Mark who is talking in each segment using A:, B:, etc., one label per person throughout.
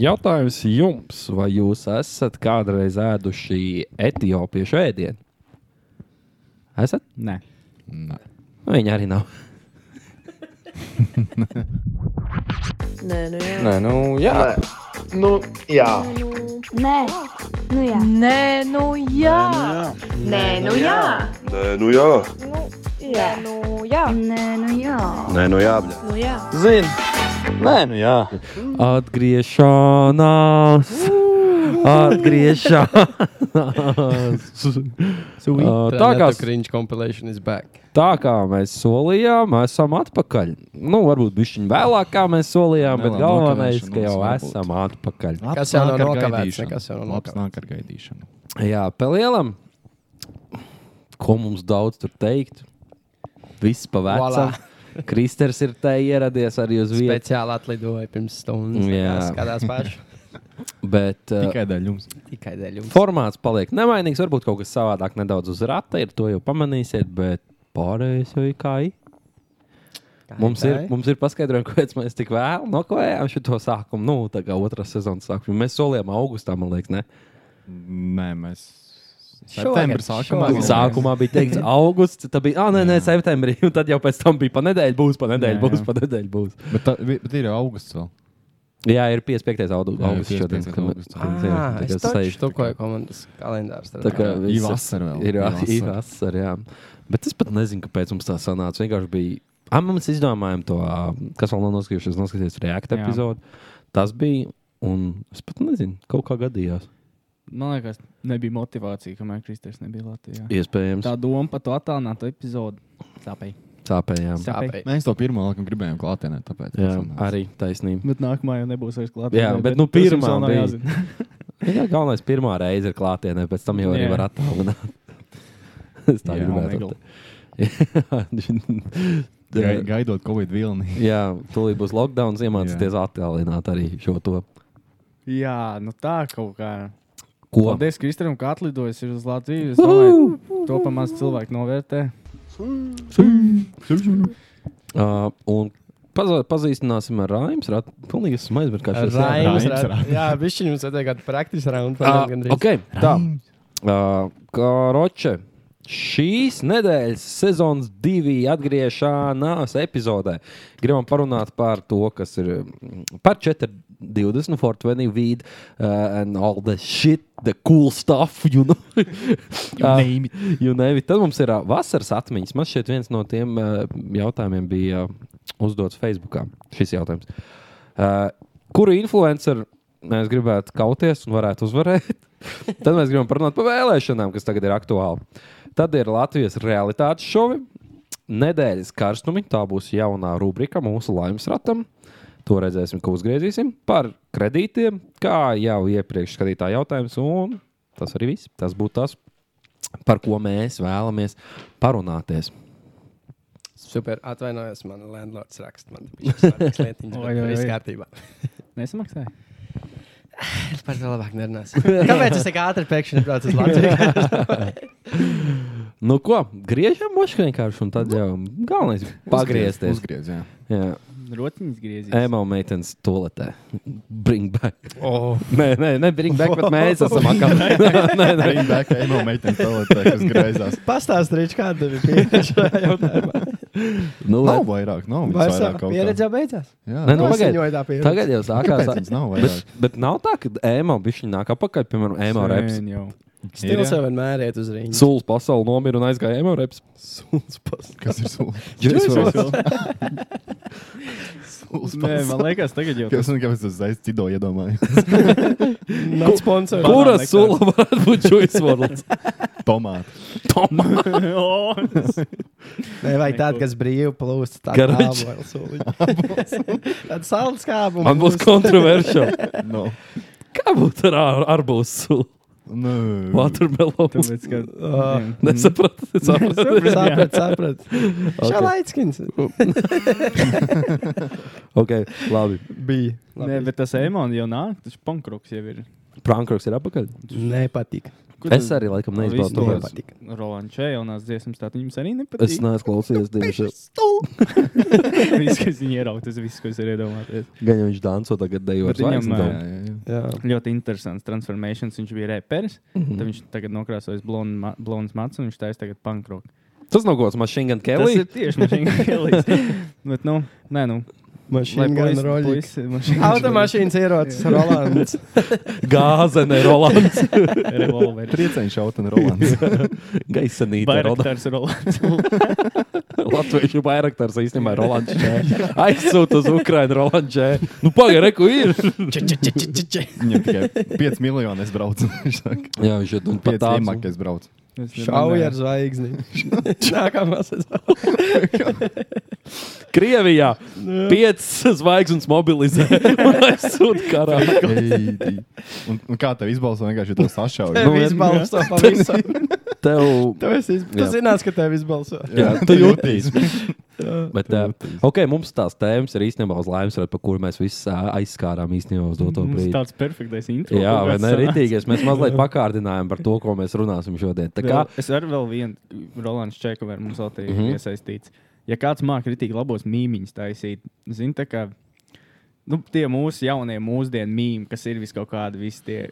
A: Jautājums jums, vai jūs esat kādreiz ēduši etiopiešu ēdienu? Esat?
B: Nē,
A: Nu, Viņa arī nav.
C: Nē, nu jā.
D: Nē, nu, jā.
E: Nu, jā.
F: Nē, nu jā.
C: Nē, nu jā. Nē, nu jā.
G: Nē, nu jā,
C: Jā, nu jā.
F: Nē, nu jā.
G: nē, nu jā.
C: Nu jā.
D: Zini, nē, nu jā.
A: Atgriešanās! Atgriešanās! Uh, tā
H: Tā kā
A: kā-
H: cringe compilation is back.
A: Tā kā mēs solījām, esam atpakaļ. Nu, varbūt bišķiņ vēlāk, kā mēs solījām, bet
B: Vēlāk
A: galvenais,
B: nokavēšanos
A: ka jau
B: varbūt.
A: esam atpakaļ.
H: Kas jau nav
B: Labs nāk ar
H: nokavēts,
B: gaidīšanu.
H: nekas jau nav
B: Labs
H: nokavēts.
B: nāk ar gaidīšanu.
A: Jā, pelielam. Ko mums daudz tur teikt? Viss pa vecam.
H: Voilà.
A: Kristers ir te ieradies arī uz vietas.
H: Speciāli atlidoja pirms stundas. Jā,
A: Jā.
H: skatās paši.
A: Bet, uh,
B: Tikai daļa jums.
H: Tikai dēļ jums.
A: Formāts paliek nemainīgs. Varbūt kaut kas savādāk nedaudz uz rata ir. To jau pamanīsiet, bet pārējais jau ir kā ir. Mums ir, mums ir paskaidrojumi, kāpēc mēs tik vēlu nokavējām šo sākumu. Nu, tā kā otrā sezonas sākumu. Mēs solījām augustā, man liekas, ne?
B: Nē, mēs.
H: Šogad,
B: Septembrī sākumā.
H: šogad.
A: Sākumā bija teikts, augusts. Tad bija, ah, nē, nē, septembrī. Un tad jau pēc tam bija panedēļa, būs
B: Jā,
A: panedēļa, būs
B: jā.
A: panedēļa. Būs.
B: Bet, tā, vi- bet ir jau augusts vēl.
A: Jā, ir 55. augu-
B: Jā,
A: augusts
B: 55.
A: šodien. ka mēs-
B: augusts.
A: Jā,
H: Ah,
A: tā
H: es
A: kā
H: taču
A: saišu.
H: štukoju komandas kalendārs.
A: Tā kā
B: Ir
A: viss
B: vasara vēl,
A: Ir
B: ir
A: va- ir
B: vasara.
A: vasara, jā. Bet es pat nezinu, kāpēc mums tā sanāca. Vienkārši bija. Ah, mēs izdomājām to, ā, kas vēl nav noskatījušies, noskatīties reakta
B: Jā.
A: epizodi. Tas bija. Un es pat nezinu, kaut kā gadījās.
I: Man liekas, nebija motivācija, kamēr Kristers nebija Latvijā.
A: Iespējams,
I: Tā doma par to attālinātu epizodu. Sāpēja.
A: sāpējām.
B: Mēs to pirmo laikam gribējām klātienē, tāpēc. tā
A: Jā,
B: sanāca.
A: arī taisnība.
I: Bet nākamā jau nebūs vairs klāta.
A: Jā, bet, nu, pirmā bija.
I: jāzina.
A: Nu, Jā, galvenais pirmā reize ir klātienē, pēc tam jau arī
I: Jā.
A: var attālināt. es tā
I: Jā,
A: gribētu.
I: Omegle.
A: Jā,
B: Gai- Gaidot Covid vilni.
A: jā tūlīt būs lockdown, iemācīties attālināt arī šo to.
I: Jā, nu tā kaut kā.
A: Ko?
I: Paldies Kristaram, ka atlidojis ir uz Latviju. Es domāju, to pamazs cilvēki novērtē.
A: Uh, un paza- pazīstināsim ar Rāmas. Tā ir pilnīgi smags, bet kā šis
H: Raims,
B: Raims,
H: ra- jā, viņš jums ir tāds praktisks round.
B: Ah,
A: Uh,
H: Uh,
A: okay, tā. Uh, Roče, šīs nedēļas sezonas divi atgriešanās epizodē gribam parunāt par to, kas ir mm, par 420, 420 vīdu uh, and all the shit, the cool stuff, you know. Ah,
B: name it.
A: you name it. Tad mums ir uh, vasaras atmiņas. Man šķiet, viens no tiem uh, jautājumiem bija uh, uzdots Facebookā. Šis jautājums. Uh, kuru influenceru mēs gribētu kauties un varētu uzvarēt? Tad mēs gribam parunāt par vēlēšanām, kas tagad ir aktuāli. Tad ir Latvijas realitātes šovi, nedēļas karstumi. Tā būs jaunā rubrika mūsu laimes ratam. To redzēsim, ko uzgriezīsim par kredītiem, kā jau iepriekš skatītā jautājums. Un tas arī viss. Tas būtu tas, par ko mēs vēlamies parunāties.
H: Super, atvainojos, man landlords raksta. Man bija šis lietiņš,
I: Oi,
H: bet
I: oi,
H: viss
I: oi.
H: kārtībā.
I: Nesamaksāja.
H: Es par to labāk nerunāsim. Kāpēc es tik ātri pēkšņi braucu uz Latviju?
A: Nu, ko griežam, mošu vienkārši, un tad jau galvenais ir pagriezties.
B: Uzgriez, jā.
A: Jā,
I: Rotiņas griezīs.
A: Emo meitenes toaletē. Bring back.
H: oh,
A: Nē, nē, nē, bring back, bet mēs esam akā. nē, nē.
B: Arī bēka emo meitene pelotē, kas griezās.
H: Pastāstiet, Rīčs, kāda bija pieredze šajā jautājumā.
A: Nu,
B: Nav
A: lai-
B: vairāk, nav
H: Vai
B: viņas
H: sava
B: vairāk kaut
H: pieredze
B: kā.
H: jau beidzās?
B: Jā,
A: Nē, nu,
B: tas-
A: pagaid.
H: Paziņoja tā pieredze.
A: Tagad jau sākās.
B: Kāpēc viņas nav
A: Bet,
B: vairāk?
A: bet nav tā, ka ēma bija nāk apakaļ, piemēram, ēma reps.
I: Sen jau.
B: Ir, jā?
H: Stils jau vienmēr iet uz rīņu.
A: Sūlis pasauli nomira un aizgāja ēma reps.
H: Sūds pas.
B: Kas ir sūds?
I: Nē, man liekas, tagad jau
B: Kāpēc man kāpēc tas aiz cido iedomāju?
H: Nav sponsors.
A: Kura sula varētu būt Juice World?
B: Tomāti.
A: Tomā.
H: Nē, vajag tādu, kas brīvi plūst.
A: Garage.
H: Tāds salds kāpums.
A: Man būs kontroversiāli.
B: No.
A: Kā būtu ar ar- arbūzu sulu?
B: Nē.
A: Watermelon.
I: Tāpēc, ka.
H: Ah.
I: Jā.
A: Nesapratu. Nesapratu.
H: Saprat, saprat. Šā
A: Ok,
H: laikskins
A: Ok, labi.
H: bija.
I: Nē, bet tas Emons jau nāk, tas pankroks jau ir.
A: Prankroks ir apakaļ.
H: Nepatika.
I: Kur
A: Es
I: tas-
A: arī laikam
I: Viss
A: neizbaudu. to.
I: nolas.
H: Nepatika.
I: Rolančē jaunās dziesmas, tā viņam arī nepatīk.
A: Es neesmu klausījies, diemžēl.
I: viss, kas viņa ierauga, tas viss, ko es varu iedomāties.
A: Gan jau viņš danco tagad dejo ar
I: Bet viņam,
A: zvaigznēm.
I: ā,
A: Jā.
I: Ļoti interesants transformācijas. Viņš bija reperis. Mm -hmm. Tad viņš tagad nokrāsojas blūzi matus un viņš taisa tagad pankroku.
A: Tas nav kaut kas mašīna gan
I: Tas ir
A: Kelly.
I: tieši mašīna Kelly. Bet, nu, nē, nu.
H: Mašīna gan roļi.
I: Automašīna.
H: Automašīnas ierocis, Rolands.
A: Gāzene, Rolands.
I: Revolveri.
B: Trieciens šauta un rolants.
A: Gaisanīte, Rolands.
I: Bairaktars Rolands.
A: Latviešu bairaktars īstenībā ir Rolands. Čē. Aizsūta uz Ukrainu Rolands. Čē. Nu, pagaidi, reku ir.
B: Viņam tikai 5 miljoni es braucu. Viņš saka,
A: Jā, viņš ir un
B: 5
A: pat tāds.
B: iemakas es braucu.
H: Šauja ar zvaigzni. Nākamā sezona.
A: Krievijā piecas zvaigznes mobilizē un aizsūta karā.
B: Ei, tī. Un, un kā tev izbalso vienkārši to Nu, sašauju?
H: Tev izbalso pavisam.
A: Tev
H: Tev es izbalso. Tu
A: Jā.
H: zinās, ka tev izbalso.
A: Jā, tu
B: jūties.
A: Bet, uh, ok, mums tās tēmas ir īstenībā uz laimes, redzēt, par kurām mēs visi uh, aizskārām īstenībā uz doto
I: Tas ir
A: brīdi.
I: tāds perfektais intro.
A: Jā,
I: kaut
A: vai
I: kāds
A: ne?
I: sanāca.
A: Rītīgais. Mēs mazliet pakārdinājām par to, ko mēs runāsim šodien. Tā kā Mhm.
I: Vēl, es varu vēl vienu, Rolands Čekovers mums vēl te ir mm -hmm. iesaistīts. Ja kāds māca kritīgi labos mīmīņus taisīt, zina, tā kā nu, tie mūsu jaunie mūsdienu mīmīmi, kas ir vis kaut kādi, visi tie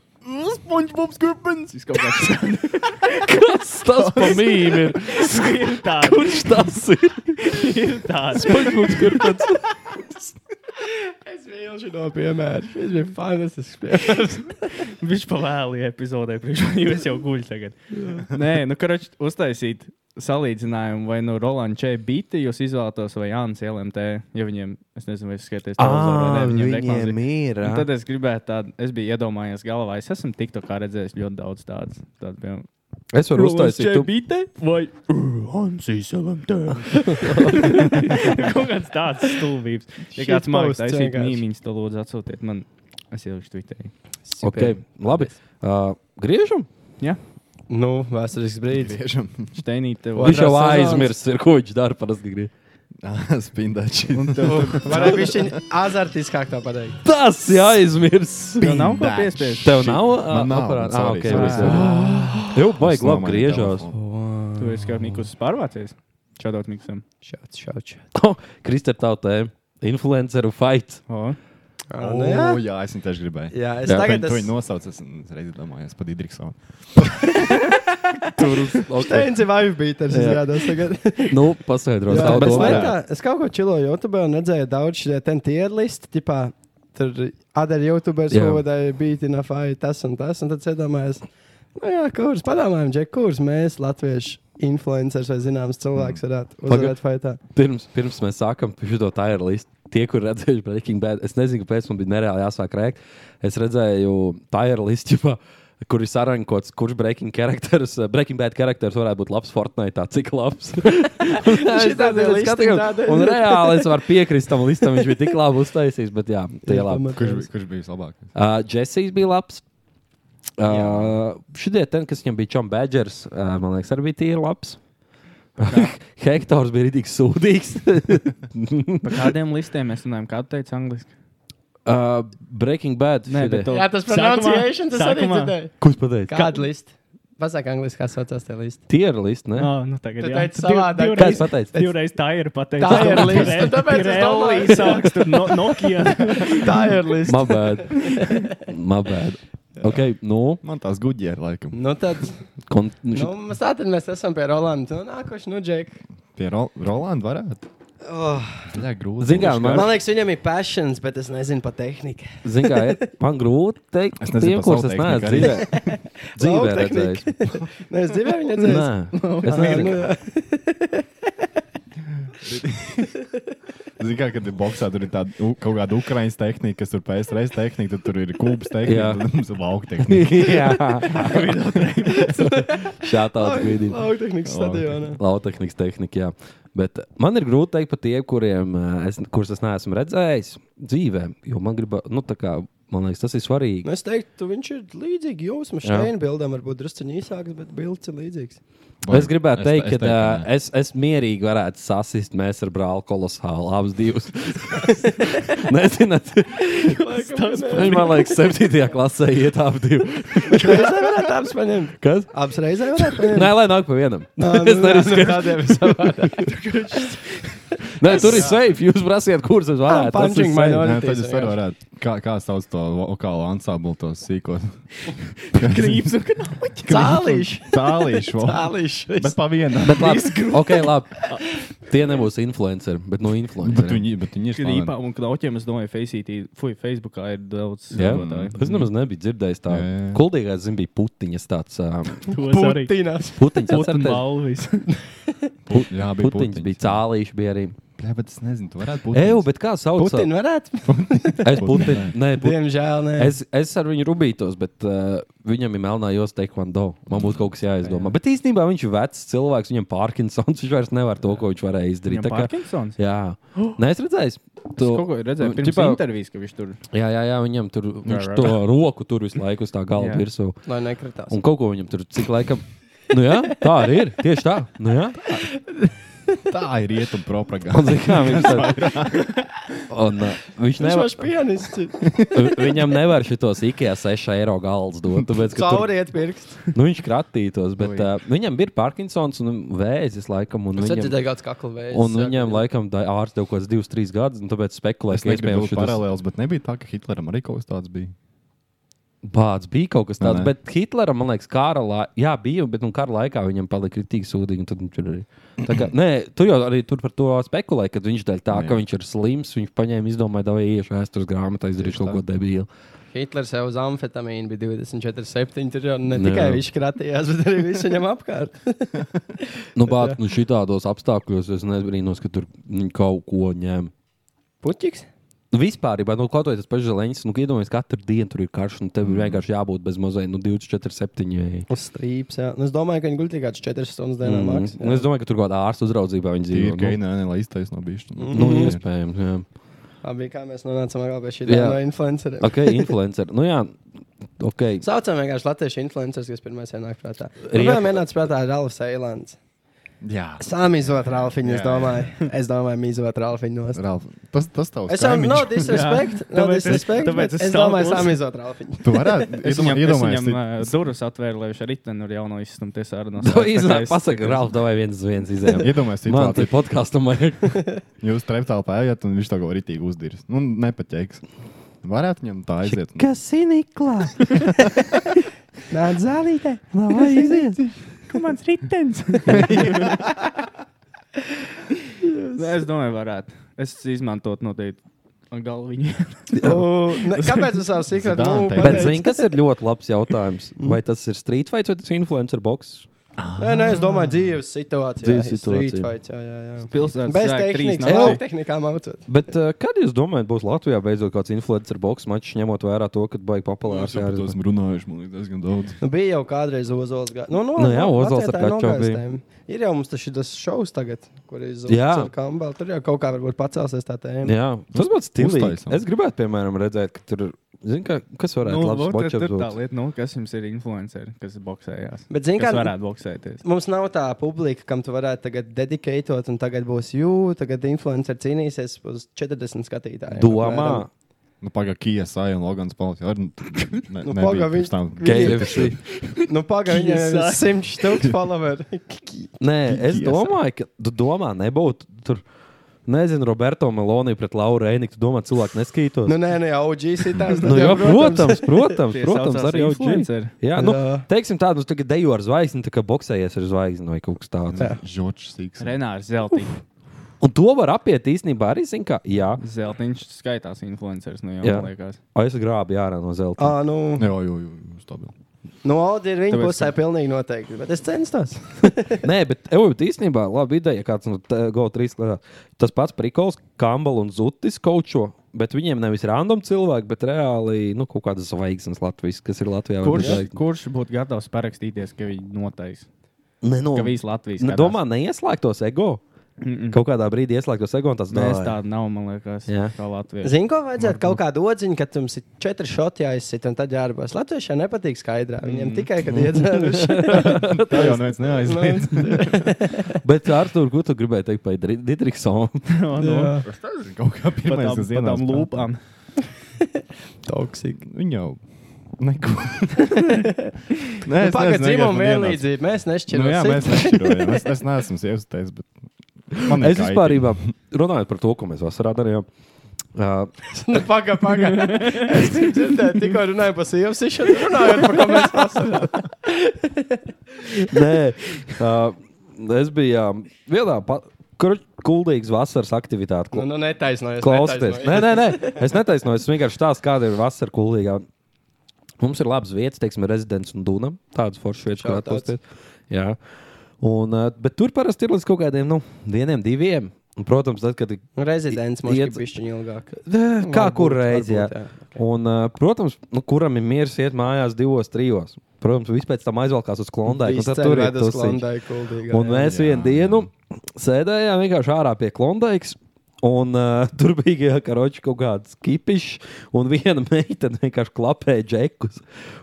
I: SpongeBob's Griffins! Vis kaut kāds
A: kas tas par mīmīm ir?
I: ir tāds,
A: Kurš tas ir?
I: ir tāds.
A: Paņemts, kur pēc
H: Es vilšu no piemēra. Šis bija fantastisks piemērs.
I: Viņš pavēlīja epizodē, priekš manis jau guļ tagad. Nē, nu, karoči, uztaisīt salīdzinājumu vai nu Rolands Čē Biti jūs izvēlētos vai Jānis LMT, ja viņiem, es nezinu, vai es skaties televizoru vai ne, viņiem reklāmas ir-
A: ir.
I: Un tad es gribēju tādu, es biju iedomājies galvā, es esmu tikto kā redzējis ļoti daudz tādu. Tādu piemēram,
A: Es varu uztaisīt. Tu...
I: bite vai Hansijas LMT. Kaut kāds tāds stulbības. Ja
H: Shit
I: kāds mākslinieks
H: posts
I: taisīt
H: vienkārši.
I: mīmiņus, tad lūdzu atsūtiet man. Es ielieku tvītēju.
A: Okay, labi. Uh, griežam?
H: Nu, vēsturisks brīdis.
B: Tiešām
I: Steinīt tev.
H: Otrā
A: Viņš jau
H: sezonas.
A: aizmirsis, ir, ko viņš dara parasti. griež.
B: Ah, spindāči.
H: Varētu būt viņa azartiskāk tā pateikt.
A: Tas ir aizmirsis.
I: Tev Nu, nav ko piespiest.
A: Tev nav uh,
B: Man nav,
A: aparāta? Ah,
B: sorry,
A: okay,
B: sorry,
A: viss
B: sorry.
H: Ah.
A: labi. Jū, baigi,
B: Es
A: labi
B: nomainīju
A: griežās.
B: telefonu.
I: Tu esi kā Mikus pārvācies. Čādot Miksam.
H: Šāds, šāds.
A: Kristē, tā Oh, tēma. Influenceru fight.
I: O,
H: nu
B: O, Oh, jā, es viņu tieši gribēju.
H: Jā, Oh, es
A: nu Jā,
H: tagad
B: Tu viņu
H: esmu.
B: nosauc, es es reiz domāju, es pat Idriksonu.
A: Tur okay.
H: Teņci vai bīters
A: Jā.
H: izrādās tagad.
A: nu, paskaidros,
H: Jā,
A: kā
H: bet
A: to
H: es
B: domāju.
A: vajag.
H: laikā- Es kaut ko čiloju YouTube un redzēju daudz šie ten tier listi, tipā tur other YouTubers,
A: Jā.
H: ko vadīja beat in a fight, tas un tas, un tad es iedomājos, nu jā, kurs, padomājam, Džek, kurs mēs, latvieši, influencers vai zināms cilvēks varētu
A: Pagad-
H: uzvarēt fightā.
A: Pirms, pirms mēs sākam šo tā ir līnija. Tie, kur redzējuši Breaking Bad, es nezinu, kāpēc man bija nereāli jāsāk rēkt. Es redzēju, tā ir līnija, kur ir sarankots, kurš Breaking, characters- eh, Breaking Bad charakteris varētu būt labs Fortnite. Cik labs?
H: Šī tāda
A: Es
H: lista
A: skatījos,
H: tāda.
A: Un reāli es varu piekrist tam listam. Viņš bija tik labi uztaisījis, bet jā, tie labi.
B: Kurš, bi- kurš bija vislabākais?
A: Uh, Jessijs bija labs. Uh, Šodien, ten, kas viņam bija Čom Badgers, uh, man liekas, arī bija tīri labs. Hektors bija rītīgs sūdīgs.
I: par kādiem listiem mēs runājam? Kādu teicu angliski?
A: uh, Breaking Bad.
I: Nē, bet
A: šodien.
I: to.
H: Jā, tas
I: Sākumā-
H: pronunciation, tas arī
I: sākumā-
H: dzirdēju.
A: Ko jūs pateicāt?
H: Kāda lista? Pasaka angliski, kā saucās tie listi.
A: Tierra list, ne?
I: Ā, nu tagad
H: Tu
I: jā.
H: teici
I: Tu div-
H: savādāk.
I: divreiz-
A: Kāds pateica?
I: Divreiz tā ir pateicis.
H: Tā ir lista, tāpēc es domāju.
I: Pirelli sāks tur no, Nokia.
H: Tā ir lista.
A: My bad. My bad. Ok, nu,
B: Man tās gudjē, laikam.
H: Nu tad,
A: kon,
H: nu,
A: nu,
H: mēs tātad mēs esam pie Rolanda. Nu, nākošais, nu, Džek.
B: Pie Ro Rolanda varētu.
H: Oh.
B: Jā, grūti.
A: Zini kā, man-
B: man...
H: Man liekas, viņam ir passions, bet es nezinu par tehniku.
A: zin kā, ir- man grūti teikt,
B: Es nezinu
A: tiem,
B: par
A: kurus
B: savu
A: es
B: tehniku
A: neesmu
B: arī.
A: dzīvē, dzīvē
H: Savu
A: redzējis.
H: tehniku? Nē, es dzīvēju viņa
A: Nē,
H: dzīvēju.
A: es nezinu.
B: Zini kā, kad ir boxā, tur ir tāda u- kaut kāda ukrainas tehnika, kas tur pēc reizes tehnika, tad tur ir kūpas tehnika,
A: Jā.
B: tad mums ir lauka tehnika.
A: Jā, tā ir video.
H: Lauka tehnikas stadionā.
A: Lautehnikas tehnika, jā. Bet man ir grūti pateikt par tiem, kuriem eh, es, kurus es neesmu redzējis dzīvē. Jo man gribas, nu, tā kā man liekas, tas ir
H: Nu,
A: svarīgi.
H: es teiktu, viņš ir līdzīgs jūsu
A: Jā.
H: šāda bildam, varbūt drusku īsāks, bet bilds ir līdzīgs.
A: Es gribētu teikt, ka eh,
B: ka
A: es, es mierīgi varētu sasist, mēs ar brāli kolosāli abus divus. Nezināt, viņš man liekas, 7. klasē iet abi divi.
H: Reizē varētu abas paņemt.
A: Kas?
H: Abas reizē varētu paņemt.
A: Nē, lai nāk pa vienam.
H: Nā,
A: es
H: nu,
A: neesmu
H: nē, nu, tādiem ir savādāk.
A: Nē, tur ir safe. Jūs prasiet, kurš es
H: Ah,
A: varētu. Tas ir
H: punching
A: safe.
H: minor-
B: Nē, tad es varu varētu. Kā, kā sauc to vokālo ansāblu, tos sīkos?
I: Krīps un
H: Cālīši!
B: Tālīši. vo.
H: Cālīši!
B: Bet pa vienam.
A: Bet labi, okay, labi. Tie nebūs influenceri, bet no
B: Bet
A: influenceriem.
B: viņi, bet viņi ir
I: krīpā
B: slaveni.
I: un knoķiem. Es domāju, Faceitī, fuj, Facebookā ir daudz
A: Jā,
I: sekotāju.
A: es nemaz nebiju dzirdējis tādu.
B: Jā, jā.
A: Kuldīgais zina, bija putiņas tāds. Um,
H: Putinās!
A: putiņas,
I: Putin
A: atcerieties?
I: balvis.
B: Jā, bija
A: putiņas bija cālīši, bija arī.
B: Jā, bet es nezinu, tu varētu būt.
A: Eju, bet kā sauc?
H: Putin varētu?
A: Es putiņu. Nē, putiņu.
H: Diemžēl nē.
A: Es, es ar viņu rūpītos, bet uh, viņam ir melnā josta taekwondo. Man būtu kaut kas jāizdomā. Bet īstenībā viņš ir vecs cilvēks, viņam Parkinsons. Viņš vairs nevar to, ko viņš varēja izdarīt.
I: Viņam Parkinsons?
A: Jā, nē, es redzēju.
I: Tu kaut ko
H: nu,
I: redzēji pirms
A: Ķipā-
I: intervijas, ka viņš tur
A: Jā, jā, jā, viņam tur viņš
I: jā.
A: to roku tur visu laiku uz tā galda
I: Jā.
A: virsū.
H: Lai nekritās.
A: Un kaut ko viņam tur cik laikam. Nu jā, tā arī ir. Tieši tā. Nu jā.
B: Tā ir rietumu propaganda.
A: Un, zini kā, viņš tā... un, uh, viņš
H: Viņš
A: nevar,
H: ir pianists.
A: viņam nevar šitos IKEA 6 eiro galdus dot. Tāpēc, ka tur,
H: Cauriet pirksts.
A: nu, viņš kratītos, bet uh, viņam ir Parkinsons un vēzis laikam. Un viņam,
H: dzirdēju kāds kakla vējs.
A: un viņam laikam da- ārsts jau kaut kāds 2-3 gadus, un tāpēc spekulēs,
B: Es
A: ka
B: negribu
A: iespējams
B: būt paralēls, bet nebija tā, ka Hitleram arī kaut kas tāds bija.
A: Bāds bija kaut kas tāds,
B: Nē.
A: bet Hitlera, man liekas, kara laikā, jā, bija, bet nu, kara laikā viņam palika kritīgi sūdīgi. un Tad viņš ir arī. Tā Kā, nē, tur jau arī tur par to spekulēja, kad viņš dēļ tā,
B: Jā.
A: ka viņš ir slims, viņš paņēma, izdomāja, vai iešu vēstures grāmatā, izdarīja kaut ko debīlu.
H: Hitlers jau uz amfetamīnu bija 24,7. Tur jau ne
A: Jā.
H: tikai viņš kratījās, bet arī viss viņam apkārt.
A: Nu, bāds, nu, šitādos apstākļos es nebrīnos, ka tur viņi kaut ko ņem.
H: Puķis?
A: Nu, vispār, ja nu, kaut kāds pats žēlēns, nu, iedomājieties, katru dienu tur ir karš, un tev ir vienkārši jābūt bez mazai nu, 24, 7. Ej.
H: Uz strīps. Jā. Nu, es domāju, ka viņi guļ tikai 4 stundas dienā.
A: Mm.
H: Mm.
A: Nu, Es domāju, ka tur kaut kāda ārsta uzraudzībā viņi
B: Tie
A: dzīvo.
B: ir gejnēni, lai iztaisno bišķi.
A: nu, nu,
H: Mhm.
A: iespējams. Jā.
H: Abi kā mēs nonācām atkal pie šī
A: Jā.
H: yeah. no influenceriem.
A: Ok, influencer. Nu, jā, ok.
H: Saucam vienkārši latviešu influencerus, kas pirmais ienāk prātā.
A: Riep-
H: Pirmā ienāca prātā ir Ralfs Eilants.
B: Jā.
H: Samizot Ralfiņu, es
B: Jā, jā.
H: domāju. Es domāju, mīzot Ralfiņu nost.
B: Ralf, tas, tas tavs
H: Es jau
B: kaimiņš.
H: nav disrespekt,
I: Jā.
H: nav
I: Tāpēc es-
H: disrespekt,
I: tāpēc
H: bet
I: es
H: es domāju,
I: stāvos.
H: samizot Ralfiņu.
B: Tu varētu
I: Es viņam, es
B: iedomājies,
I: viņam
B: ti-
I: uh, durvis atvēru, lai viņš ar riteni ar jauno izstumt tiesāru no
A: To
I: savas
A: iznāk,
I: pakaļas.
A: pasaka, Ralf, davai viens uz viens izējām.
B: Iedomājies,
A: Man te
B: situāciju.
A: podkāstam vajag.
B: Jūs treptālpā ejat un viņš tā kā ritīgi uzdirs. Nu, nepaķēks. Varētu viņam tā aiziet. un-
A: Kas ir Niklā?
H: Nāc zālītē!
A: Nav aiziet.
I: Kur mans ritenis? Nē, es domāju, varētu. Es izmantotu noteikti galviņu.
H: U, ne- Kāpēc es Nu, savu sekretu
B: Zidane
H: mūžu?
B: teica.
A: Bet zini, kas ir ļoti labs jautājums. Vai tas ir street fights vai tas ir influencer box?
H: Nē, nē, es domāju, dzīves situācijā.
A: Dzīves
H: ir street
A: situācijā.
H: fights, jā, jā, jā.
I: Pilsētas
H: Bez
I: sāk trīs
H: tehnikas,
I: naktī.
H: jau tehnikā mācot.
A: Bet uh, kad jūs domājat, būs Latvijā beidzot kāds influencer box mačs, ņemot vērā to, ka baigi
B: Mēs
A: populārs
B: jau par to esam runājuši, man liekas, diezgan daudz.
H: Nu, bija jau kādreiz Ozols. Ga... Nu, nu,
A: Nu jā,
H: nu,
A: Ozols ar
H: vecētāju
A: Kačo bija.
H: nogāztēm. Ir jau mums tas šis šovs tagad, kur ir
A: Jā.
H: Zvaigznes Kambala. Tur jau kaut kā varbūt pacelsies tā tēma.
A: Jā, tas būtu stilīgi.
B: Uztaisam.
A: Es gribētu, piemēram, redzēt, ka tur, zini, ka, kas varētu
I: Nu,
A: būt labs
I: vot,
A: bočs.
I: tur tur tā lieta, nu, kas jums ir influenceri, kas boxējās.
H: Bet zini,
I: kas
H: kā-
I: varētu boxēties.
H: Mums nav tā publika, kam tu varētu tagad dedikētot, un tagad būs jū, tagad influenceri cīnīsies uz 40 skatītājiem.
A: Domā,
H: apmēram.
B: Nu, Pagaidām, Kijasai un Logans Pauls. Jā, nu, ne,
H: Nu,
B: nu,
H: paga,
B: nebija
H: viņš-
B: pirms tam.
A: KFC.
H: Nu, pagaidi, viņam ir
I: Kisa.
H: 100 stūks followeri.
A: Nē, es
B: Kiki
A: domāju, ka tu domā, nebūtu tur. Nezinu, Roberto Meloni pret Lauru Reiniku. Tu domā, cilvēki neskītos.
H: Nu, nē, nē, OG sitās.
A: Nu, jā, protams, protams,
I: Tie
A: protams
I: saucās
A: arī jau
I: influenceri.
A: Jā, nu,
H: Jā.
A: teiksim tādu, nu, tagad dejo ar zvaigzni, tā kā boxējies ar zvaigzni vai kaut kas tāds.
H: Jā.
B: Žočs Sīks.
I: Renārs Zeltiņš.
A: Un to var apiet īstenībā arī, zin kā, jā,
I: Zeltiņš skaitās influenceris, nu jau,
A: Jā.
I: man liekas.
A: o, es grābu ārā no zelta.
H: Ah, nu,
B: Jā, jā, jā, stabilu.
H: nu, Audi ir viņa
I: Tāpēc,
H: pusē pilnīgi noteikti, bet es centos.
A: Nē, bet, evo, bet īstenībā laba ideja, ja kāds no GO3 skatās. Tas pats Prikols, Kambal un Zutis kočo, bet viņiem nevis random cilvēki, bet reāli, nu, kaut kādas zvaigznes Latvijas, kas ir Latvijā. vai
I: Kurš,
A: bez zvaigznes.
I: kurš būtu gatavs parakstīties, ka viņi notais?
A: Ne, nu,
I: Ka visi Latvijas
A: Ne,
I: skatās?
A: domā, neieslēgtos ego.
I: Mm, mm.
A: Kaut kādā brīdī ieslēgtos ego un tas
I: Mēs tādu nav, man liekas,
A: Jā.
I: kā Latvijas.
H: Zini, ko vajadzētu kaut kādu odziņu, kad jums ir četri šoti jāizsit un tad jārabās. Latviešiem nepatīk skaidrā.
A: Mm.
H: Viņiem tikai, kad iedzēruši. Nu,
B: Tā jau neviens neaizliedz.
A: Bet ar to, ko tu gribēji teikt par Dri- Didriksonu?
I: No, no.
B: Kaut kā
I: Nu, Pa
B: pirmais,
I: tām,
B: kas
I: pa
B: ienāca
I: tām
B: prātā.
I: lūpām.
H: Toksik.
B: Viņa jau. Neko. Nē,
H: Pagaidiet, dzīvojam
B: nezinu,
I: Nu,
B: vienkārši man ienāca.
H: vienlīdzīgi. Mēs
B: Nu, jā,
H: nešķiram.
B: mēs nešķirojam. Es, es neesmu sievietes, bet Man ir
A: Es
B: kaitīgi.
A: vispār runāju par to, ko mēs vasarā darījām. Uh,
H: Nu, Pagaidā, pagaidā. Es gribu dzirdēt, tikko runāju par sievu sišanu, runāju par ko mēs pasakām.
A: Nē, uh, es biju um, vienā pa- kur- kuldīgas vasaras aktivitātē.
H: Nu,
A: Kla
H: nu netaisnojies.
A: Klausieties, nē, nē, nē, es netaisnoju. Es vienkārši stāstu, kāda ir vasara kuldīgā. Mums ir labs vietas, teiksim, rezidents un dūna. Tādas foršas vietas, kur
H: Šādi tāds.
A: atpūsties. Jā. Un, uh, bet tur parasti ir līdz kaut kādiem, nu, vieniem, diviem. Un, protams, tad, kad ir
H: Nu, Rezidents mums
A: Iet-
H: ir pišķiņ ilgāk.
A: Eh, Kā
H: Varbūt,
A: kur reizē?
H: varbūt,
A: Jā.
H: jā.
A: Jā. Un, uh, protams, nu, kuram ir miers iet mājās divos, trijos. Protams, viss pēc tam aizvelkās uz klondaiku. un nu, tad Tur ir
H: tas
A: tusiņš.
H: klondai kuldīgā.
A: Un mēs vienu dienu sēdējām vienkārši ārā pie Klondaikas. Un uh, tur bija karoči, kaut kāds kipišs, un viena meitene vienkārši klapēja džekus.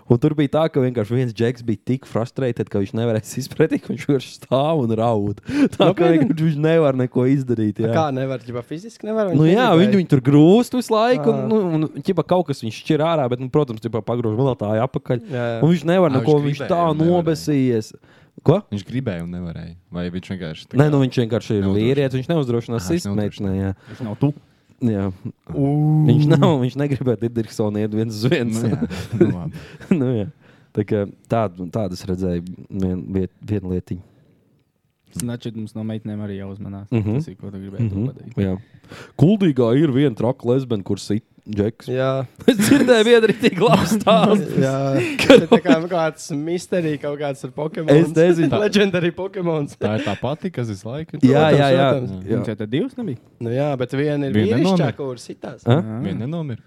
A: Un tur bija tā, ka vienkārši viens džeks bija tik frustrēts, ka viņš nevarēja izpratīt, ka viņš vienkārši stāv un raud. Tā kā vienkārši viņš nevar neko izdarīt. Jā.
H: Kā nevar, ja fiziski nevar?
A: Nu, jā, viņi, viņi tur grūst visu laiku,
H: Ā.
A: un, nu, un, un ķipa, kaut kas viņš šķir ārā, bet, nu, protams, ķipa, pagrūž malā apakaļ.
H: Jā, jā.
A: Un viņš nevar
B: Ā,
A: neko,
B: viņš
A: viņš, viņš
B: gribēja
A: tā
B: un nevarēja.
A: nobesījies. Ko?
B: Viņš gribēja un nevarēja. Vai viņš vienkārši tā
A: Nē, nu, viņš vienkārši ir
B: Neuzdrošina.
A: vīrietis. Viņš neuzdrošinās
B: Ā, viņš
A: izsmeļšanai. Jā.
I: Viņš nav tu.
A: Jā. Viņš nav, viņš negribēja Digitālu iet viens uz viens.
B: Nu, jā. nu, labi.
A: nu, jā. Tā kā tādu, tādu es redzēju, vien, viet, vienu lietiņu.
I: Značit, mums no meitenēm arī jāuzmanās. Mm
A: Mhm.
I: -hmm. Tas ir, ko tu gribēji mm -hmm. pateikt.
A: Jā. Kuldīgā ir viena traka lesbiena, kuras ir džeks.
H: Jā,
A: Es dzirdēju, viena ir tik laba stāsts.
H: jā. Tas ir kā kāds misterija, kaut kāds ar Pokemon.
A: Es nezinu.
H: Legendary Pokemon.
B: Tā ir tā pati, kas visu laiku ir.
A: Jā, jā, jā.
H: Protams,
A: jā.
I: Viņam jau tad divas nebija.
H: Nu jā, bet viena ir
B: Viena
H: vīrišķā,
B: nomira.
H: kur sitās.
A: A?
B: Viņa nenomira.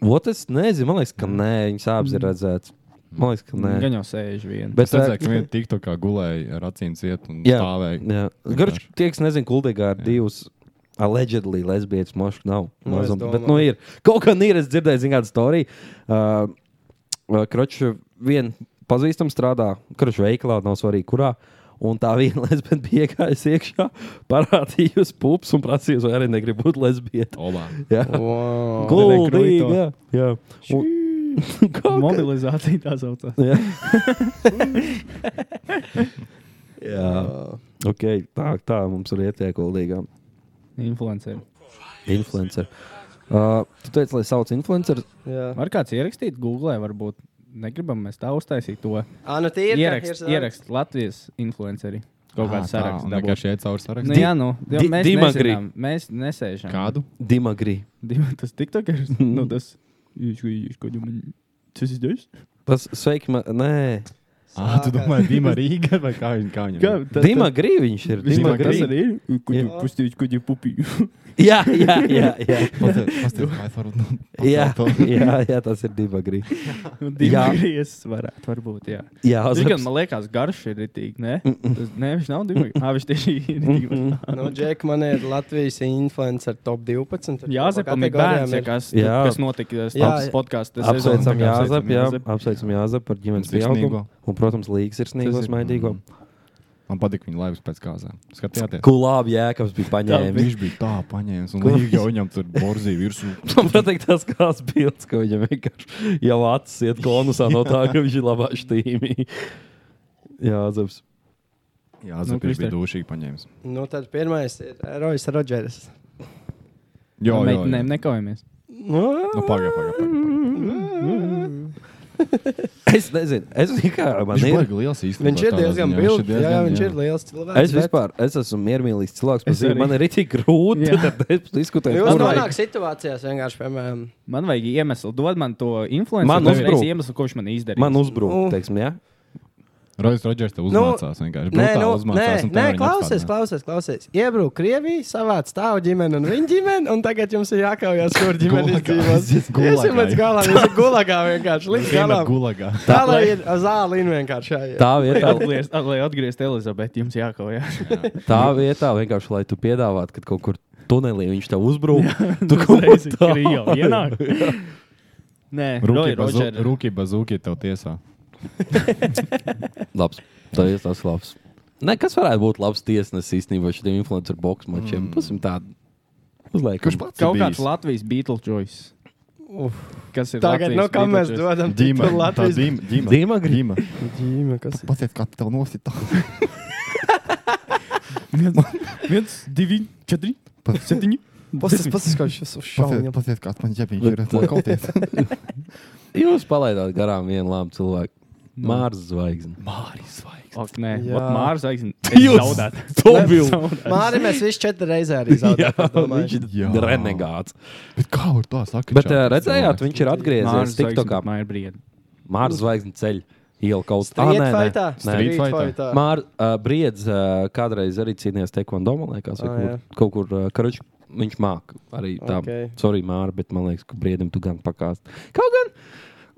A: Ot, es nezinu, man liekas, ka nē, viņas abas ir redzētas. Man liekas, ka nē.
I: Gan jau sēž viena.
A: Bet,
B: Es redzēju,
A: ā,
B: ka viena tikto kā gulēja ar acīm ciet un
A: Jā.
B: stāvēja.
A: jā. Garš, tie, kas nezina, kuldīgā ir divas. Allegedly lesbietes mošu nav.
H: Nu, es
A: Mazum,
H: domāju.
A: bet, nu, ir. Kaut kā nīri, es dzirdēju, zinu, kādu storiju. Uh, Kroča vien pazīstam strādā, kroča veikalā, nav svarīgi, kurā. Un tā viena lesbieta bija iekājusi iekšā, parādījusi pupas un prasījusi, vai arī negribu būt lesbieta.
B: Olā.
A: Jā,
H: Wow.
A: kuldīgi. Jā,
I: Rekrūto.
A: jā. Un, kā, ka-
I: Mobilizācija tā saucās.
A: Jā, jā. Okay, tā, tā mums ir ietiekulīga
I: Influenceri.
A: influencer. Uh, tu teici, lai sauc influencer.
H: Jā.
I: Var kāds ierakstīt Google, varbūt negribam mēs tā uztaisīt to.
H: Ā, nu tie ir
I: Ierakst, ierakst Latvijas influenceri. Kaut
A: Ah,
I: kāds saraksts.
B: Tā kā
I: dabūt.
B: šeit caur
I: Nu,
B: sarakstu.
I: jā, nu, jā,
A: Di-
I: mēs
A: Dimagri.
I: nezinām, mēs nesēžam.
B: Kādu?
A: Dimagrī.
I: Dima, tas tiktokers, nu tas, jūs, jūs, ko jums, tas ir jūs?
A: Tas sveiki, man. Nē,
B: Ah, tu domā, Dima Rīga vai kā viņa? Kā viņa?
I: Kā, tas,
A: Dimagrī viņš ir.
I: tas,
B: Dima
I: tas, tas
A: Dimagrī.
I: arī ir, ko jūs
H: Jā.
I: pustīju, ko jūs pupīju.
A: Jā, jā, jā. Jā, jā,
B: Jā,
A: jā, jā tas ir Dimagrī.
I: Dimagri, es varētu, varbūt, jā.
A: Jā,
I: Viņš gan,
A: uzraps.
I: man liekas, garš ir ritīgi, ne? Tas, ne, viņš nav dimagri. Ā, viņš tieši ir ritīgi.
H: Nu, Džek, man ir Latvijas influencer top 12. tur
I: Jāzepam ir
H: kategorijām
I: bērns, ja kas,
A: Jā.
I: kas notika
H: Jā,
I: stāsts
H: jā.
I: podkāstā.
A: Apsveicam Jāzep, jā, apsveicam Jāzep par ģimenes pieaugumu.
B: Sirsnīgo.
A: Un, protams, līgas ir
B: Tas
A: sniegos
B: ir- Mm.
A: maidīgo.
B: Man patīk viņa laivas pēc kāzām. Skatījāties.
A: Kulābi Jēkabs bija paņēmis.
B: Viņš bija tā paņēmis, un viņš jau viņam tur borzīja virsū.
A: Man patīk tas, kāds bildes, ka viņam vienkārši jau acis iet konusā no tā, ka viņš ir labā štīmī. Jā, Zeps.
B: Jā,
I: Nu,
B: Zep, viņš bija
I: Krister.
B: dušīgi paņēmis.
H: Nu, tad pirmais ir Rojas Rodžers.
B: Jā, jā, jā.
I: Meitenēm nekaujamies.
B: Nu, pagaidi, pagaidi.
H: Mm.
A: Es nezinu, es vienkārši man
B: Viņš ir
A: ir.
B: baigi liels īstenībā.
H: Viņš ir
B: tādā
H: diezgan
B: ziņā.
H: bilds. Jā,
B: diezgan,
H: jā, viņš ir liels cilvēks.
A: Es vispār es esmu miermīlīgs cilvēks.
I: Es
A: Es zinu,
I: arī.
A: man ir tik grūti
I: Jā.
A: tad es diskutēju. kur
H: Jūs
A: vajag.
H: nonākat situācijās vienkārši, piemēram,
I: Man vajag iemeslu, dod man to influenceru.
A: Man
I: uzreiz
A: uzbruk.
I: iemeslu, ko viņš man izdarīja.
A: Man uzbrūk,
H: Nu.
A: teiksim, jā.
B: Rojas Rodžers tev
H: Nu,
B: uzmācās vienkārši.
H: Nē,
B: Brutāli
H: nu, nē,
B: uzmācās un
H: nē
B: tev viņa
H: klausies,
B: apstādināja.
H: klausies, klausies. Iebrūk Krievijā, savāc tavu ģimeni un viņa ģimeni, un tagad jums ir jākaujas, kur ģimenes
B: Gulagā.
H: dzīvos.
B: Aizies gulagā.
H: Iesim līdz galam, jūs esat gulagā vienkārši. Līdz
B: Vienmēr
H: galam.
B: gulagā.
H: Tā lai ir zālīna vienkārši. jā, jā.
A: Tā vietā,
I: Atgriezt, at, lai atgrieztu Elizabeti, jums jākaujas.
A: tā vietā vienkārši, lai tu piedāvātu, kad kaut kur tunelī viņš tev uzbrūk, tu kaut kur
I: Reizi
A: tā.
I: Krievijā ienāk. Nē,
B: Rūki bazu-
I: Roger.
B: Rūki bazūki tev tiesā.
A: Labs, tā ir tas labs. Nē, kas varētu būt labs tiesnesis īstenībā šiem influencer box mačiem? Pasim tādu. Uzliekam.
B: Kurš pats
I: Kaut
B: ir
I: kāds
B: bijis?
I: Latvijas Beetlejuice.
H: Uf.
I: Kas ir
H: Tagad,
I: Latvijas
H: nu, kam mēs
I: Beetlejuice?
H: dodam
B: Dīma.
H: titulu
B: Tā
H: Latvijas
B: Dīma. Dīma.
A: Dīma Grība.
B: Dīma.
H: ģimeni? Kas ir?
B: Paciet, kā tev nosita.
I: viens, divi, četri, septiņi.
H: Pasties,
I: desmit.
H: pasties, kā viņš uz šauņiem.
B: Paties, kāds man ģepiņš ir atlaikauties.
A: Jūs palaidāt garām vienu labu cilvēku. Mārs zvaigznes.
B: Māris vaigs.
I: Ak, nē,
H: Jā.
I: Mārcis Kalniņš.
A: Jūs to vilni.
H: Māri, mēs visi četri reizē arī zaudējām.
B: Jā.
A: Renegāts.
B: Bet kā var tā saka?
A: Bet uh, redzējāt, viņš ir atgriezies TikTokā.
I: Man ir briedi.
H: Nu.
A: Mārs zvaigznes ceļ iela kaut kā
H: Street fightā.
B: Street
H: Street
B: fightā.
H: fightā.
A: Mārs uh, Briedz uh, kādreiz arī cīnījās Taekwondo, man liekas, vai
H: Ah, jā.
A: kaut, kaut kur uh, karuč. Viņš māca arī tādu. Okay.
H: Ok.
A: Sorry, Mārta, bet man liekas, ka brīdim tu gan pakāst. Kaut gan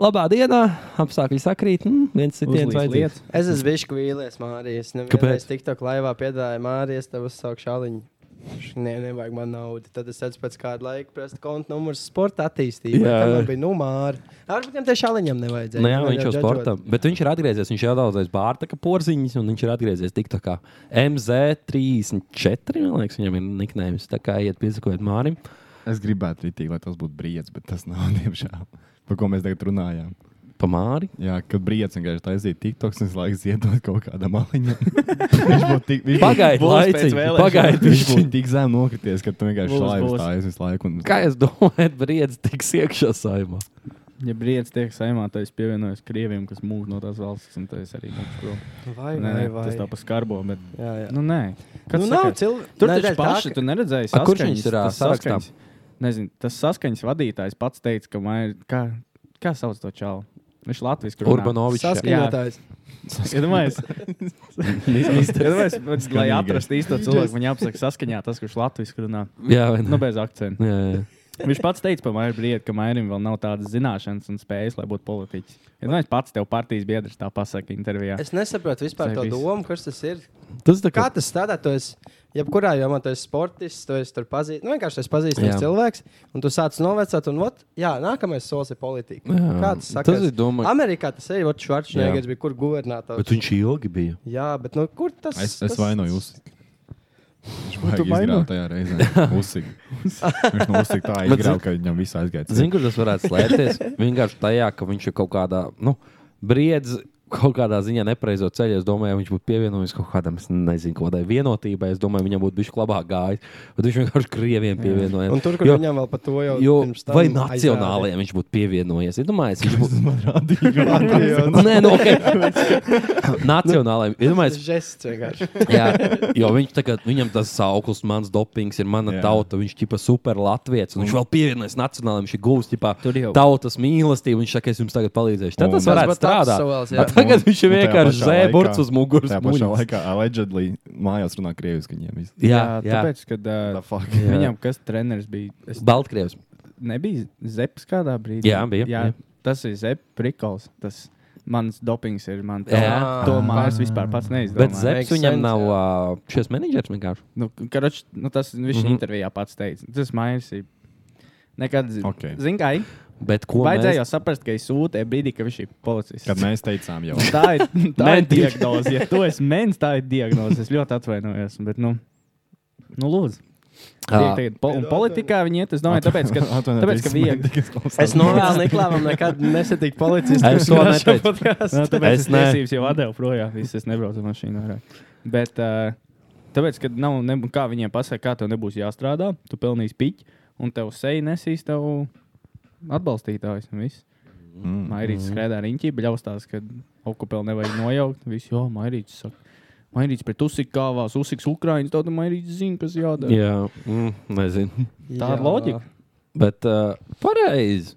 A: labā dienā apstākļi sakrīt, mm, viens sitiens
I: Uzlīst
A: vajadzīgs.
I: lietas.
H: Es esmu bijis vīlies, Mārijas.
A: Kāpēc?
H: Es tikko laivā piedāvāju Mārijas, tev uzsāku šāliņu. Viņš, Nē, nevajag man naudu. Tad es redzu, pēc kāda laika prasa konta numurs sporta attīstībai.
A: Jā.
H: Jā, tā bija numāra. Ar viņam tie šāliņam nevajadzēja.
A: Nu, jā,
H: nevajag
A: viņš jau
H: džadžot.
A: sportam. Bet viņš ir atgriezies. Viņš jau daudzreiz bārta porziņas, un viņš ir atgriezies tik tā kā MZ34. Man liekas, viņam ir niknējums. Tā kā iet piesakojiet Mārim.
B: Es gribētu rītīgi, lai tas būtu brīdis, bet tas nav diemžēl. Par ko mēs tagad runājām?
A: Pa Māri.
B: Jā, kad brīdis vienkārši taisīja TikToks, un es laikam ziedot kaut kādā maliņā. viņš būtu tik, viņš būtu-
A: Pagaid,
I: Būs pēc
A: laiciņ,
I: vēlēšanām.
A: pagaid,
B: viņš
A: viņš-
B: būtu tik zem nokrities, ka tu vienkārši
I: Būs,
B: šādi
I: būs.
B: stājies visu laiku. Un...
A: Kā jūs domājat, brīdis tiks iekšā saimā?
I: Ja brīdis tiek saimā, tad es pievienojos krieviem, kas mūž no tās valsts, un tas arī mums prom.
H: Vai,
I: Nē,
H: vai,
I: nē,
H: vai.
I: tas tā pa skarbo, bet.
H: Jā, jā.
I: Nu, nē.
H: Nu, nav cilvēku.
I: Tur taču paši tu
A: A,
I: neredzēji saskaņas.
A: kurš viņš ir, ā,
I: tas
A: sarakstā?
I: saskaņas- Nezinu, tas saskaņas vadītājs pats teica, ka man ir, kā, kā sauc to čalu? Viņš Latvijas runā.
A: Urbanovičs.
H: Saskaņotājs.
I: Iedomājies, iedomājies, lai
B: Skanīgais.
I: atrastu īsto cilvēku, viņam jāapsaka saskaņā tas, kurš Latvijas runā.
A: Jā, vai
I: Nu,
A: ne?
I: bez akcentu.
A: Jā, jā.
I: Viņš pats teica par Maiju Briedu, ka Maijam vēl nav tādas zināšanas un spējas, lai būtu politiķis. Ja nu, es pats tev partijas biedrs tā pasaka intervijā.
H: Es nesaprotu vispār to
I: Zagris.
H: domu, kas tas ir.
A: Tas tā
H: Kā
A: kā.
H: tas strādā? Tu esi, jebkurā jomā tu esi sportists, tu esi tur pazīstams. Nu, vienkārši tu esi pazīstams
A: Jā.
H: cilvēks, un tu sāc novecot, un ot, jā, nākamais solis ir politika.
A: Jā.
H: Kā tas saka?
A: Tas ir domā-
H: Amerikā tas ir Ivars Švarčnēgers, bija kur guvernators.
A: Bet viņš ilgi bija.
H: Jā, bet nu, kur tas
B: Es,
H: tas-
B: es vainoju jūs. Viņš
I: tu
B: vajag
I: vaino?
B: izgrābt tajā reizē. Uzsik. Viņš no uzsik tā
A: Bet
B: izgrāba, ka viņam viss aizgāja.
A: Zinu, kur tas varētu slēpties. Vienkārši tajā, ka viņš ir kaut kādā, nu, briedz. Kaut kādā ziņā nepareizo ceļu. Es domāju, viņš būtu pievienojies kaut kādam, es nezinu, kādai vienotībai. Es domāju, viņam būtu bijis labāk gājis. Bet viņš vienkārši krieviem pievienojās.
H: Un tur, kur
A: Jo-
H: jo, viņam vēl par to jau
A: Jo,
H: pirms tam
A: vai
H: aizrādīja.
A: nacionālajiem viņš būtu pievienojies? Iedomājieties, viņš būtu.
B: Man rādīja, ka rādīja.
A: Nē, no ok. Nacionālajiem.
H: Tas
A: Iedomājieties,
H: ir žests vienkārši.
A: jā, jo viņš tagad, viņam tas sauklis, mans dopings ir mana jā.
B: Jā.
A: tauta. Viņš ir super latviečs. un Viņš vēl pievienojas nacionālajiem, viņš ir guvis tipā
I: Tur jau.
A: tautas mīlestību. Viņš saka, es jums tagad palīdzēšu. Tad
B: Un-
A: tas varētu
H: Tas būtu tāds
A: strādāt.
H: solis, jā.
A: Bet Tagad viņš ir
B: Un tajā
A: vienkārši
B: pašā laikā-
A: zēburts uz muguras.
B: Tajā pašā
A: muļas.
B: laikā allegedly mājās runā krieviski viņiem. viss.
A: Jā, jā.
I: tāpēc, kad
B: The
I: uh,
B: fuck?
A: Jā.
I: viņam kas treneris bija, es
A: Baltkrievs.
I: nebija zeps kādā brīdī.
A: Jā, bija, jā.
I: tas ir zeps prikals. Tas mans dopings ir man.
A: Jā.
I: Tā, to mājas vispār pats
A: Bet
I: neizdomāju.
A: Zeps
H: Makes
A: viņam
H: sense,
A: nav uh, šis menedžers vienkārši.
I: Nu, karoč, nu, tas viņš
A: Mhm.
I: mm -hmm. intervijā pats teica. Tas mājas ir. Nekad,
B: Ok.
I: okay. zin, kā, ir?
A: Bet ko
I: vajadzēja jau
A: mēs...
I: saprast, ka es sūtu brīdī, ka viņš ir policists.
B: Kad mēs teicām jau.
I: Tā ir, tā ir
A: Mentis.
I: diagnoze. Ja tu esi mens, tā ir diagnoze. Es ļoti atvainojos. Bet, nu, nu lūdzu.
A: Ā.
I: Tiek tagad Po un politikā viņi iet, es domāju, tāpēc, ka,
B: Atvainojiet,
I: tāpēc, ka
B: es
I: viegli.
B: tikai klausās.
H: Es novēlu Niklāvam nekad nesatikt policistu.
A: Es to
H: kurš šo
A: neteicu.
H: podcastu-
I: Nā, Nu, tāpēc
A: Es
I: es
A: ne.
I: tiesības jau atdevu projām. Viss, es nebraucu ar mašīnu vairāk. Bet, uh, tāpēc, ka nav, ne, kā viņiem pasaka, kā tev nebūs jāstrādā, tu pelnīsi piķi, un tev seja nesīs tev atbalstītājs un viss. Mm. Mairīts skrēja ar riņķi, bļaustās, ka okupēlu nevajag nojaukt. Viss, jo, Mairīts saka. Mairīts pret Usiku kāvās, Usiks Ukraiņas, tad Mairīts zina, kas jādara.
A: Jā, mm, nezinu.
I: Tā ir loģika.
A: Bet uh, pareizi.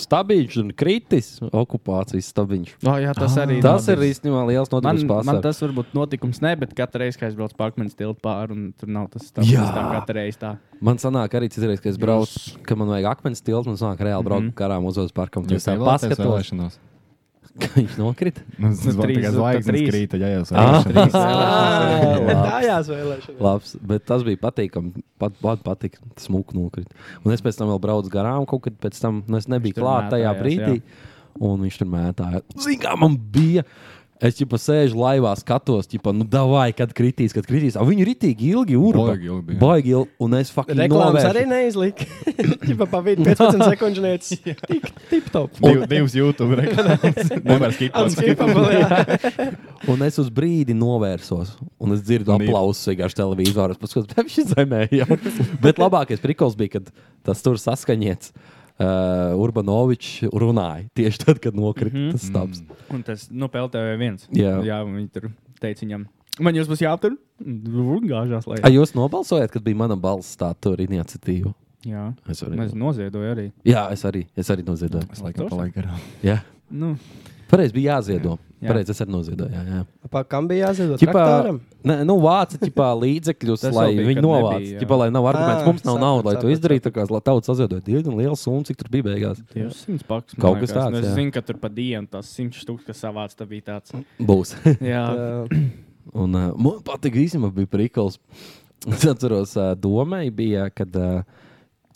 A: Stabiņš un kritis, okupācijas stabiņš.
I: Oh, jā, tas arī
A: Ah. Tas ir īstenībā liels
I: Man,
A: notikums
I: man
A: pasaulē.
I: tas varbūt notikums ne, bet katru reizi, kad es braucu pārkāpienas tiltu pāri, un tur nav tas tāds
A: Jā.
I: tā katru reizi tā.
A: Man sanāk arī citreiz, ka es braucu, ka man vajag akmens tiltu, man sanāk reāli braukt mm
I: Mhm.
A: -hmm. garām uz uz parkam.
B: Jūs
A: Jūs tā
B: esat paskatījis
A: paskatos,
B: vēlēšanos.
A: ka viņš nokrita.
B: Nu, tas
I: Nu,
B: vēl
I: trīs,
B: tikai
I: nu, tad
B: zvaigznes
I: trīs.
B: krīta, ja jau
A: Ah.
B: esat.
H: Tā jāsvēlēšana.
A: Labs, bet tas bija patīkami. Pat, pat patika, smuki nokrita. Un es pēc tam vēl braucu garām, kaut kad pēc tam nu, es nebiju
I: tur
A: klāta tajā
I: mētājās,
A: brīdī.
I: jā.
A: Un viņš tur mētāja. Ziniet, kā man bija. Es jau sēžu laivā, skatos, ķipa, nu, davai, kad kritīs, kad kritīs. A, viņi ir itīgi ilgi, urba.
B: Baigi ilgi, jā.
A: Baigi ilgi, un es faktiski
H: Reklāmas arī neizlika. Viņa pavadīja 15 sekundes nec. Tik tip top.
B: Div, divas YouTube reklāmas. Nevar skipot.
H: Unskippable, jā.
A: Un es uz brīdi novērsos, un es dzirdu
B: Un ir-
A: aplausus vienkārši televizorā. Es paskatos, kā viņš zemē jau ir. Bet labākais prikals bija, kad tas tur saskaņots. Uh, Urbanovičs runāja tieši tad, kad nokrita mm -hmm. tas stāvs.
I: Un tas, nu, PLTV viens.
A: Jā.
I: Jā, un viņi tur teica viņam, man jūs būs jāaptur. Gāžās, lai.
A: Ai, jūs nobalsojāt, kad bija mana balss tā tur iniciatīva?
I: Jā,
A: Es arī.
I: mēs noziedoju arī.
A: Jā, es arī, es arī noziedoju.
B: Es laikam palaidu garām.
A: Jā,
I: Nu,
A: pareizi bija jāziedo.
I: Jā.
A: Pareizi, es arī noziedoju. Jā, jā.
H: Pa kam bija jāziedot?
A: Ķipā,
H: Traktoram?
A: ne, nu, vāca ķipā, līdzekļus,
I: Tas vēl
A: lai
I: bija,
A: viņi
I: kad
A: novāc.
I: nebija, jā. Ah,
A: Ķipā, lai nav arguments,
H: Ā,
A: mums nav
H: sapratu,
A: naudas, lai to
H: sapratu,
A: izdarītu. Tā kā tauts aziedot diezgan lielu summu, cik tur bija beigās.
I: 200 pakas. man
A: Kaut kas
I: liekas.
A: tāds,
I: Nu, Es
A: jā.
I: zinu, ka tur pa dienu tas 100 stūks, kas savāca, tā bija tāds.
A: Būs.
I: Jā,
H: Jā.
A: Un, uh, man patīk īstenībā bija prikals. Es atceros, uh, domai bija, kad uh,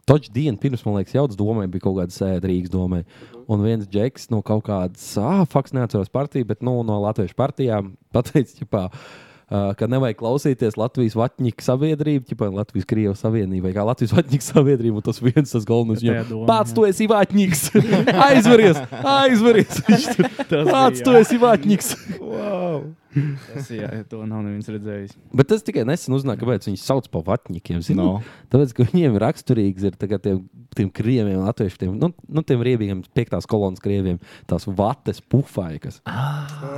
A: toķis dienu pirms, man liekas, jautas domai bija kaut kāda sēde Rīgas domai. Un viens džeks no kaut kādas, ah, faks neatceros partiju, bet nu, no latviešu partijām pateica, ķipā, Uh, ka nevajag klausīties Latvijas Vatņika sabiedrību, jau Latvijas Krievijas savienību, vai kā Latvijas Vatņika sabiedrību, un tas viens tas galvenais.
I: Tā
A: viņam,
I: doma,
A: Pats
I: jā.
A: tu esi Vatņiks! aizveries! Aizveries! Viņš tur,
I: Tas
A: Pats
I: bija,
A: tu
I: jā.
A: esi Vatņiks!
I: tas jā, to nav neviens redzējis.
A: Bet tas tikai nesen uzzināja, kāpēc viņi sauc par vatņiem. No.
B: No.
A: Tāpēc, ka viņiem raksturīgs ir tagad tiem, tiem krieviem, latviešiem, nu, nu tiem riebīgiem, piektās kolonas krieviem, tās vates pufaikas.
H: Ā,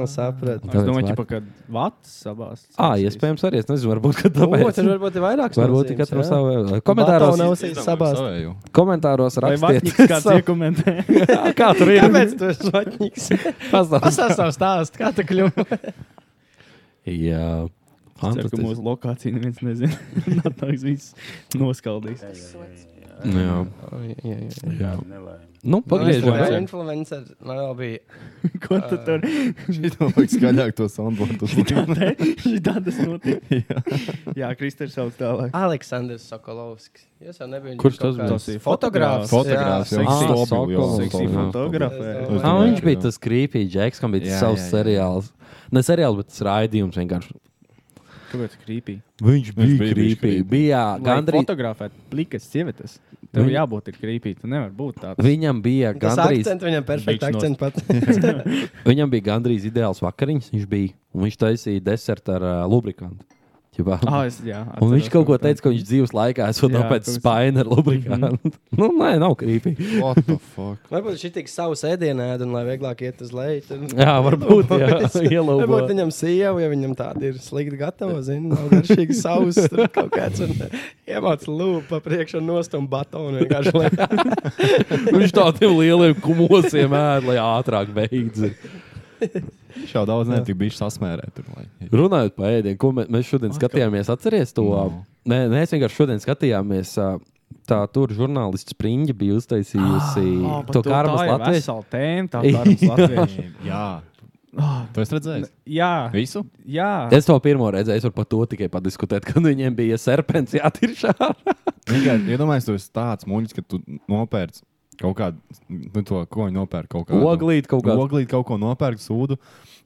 H: Ah, Sapratu.
A: Tāpēc
I: Es domāju,
A: vārds.
I: ķipa, ka vats savās.
A: Ah, iespējams, arī es nezinu, varbūt kad
H: O,
A: tāpēc.
H: Tur varbūt ir vairākas
A: Nu, Varbūt
H: nozīmes,
A: katram
H: jā.
A: savu
H: Batonu nav
A: komentāros,
H: uzsīs sabāzt.
B: Savēju.
A: komentāros
I: Vai
A: rakstiet,
I: vatņiks kāds iekomentē?
A: kā, kā tur ir.
H: Kāpēc tu esi švatņīgs?
A: Pastāst.
H: Pastāst savu stāstu, kā tu kļuvi.
A: Jā,
I: Ceru, ka
A: fantastiski.
I: mūsu lokācija neviens nezina. Nā, tā viss noskaldīs.
A: Oh, Jā, jā. Nu,
I: Nelaime.
A: pagriežam.
H: Influencer, man vēl bija.
I: Ko tu tur?
B: Vajag skaļāk to soundboardu.
I: Tā tas notiek. Jā, Kristers sauc tālāk.
H: Aleksandrs Sokolovskis. Jūs jau nebijāt.
A: Kurš tas bija?
I: Tas ir
H: Fotogrāfs.
B: Fotogrāfs.
H: jā.
B: jā.
A: Seksi. Ah,
B: Stobi, jā.
A: sokols.
I: Seksī
A: Jā,
I: fotografē.
H: jā.
A: Ah, viņš bija
B: Jā.
A: tas krīpīgi džeks, kam bija tas
B: Jā,
A: savs
B: jā, jā.
A: seriāls. Ne seriāls, bet tas raidījums vienkārši.
I: Kāpēc krīpī?
A: Viņš
B: bija
A: bija krīpīgi.
B: creepy.
A: Bija
I: Gandrīz
A: gandrīz.
I: fotografēt plikas sievietes. Tev
A: Viņ-
I: jābūt ir krīpī. Tu nevar būt tāds.
A: Viņam bija
H: Tas
A: gandrīz,
H: akcents viņam perfekts.
I: Biks
H: Akcents pat.
A: viņam bija gandrīz ideāls vakariņš. Viņš bija un viņš taisīja desertu ar uh, lubrikantu. Ķipā.
I: Ah, es, jā,
A: Un viņš
I: atceros
A: kaut ko
I: tā.
A: teica, ka viņš dzīves laikā esot
I: Jā,
A: tāpēc
I: kaut kas-
A: spaini ar lubrikantu. nu, nē, nav krīpīgi.
B: What the fuck?
H: Varbūt šī tik savu sēdienu ēd un lai vieglāk iet uz leju. tad-
A: Jā, varbūt
H: Es- Varbūt
A: ielūgt.
H: viņam sieva, ja viņam tāda ir slikti gatava, zina, nav garšīgi savs, tur kaut kāds un e, iemāc lūpu pa priekšu un nostum batonu vienkārši. lai-
A: Viņš tādiem lieliem kumosiem ēd, lai ātrāk beigts.
B: Viņš jau daudz netika bijis sasmērē tur. Lai.
A: Runājot par ēdienu, ko mē, mēs šodien skatījāmies, atcerieties to. Nē, nē, es vienkārši šodien skatījāmies. ā, Tā tur žurnālists Springļa bija uztaisījusi
I: Ah, par
A: to karmas
I: tā ir
A: Latvijas.
I: vesela tēma, tā karmas latviešu.
B: Jā. Tu esi redzējis?
I: Jā,
B: Visu?
I: jā.
A: Es to pirmo reizi, es varu par to tikai padiskutēt, kad viņiem bija serpents jātiršā.
B: Vienkārši iedomājies, tu esi tāds muļķis, ka tu nopērc kaut kādu, nu, to, ko viņi nopērk kaut kādu.
A: Oglīti kaut kādu.
B: Oglīt kaut ko nopērk sūdu.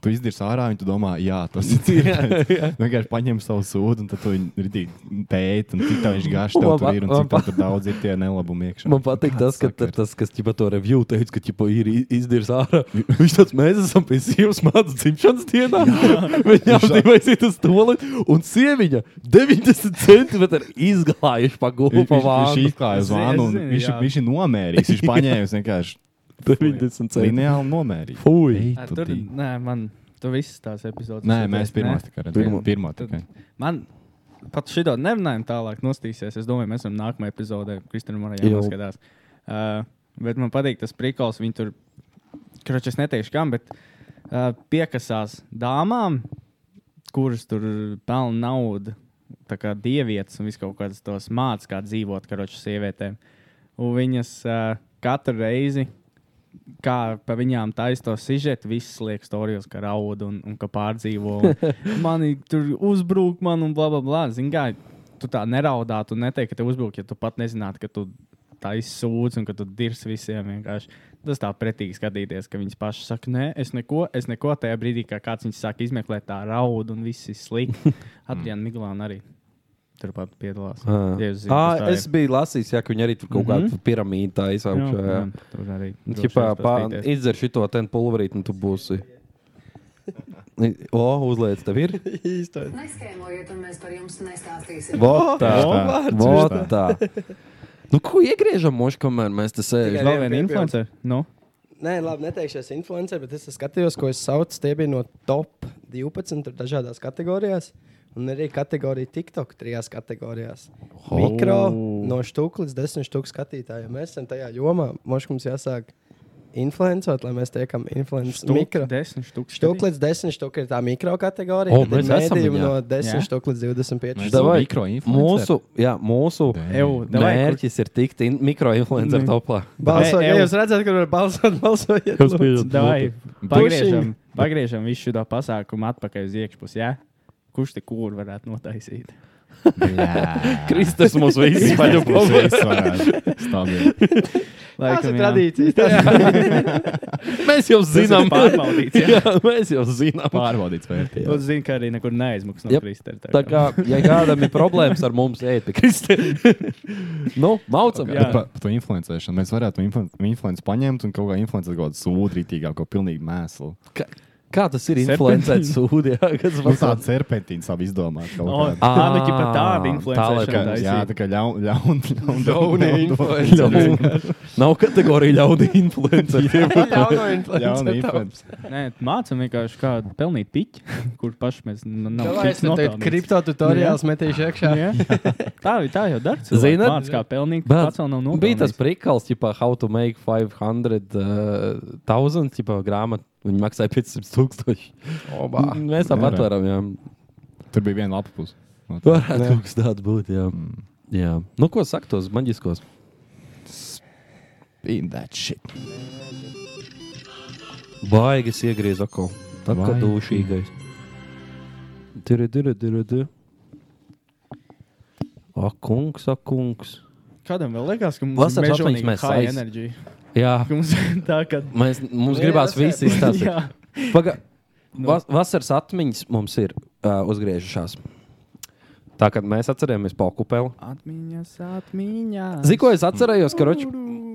B: Tu izdirs ārā, un tu domā, jā, tas ir cienīts. Vienkārši paņem savu sūdu, un tad tu viņu ritīgi pēti, un cik tā viņš garš tev
A: Man
B: tur
A: pa-
B: ir, un
A: man
B: cik tev
A: pa-
B: tur daudz ir tie nelabumi iekšā.
A: Man patīk tas, ka
B: sakars?
A: tas, kas ķipa to review teica, ka ķipa ir i- izdirs ārā. Viņš tāds, mēs esam pie sievas mātes dzimšanas dienā. Viņa apdzīvojas iet uz toli, un sieviņa 90 centimetri izglājuši pa gulbu
B: Viņš-
A: pa
B: Viņš viņš
A: vānu.
B: izklāja
I: Es
B: zvanu, un
I: nezinu,
B: viņš,
I: jā.
B: viņš ir nomērījis. Viņš paņēma vienkārši
A: 90 centimetri.
B: lineāli nomērīja.
A: Fui.
B: Ei,
I: Nē,
B: tu
I: Tur,
B: tī.
I: nē, man tur viss tās epizodes.
B: Nē,
I: es
B: mēs
I: redzēju,
B: pirmā
I: nē.
B: tikai redzējām.
A: Pirmo.
B: Pirmā
I: Tad-
B: tikai.
I: Man pat šī tāda nerunājuma tālāk nostīsies. Es domāju, mēs esam nākamajā epizodē. Kristīna arī
A: Jau.
I: jāskatās. Uh, bet man patīk tas prikals. Viņi tur, kurš es neteikšu, kam, bet uh, piekasās dāmām, kuras tur pelna naudu. Tā kā dievietes un viss kaut kādas tos mācās, kā dzīvot karoču sievietēm. Un viņas uh, katru reizi kā pa viņām taisno sižetu, visas liekas, stāstījis, ka raud un, un ka pārdzīvo. un Mani tur uzbrūk, man un bla bla bla. Zini, kā tu tā neraudātu un neteiktu, ka tev uzbrūk, ja tu pat nezinātu, ka tu tā izsūdz un ka tu dirs visiem vienkārši. tas tā pretīgi skatīties, ka viņas pašas saka, nē, es neko, es neko tajā brīdī, kā kāds viņas sāk izmeklēt, tā raud un viss ir slikti. Adriana Miglāna arī turpat piedalās.
A: Ah.
I: Ja jūs zinat,
A: Ah,
I: kas tā
A: es
I: ir.
A: biju lasījis, jā, ka viņi arī tur kaut
I: Mhm.
A: kādu piramīdu tā
I: Jā,
A: izaugšā. jā.
I: jā, tur arī
A: Nu,
I: droši
A: Ķipā,
I: vien
A: pā,
I: paskatīties.
A: izdzer šo ten pulverīti, un tu būsi. O, uzliec, tev ir.
H: Īstais.
J: Neskēmojiet, un mēs par jums nestāstīsim.
A: Votā,
B: Vārds, vārds.
A: votā. Nu, ko iegriežam, moši, kamēr mēs te sēžam?
H: Tikai-
I: Vēl viena influencer. Nu,
H: Nē, labi, neteikšu, es esmu influencer, bet es skatījos, ko es saucu. Tie bija no top 12 tur dažādās kategorijās. Un arī kategorija TikTok trijās kategorijās. Oh. Mikro, no stūklas, desmit stūku skatītājiem. Mēs esam tajā jomā. Moš mums jāsāk influencēt, lai mēs tiekam influenceri. Mikro.
I: Mikro. Desmit štukas.
H: Stūklis līdz 10 stūkļi ir tā mikro kategorija.
A: O,
H: Oh, tad
A: mēs
H: ir
A: esam
H: mēdījumi
A: viņā.
H: no 10
I: Jā.
H: stūklis līdz 25
B: Mēs-
H: stūkļi.
A: Davai,
B: mikroinfluenceri?
A: Nu, mūsu, jā, mūsu
I: Ew, davai, kur- Mm.
A: mērķis ir tikt in- mikroinfluenceru topā.
H: Balsojiet,
I: Ei,
H: ja
I: ei.
H: jūs redzat, kur var balsot, balsojiet. lūdzu.
I: Davai,
B: Pushing.
I: Pagriežam, pagriežam visu šo pasākumu atpakaļ uz iekšpusi. Ja? Kurš te kur varētu notaisīt?
A: Kristus mums visus paļauj.
B: Stabili.
H: Tās ir
I: jā.
H: tradīcijas. tās ir-
A: Mēs jau
I: Tas ir
A: zinām,
I: pārbaudīts, jā.
A: Jā, mēs jau zinām.
B: Pārbaudīts vērtības.
I: Jūs zināt, ka arī nekur neaizmuks no
A: Jep.
I: Kristēna.
A: Tā kā, ja kādam ir problēmas ar mums, ejiet pie Kristēna. Nu, maucam.
I: Jā.
B: Par pa to influencēšanu. Mēs varētu influenci paņemt un kaut kā influencēt kaut kādu sūdzīgāko, pilnīgi mēslu.
A: Kā, kā tas ir
I: Septiņi.
A: influencēt sūdi? Jā, kas
B: Nu,
A: var
B: tāda serpentīna savu izdomāt. kaut kādu.
I: Tā nu ķipa tāda
A: tālāk,
B: Kā,
I: influencer.
B: jā, tā kā ļaun- ļaun- ļaun-
A: Ļaunie
B: ļaun-
A: influenceri. Nav kategorija ļaudī influenceri.
H: Ļauno
B: ļauni
H: influenceri. tā.
B: influenceri.
I: Mācām vienkārši kādu pelnīt piķi, kur paši mēs n- nav
H: Davai, Es nu tev tagad
I: piķi nopelnījuši.
H: kripto tutoriāls metīšu iekšā.
I: Jā. Tā ir tā jau darbs.
A: Zinat?
I: Mācām, kā pelnīt, bet pats vēl nav
A: bija tas
I: nopelnījis.
A: prikals, ja how to make 500,000 uh, grāmatu. Viņi maksāja 500 tūkstoši. M- Mēs tam
B: Nē, nē.
A: atveram, jā.
B: Tur bija viena lapa puse. No tā.
A: Varētu kaut kas tāds būt, jā. jā. Nu, ko saka tos maģiskos? Baigas iegriez ako. Tā kā
B: Vai.
A: dūšīgais. Tiri, tiri, tiri, tiri. Ak, kungs, ak, kungs.
I: Kādam vēl liekas, ka mums
A: Vasaras
I: ir
A: atmiņas
I: mežonīga
A: mēs
I: high
A: saiz-
I: energy.
A: Jā,
I: Ka Mums tā kā...
A: mēs, mums gribās visi izstāstīt.
I: Jā.
A: Paga... Vas vasaras atmiņas mums ir uh, uzgriežušās. Tā kā mēs atceramies Pakupeli.
I: Atmiņas, atmiņas.
A: Zinu, ko es atcerējos, ka Roča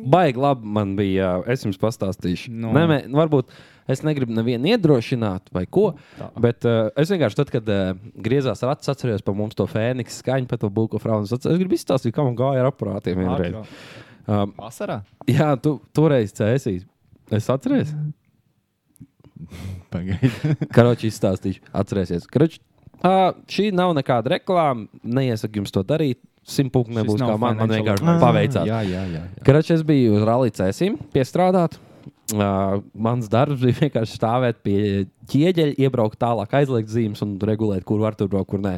A: baigi labi man bija. ā, Es jums pastāstīšu.
I: Nu.
A: No. Nē, nē, varbūt es negribu nevienu iedrošināt vai ko. Tā. Bet uh, es vienkārši tad, kad uh, griezās rats, atcerējos par mums to fēniks skaņu, par to buļbuļsāļu frāzi. Es gribu izstāstīt, kā man gāja ar aparātiem vienreiz.
I: Atkal.
A: Um,
B: Vasarā?
A: jā, tu toreiz cēsīs. Es atceros.
B: Pagaidi.
A: Karoči izstāstīšu, atcerēsies. Karoči, uh, šī nav nekāda reklāma. Neiesaku jums to darīt. Simtpunkti
I: Šis
A: nebūs
I: nav
A: kā man, man
I: financial
A: vienkārši paveicās.
B: Jā, jā, jā. jā.
A: Karoči, es biju uz Rally Cēsim, piestrādāt. Uh, mans darbs bija vienkārši stāvēt pie ķieģeļa, iebraukt tālāk, aizliegt zīmes un regulēt, kur var tur braukt, kur nē.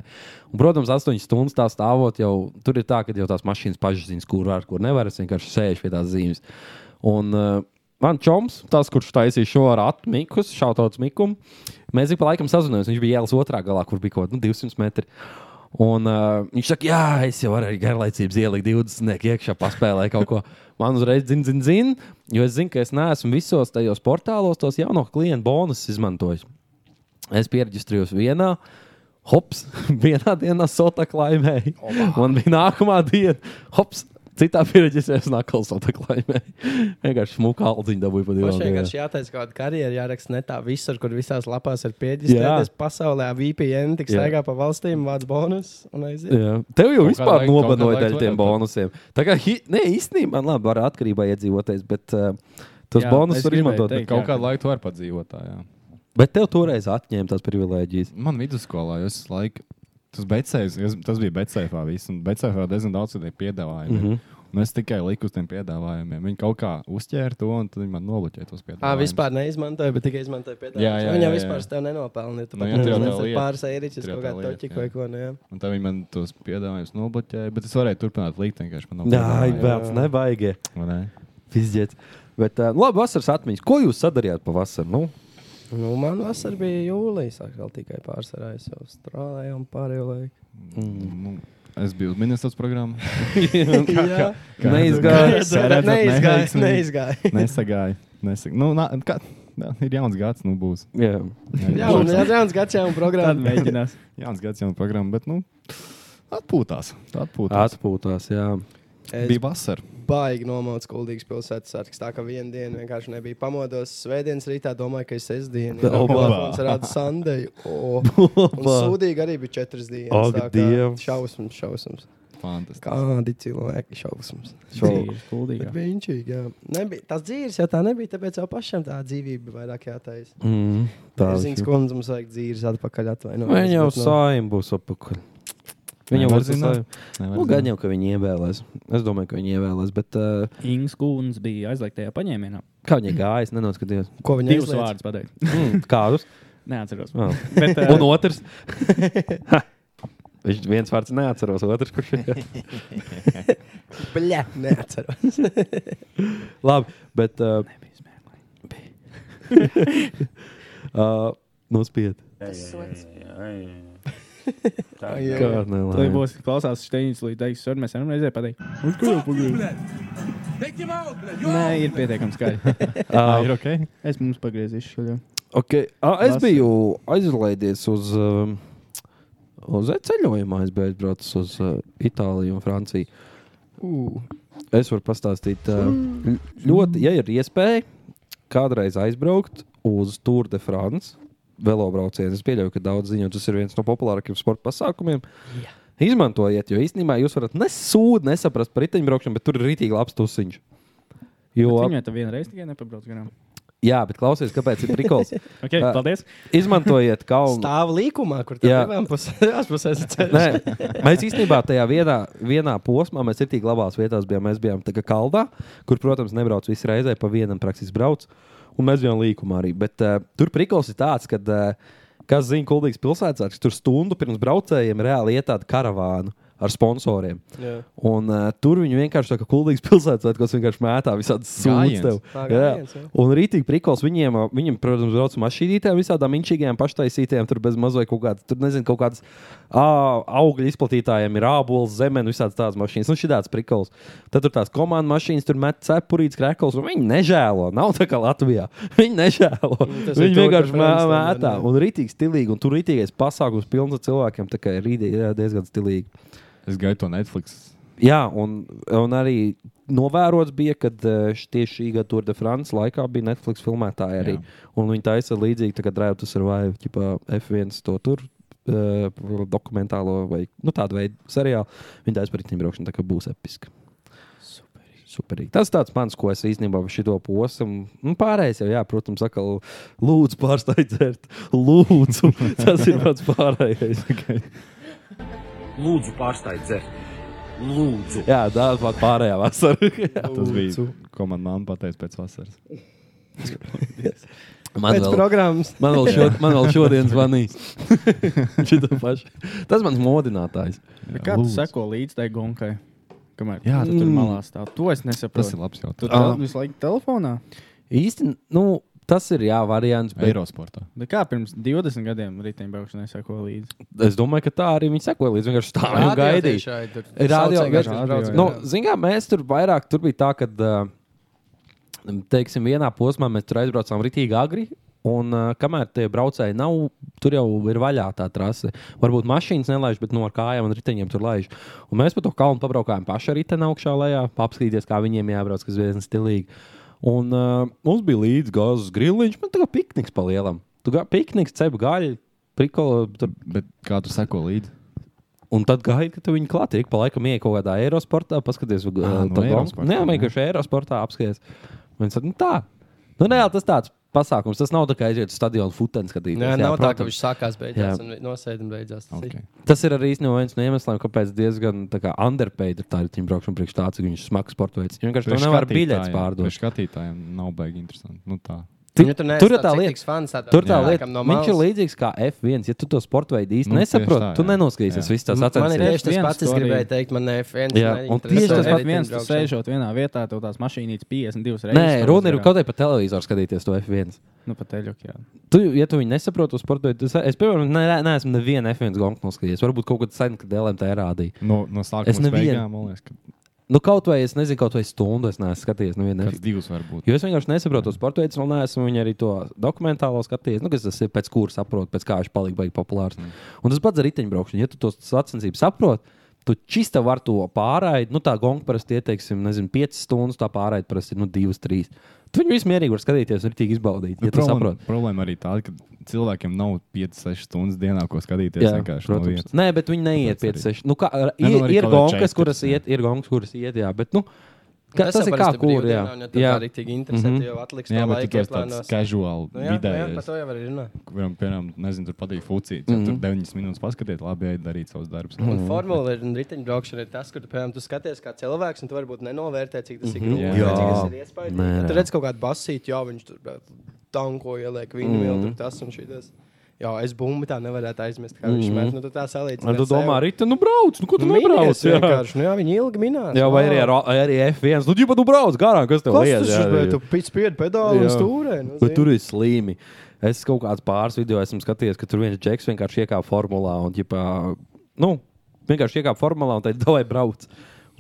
A: Un, protams, astoņas stundas tā stāvot, jau tur ir tā, ka jau tās mašīnas pašas zina, kur var, kur nevar. Es vienkārši sēžu pie tās zīmes. Un, uh, man čoms, tas, kurš taisīja šo ratu, Mikus, šautauts Mikum, mēs ik pa laikam sazināmies. Viņš bija ielas otrā galā, kur bija kaut kāda nu, 200 metri. Un uh, viņš saka, jā, es jau varu arī garlaicības ielikt 20 iekšā, paspēlēju kaut ko. Man uzreiz zina, zina, zina, jo es zinu, ka es neesmu visos tajos portālos tos jauno klientu bonusus izmantojis. Es pierakstījos vienā, hops, vienā dienā sota klaimēja. Man bija nākamā diena, hops, citā pierakstījos nakal sota klaimēja. Vienkārši smuka aldziņa dabūja pa
H: Mums
A: divām
H: vienkārši
A: dienām.
H: jātaisa kaut kāda karjera, jāraksta ne tā visur, kur visās lapās ir
A: Jā.
H: pieģis. Pasaulē VPN tik
A: Jā.
H: staigā pa valstīm, vāc bonus un aiziet.
A: Jā. Tev jau
B: Kaut kādu
A: vispār
B: laiku- kaut kādu
A: nobanoja
B: laiku
A: daļu tiem
B: varētu.
A: bonusiem. Tā kā, hi- nē, īstenībā, man labi, var atkarībā iedzīvoties, bet uh, tos
I: Jā,
A: bonusus
I: es
A: var
I: gribēju
A: izmantot.
I: teikt.
B: Kaut kādu laiku tu vari padzīvot. tā, jā.
A: Bet tev toreiz atņēma tās privilēģijas.
B: Man vidusskolā jūs laiku. Tas, becējs, es, tas bija Becēfā. Becēfā diezgan daudz tādiem piedāvājumiem. Mm -hmm.
H: Mhm.
B: Un es tikai liku uz tiem piedāvājumiem. Viņi kaut kā uzķēra to, un tad viņi man nobloķēja tos piedāvājumus.
H: Ā, vispār neizmantoja, bet tikai izmantoja
B: Jā, jā,
H: piedāvājumu. Viņa
B: jā, jā.
H: vispār tev nenopelnīja. Tu
B: Nu,
H: pat
B: jā, tev
H: nezini,
B: tā
H: tur
B: lieta.
H: pāris eiriķis
B: Tev
H: kaut
B: tā
H: kā
B: lieta,
H: toķi
B: jā.
H: vai ko. Nu, jā.
B: Un tad viņi man tos piedāvājumus nobloķēja, bet es varēju turpināt likt. vienkārši man nav
A: Jā,
B: piedāvājumu,
A: bērns, nebaigie.
B: vai ne?
A: Pizdziet. Bet, uh, labi, vasaras atmiņas. Ko jūs sadarījāt pavasarī? Nu,
H: Nu, man vasarā bija jūlijas, sāk vēl tikai pārsvarā. Es jau strādāju un pārējo laiku.
B: Nu, Es biju uz ministrs programmu.
H: Jā.
A: Neizgāja.
B: Kā redzat,
H: Neizgāja,
B: neveiksmīgi.
H: neizgāja.
B: Nesagāja. Nesag... Nu, nā, kā... jā, ir jauns gads, nu būs.
A: Jā.
H: Jā, un Jānis Gans jau
I: Tad
H: programmā.
I: mēģinās.
B: Jauns gads, jauna programma, bet nu, atpūtās. Atpūtās.
A: Atpūtās, jā.
B: At... Bija vasara.
H: baigi nomauts Kuldīgas pilsētas sargs. Tā kā vienu dienu vienkārši nebija pamodos. Svētdienas rītā domāju, ka ir sestdiena. Jā,
A: Opa.
H: plāfons rāda Sunday. O, un sūdīgi arī bija četras dienas.
A: Ak,
H: tā kā
A: Dievs.
H: Šausmas, šausmas.
B: Fantastiski.
H: Kādi cilvēki šausmas.
I: Šobrīd.
H: Bet
I: Kuldīgā.
H: Viņšīgi, jā. Nebija, tas dzīves jau tā nebija, tāpēc jau pašam tā dzīvība vairāk jātais.
A: Mm,
H: Tā
A: tā viņš
H: zina,
A: ir.
H: kundze mums vajag dzīves atpakaļ nu, atvainot.
A: Viņa jau sājuma būs apakaļ. Viņa jau
B: Nevar
A: būs
B: zināt.
A: sājuma. Nu, gan jau, ka viņi ievēlēs. Es domāju, ka viņi ievēlēs. Bet uh,
I: Inga Skūns bija aizliegtajā paņēmienā.
A: kā viņi gāja, es nenoskatījos.
H: Ko viņa
I: Divus
H: izlaiž?
I: vārdus pateikt.
A: Mm, kādus?
I: Neatceros.
A: Oh.
I: Bet, eh,
A: Un otrs. Ha! Viņš viens vārds neatceros, otrs kurš ir.
H: Bļa, neatceros.
A: Labi, bet. Uh, uh, nospied.
J: Tas sots.
H: Ai, jā, jā.
A: Kā
I: Lai
A: nelaime.
I: būs klausās Steinis, līdz teiks, var mēs varam reizē pateikt. Uz ko jau pagriezīs? Nē, ir pietiekami skaļi.
B: Tā
A: Ah,
B: ir ok.
I: Es mums pagriezīšu šo jau.
A: Okay. A, es
I: Vasarā.
A: biju aizlaidies uz, um, uz e- ceļojumā, es biju aizbraucis uz uh, Itāliju un Franciju. Es varu pastāstīt, uh, ļ- ļoti, ja ir iespēja kādreiz aizbraukt uz Tour de France velobraucienu. Es pieļauju, ka daudz ziņo, tas ir viens no populārākajiem sporta pasākumiem. Izmantojiet, jo īstenībā jūs varat nesūdzēt, nesaprast par riteņbraukšanu, bet tur ir rītīgi labs tusiņš. Jo,
I: Viņai tā vienreiz tikai nepabrauc garām.
A: jā, bet klausies, kāpēc ir prikols.
I: Ok,
A: Ā.
I: paldies.
A: Izmantojiet kalnu.
H: Stāv līkumā, kur
A: Jā.
H: tā divām pusēm pusēs ir ceļš.
A: Nē, mēs īstenībā tajā vienā, vienā posmā, mēs ir tik labās vietās, bijām. Mēs bijām tā kā kaldā, kur, protams, nebrauc visu reizē, pa vienam praktiski brauc. Un mēs bijām līkumā arī. Bet, uh, tur prikals ir tāds, ka, uh, kas zina, Kultūras pilsētas, tur stundu pirms braucējiem reāli iet tādu karavānu ar sponsoriem.
H: Jā.
A: Un, uh, tur viņi vienkārši tā kā Kultūras pilsētas, kas vienkārši mētā visādi
B: Gājiens.
A: sūdzības tev.
H: Tā
A: Jā.
H: gājiens, jā.
A: Un rītīgi prikals viņiem, ā, viņiem protams, brauc mašīnītēm, visādām inčīgajām paštaisītēm, tur bez mazliet kaut kādas, tur nezinu, kaut kādas ā, augļu izplatītājiem ir ābols, zemē, un visādas tādas mašīnas. Nu, šitās prikals. Tad tur tās komandu mašīnas, tur met cepurītas, krēkals, un viņi nežēlo. Nav tā kā Latvijā. Viņi nežēlo.
H: Nu, tas ir
A: Viņi
H: Tour de
A: vienkārši mē,
H: France, tomēr,
A: mētā.
H: jā.
A: Un rītīgi stilīgi, un tur rītīgais pasākums pilns ar cilvēkiem, tā kā ir rītīgi, jā, diezgan stilīgi.
B: Es gāju to Netflix.
A: Jā, un, un arī novērots bija, ka tieši šī gada Tour de France laikā bija Netflix filmētāji arī. Jā. Un viņi taisa līdzīgi, tā kā Drive to Survive, tipā F1 to tur. Uh, dokumentālo vai nu, tādu veidu seriālu. Viņa taisa par riteņbraukšanu, tā kā būs episka. Superīgi. Tas tāds mans, ko es īstenībā par šo posmu. Nu, pārējais jau, jā, protams, atkal lūdzu, pārstāj dzert. Lūdzu, tas ir pats pārējais.
K: Lūdzu, pārstāj dzert. Lūdzu.
A: Jā, tā ir pārējā vasara. Jā.
B: Tas bija, ko man mamma pateica pēc vasaras.
A: Man
H: Pēc programmas.
A: Man vēl, šo, man vēl šodien zvanīs. Šito pašu. Tas mans modinātājs.
I: Kā tu
B: lūdzu.
I: seko līdzi tai gonkai? Kamēr
B: Jā,
I: jā, tu tur
A: Mm.
I: malā stāv. To es
B: Tas ir
I: nesaprotu.
B: labs
I: Tu
B: jautājums.
I: tur visu laiku telefonā.
A: Īsti, nu, tas ir jā, variants. Bet
B: Eirosportā.
I: Bet kā pirms 20 gadiem riteņbraukšanai seko līdzi?
A: es domāju, ka tā arī viņi sekoja līdzi. Vienkārši tā jau gaidīja. Radio,
H: Saucējās,
A: radio,
H: brauc,
A: radio, nu, Zinām, mēs tur vairāk tur bija tā, ka, teiksim, vienā posmā mēs tur aizbraucām rītīgi agri. Un uh, kamēr tie braucēji nav, tur jau ir vaļā tā trase. Varbūt mašīnas nelaiž, bet no ar kājām un riteņiem tur laiž. Un mēs pa to kalnu pabraukājām paši ar riteni augšā lejā, apskatīties, kā viņiem jābrauc, kas diezgan stilīgi. Un uh, mums bija līdzi gāzes griliņš, man tā kā pikniks palielam. Tu kā pikniks, cep gaļu, prikola, tur
B: Bet kā tu seko līdzi?
A: Un tad gaidi, ka tu viņu klāt ir. Pa laikam ienāk kaut kādā aerosportā, paskaties, kā
B: Ā,
H: nu,
B: no
A: tā
B: aerosportā,
A: Nē,
B: jā.
A: vienkārši aerosportā apskaties. Viņš saka, nu tā. Nu, nē, tas tāds pasākums. Tas nav tā kā aiziet uz stadionu futbola skatīties.
H: Nē, nav tā, ka
A: protams.
H: viņš sākās,
A: Jā.
H: beidzās un nosēdās un beidzās. Tas ir.
B: Okay.
A: Tas ir arī īstenībā viens no iemesliem, kāpēc diezgan tā kā underpaid ir tā riteņu braukšana priekš tāds, ka viņš smags sports veids. Viņš vienkārši to nevar biļetes pārdot.
B: Skatītājiem nav baigi interesanti. Nu, tā.
A: Ti-
H: Ja tu neesi
A: Tur ir
H: tāds
A: tā
H: rītīgs
A: lieta,
H: fans, tad
A: tur tā
H: jā.
A: lieta.
H: no
A: viņš ir
H: malas.
A: līdzīgs kā F1. Ja tu to sporta veidu īsti
H: Nu,
A: nu,
H: tieši
A: nesaproti,
H: tā,
A: tu
H: jā.
A: nenoskatīsies visas tās
H: Man- man
A: atzīmes.
H: ir tieši tas pats, es gribēju teikt, man
A: Jā,
H: F1
A: un
H: neinteresē.
A: tieši tas
H: Bet
A: pats.
H: tu
I: viens, tu
H: braukšana.
I: sēžot vienā vietā, tev tās mašīnītes 52 reizes.
A: Nē, runa ir kaut kādā pa televizoru skatīties to F1.
I: Nu, pat eļuk, jā.
A: Tu, ja tu viņu nesaproti, to sporta veidu, tad es, piemēram, ne, ne, neesmu nevienu F1 gonku noskatījies. Varbūt kaut kad sen, kad LMT rādīja.
B: No, no sākuma
A: Es
B: līdz
A: nevienu.
B: beigām, man liekas, ka-
A: Nu, kaut vai es nezinu, kaut vai stundu es neesmu skatījies. Nu,
B: Kāds divus varbūt.
A: Jo es vienkārši nesaprotu to sporta veidu, un neesmu viņu arī to dokumentālo skatījies. Nu, kas tas ir pēc kuras saprotu, pēc kā viņš palika baigi populārs. Mm. Un tas pats ar riteņbraukšanu. Ja tu tos sacensības saproti, tu čista var to pārraidīt. Nu, tā gonga parasti ieteiksim, nezinu, 5 stundas, tā pārraidīt parasti nu, 2-3. Tu viņu vismierīgi var skatīties, arī tik izbaudīt. Ja tu
B: problēma,
A: saproti.
B: problēma arī tāda, ka cilvēkiem nav 5-6 stundas dienā, ko skatīties. vienkārši no
A: protams.
B: vietas.
A: Nē, bet viņi neiet
B: Tāpēc arī.
A: 5, 6. Nu, kā, ar-
B: Nē,
A: ir,
B: nu, arī
A: ir
B: kaut kādi
A: gongas,
B: četri,
A: kuras
B: jā.
A: iet, ir gongas, kuras iet, jā. Bet, nu, Ka,
H: Tas
A: tas
H: jau
A: ir kā
H: parasti
A: kur, jā.
H: brīvdienā, un ja tev tā rīktīgi interesē, tu jau atliksi to
B: jā, bet
H: laiku
B: tikai
H: ieplānos.
B: tāds casual
H: Nu jā, nu jā,
B: vidējais.
H: par to jau arī runā.
B: Kuram, piemēram, nezinu, tur patīk fucīt. Mm
H: Mhm.
B: -hmm. Tur 9 minūtes paskatīt, labi, ej, darīt savus darbus.
A: Mhm.
H: Un formula ir un riteņbraukšana ir tas, kur tu, piemēram, tu skaties kā cilvēks, un tu varbūt nenovērtē, cik tas ir
B: Mhm.
H: grūti.
B: Jā.
H: vai cik tas ir
B: Jā.
H: iespaidīgi.
B: Nē,
H: Ja Tu
B: nē.
H: redz kaut kādu basītu, jā, viņš tur bļa, tanko ieliek viņu
A: Mhm.
H: vēl, tur tas un šis. Jā, es bumbu tā nevarētu aizmirst, kā viņš
A: Mhm.
H: met. Nu, tu tā salīdzini.
A: Ar tu domā, arī tur nu brauc, nu, ko tu nebrauc?
H: mīnies vienkārši, nu jā, viņi ilgi minās.
A: Jā, vai arī, ar, arī F1. Nu, jau tu brauc garām, kas tev
H: Kas
A: liekas.
H: tas ir, bet tu pits spied pedāli un stūrē, nu,
A: Bet
H: zini.
A: tur ir slīmi. Es kaut kāds pāris video esmu skatījies, ka tur viens džeks vienkārši iekāpa formulā un ģipā, nu, vienkārši iekāpa formulā un teica, dovai brauc.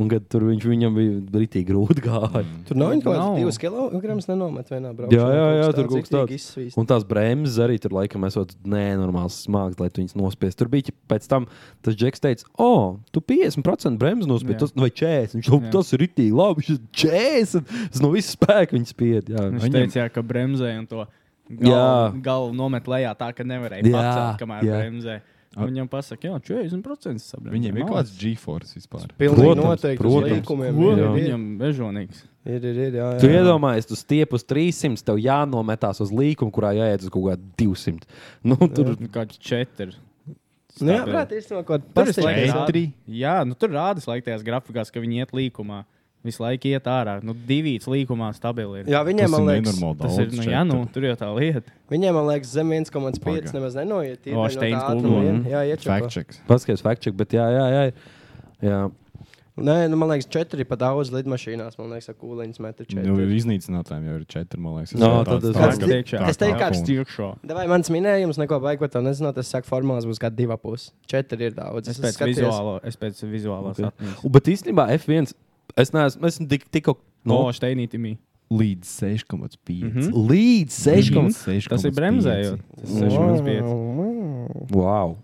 A: Un kad tur viņš viņam bija brītī grūti gāja.
H: Tur nav viņa kaut kādas divas kilogramas nenomet vienā braukšanā.
A: Jā, jā, jā, tur kaut kas
H: izsvīst.
A: tāds. Un tās bremzes arī tur laikam esot nenormāls smags, lai tu viņas nospiestu. Tur bija ķip- pēc tam tas džeks teica, o, oh, tu 50% bremzes
I: Jā.
A: nospiesti, vai 40. Viņš teica,
I: Jā.
A: tas ir itī, labi, šis 40. Es no visas spēka viņas spied. Jā,
I: Viņš teica, jā, ka bremzē un to
A: Jā.
I: galvu, galvu nomet lejā tā, ka nevarēja
A: Jā,
I: pacelt, kamēr
A: jā.
I: bremzē. Un Viņam pasaka, jā, 40% sabrēmzē.
B: Viņiem ir kaut kāds G-force vispār.
H: Pilnīgi noteikti uz līkumiem
I: Ko?
H: ir, ir.
I: Viņam bežonīgs.
H: Ir, ir, ir, jā, jā.
A: Tu iedomājies, tu stiep uz 300, tev jānometās uz līkumu, kurā jāiet uz kaut kādu 200. Nu, tur
I: ir kaut kāds 4.
H: Nu jā, prāt, īstenībā kaut kāda
I: Tur ir
H: pastāvīga
I: laiks
H: rāda.
I: rāda- Jā, nu tur rādas laikā tajās grafikās, ka viņi iet līkumā. Visu laiku iet ārā. Nu, divīs līkumā stabili ir.
H: Jā, viņiem, Tas man ir liekas, nenormāli
I: tas ir.
H: daudz
I: Nu,
H: šeit
I: jā, nu, tur jau tā lieta.
H: Viņiem, man liekas, zem 1,5 nemaz nenoiet.
I: O,
H: tīpaši no tā
I: Steins
H: ātruma
I: Google.
H: vien.
I: Mhm.
H: Jā, iečapo.
A: Paskaties, fact check, bet jā, jā, jā. jā.
H: Nē, nu, man liekas, 4 pat daudz lidmašīnās. Man liekas, kūliņas metri
B: Nu,
H: 4.
B: iznīcinātājiem jau ir 4, man liekas.
A: No, tad es-
H: Es te- es teiktu, kā
I: stiekšā.
H: Vai mans minējums, neko baigot, to nezinot, es saku, formulās būs gada divi pusi. Četri ir daudz.
I: Es pēc
H: skaties-
I: vizuālo, es pēc vizuālās okay. atmiņas.
A: U, Bet īstenībā F1, es neesmu, es esmu tik, tikko.
I: No Steinītimī.
B: Līdz 6,5. Mm
I: Mhm.
A: Līdz 6,5.
I: Tas ir bremzējot. Tas ir 6,5.
A: Wow.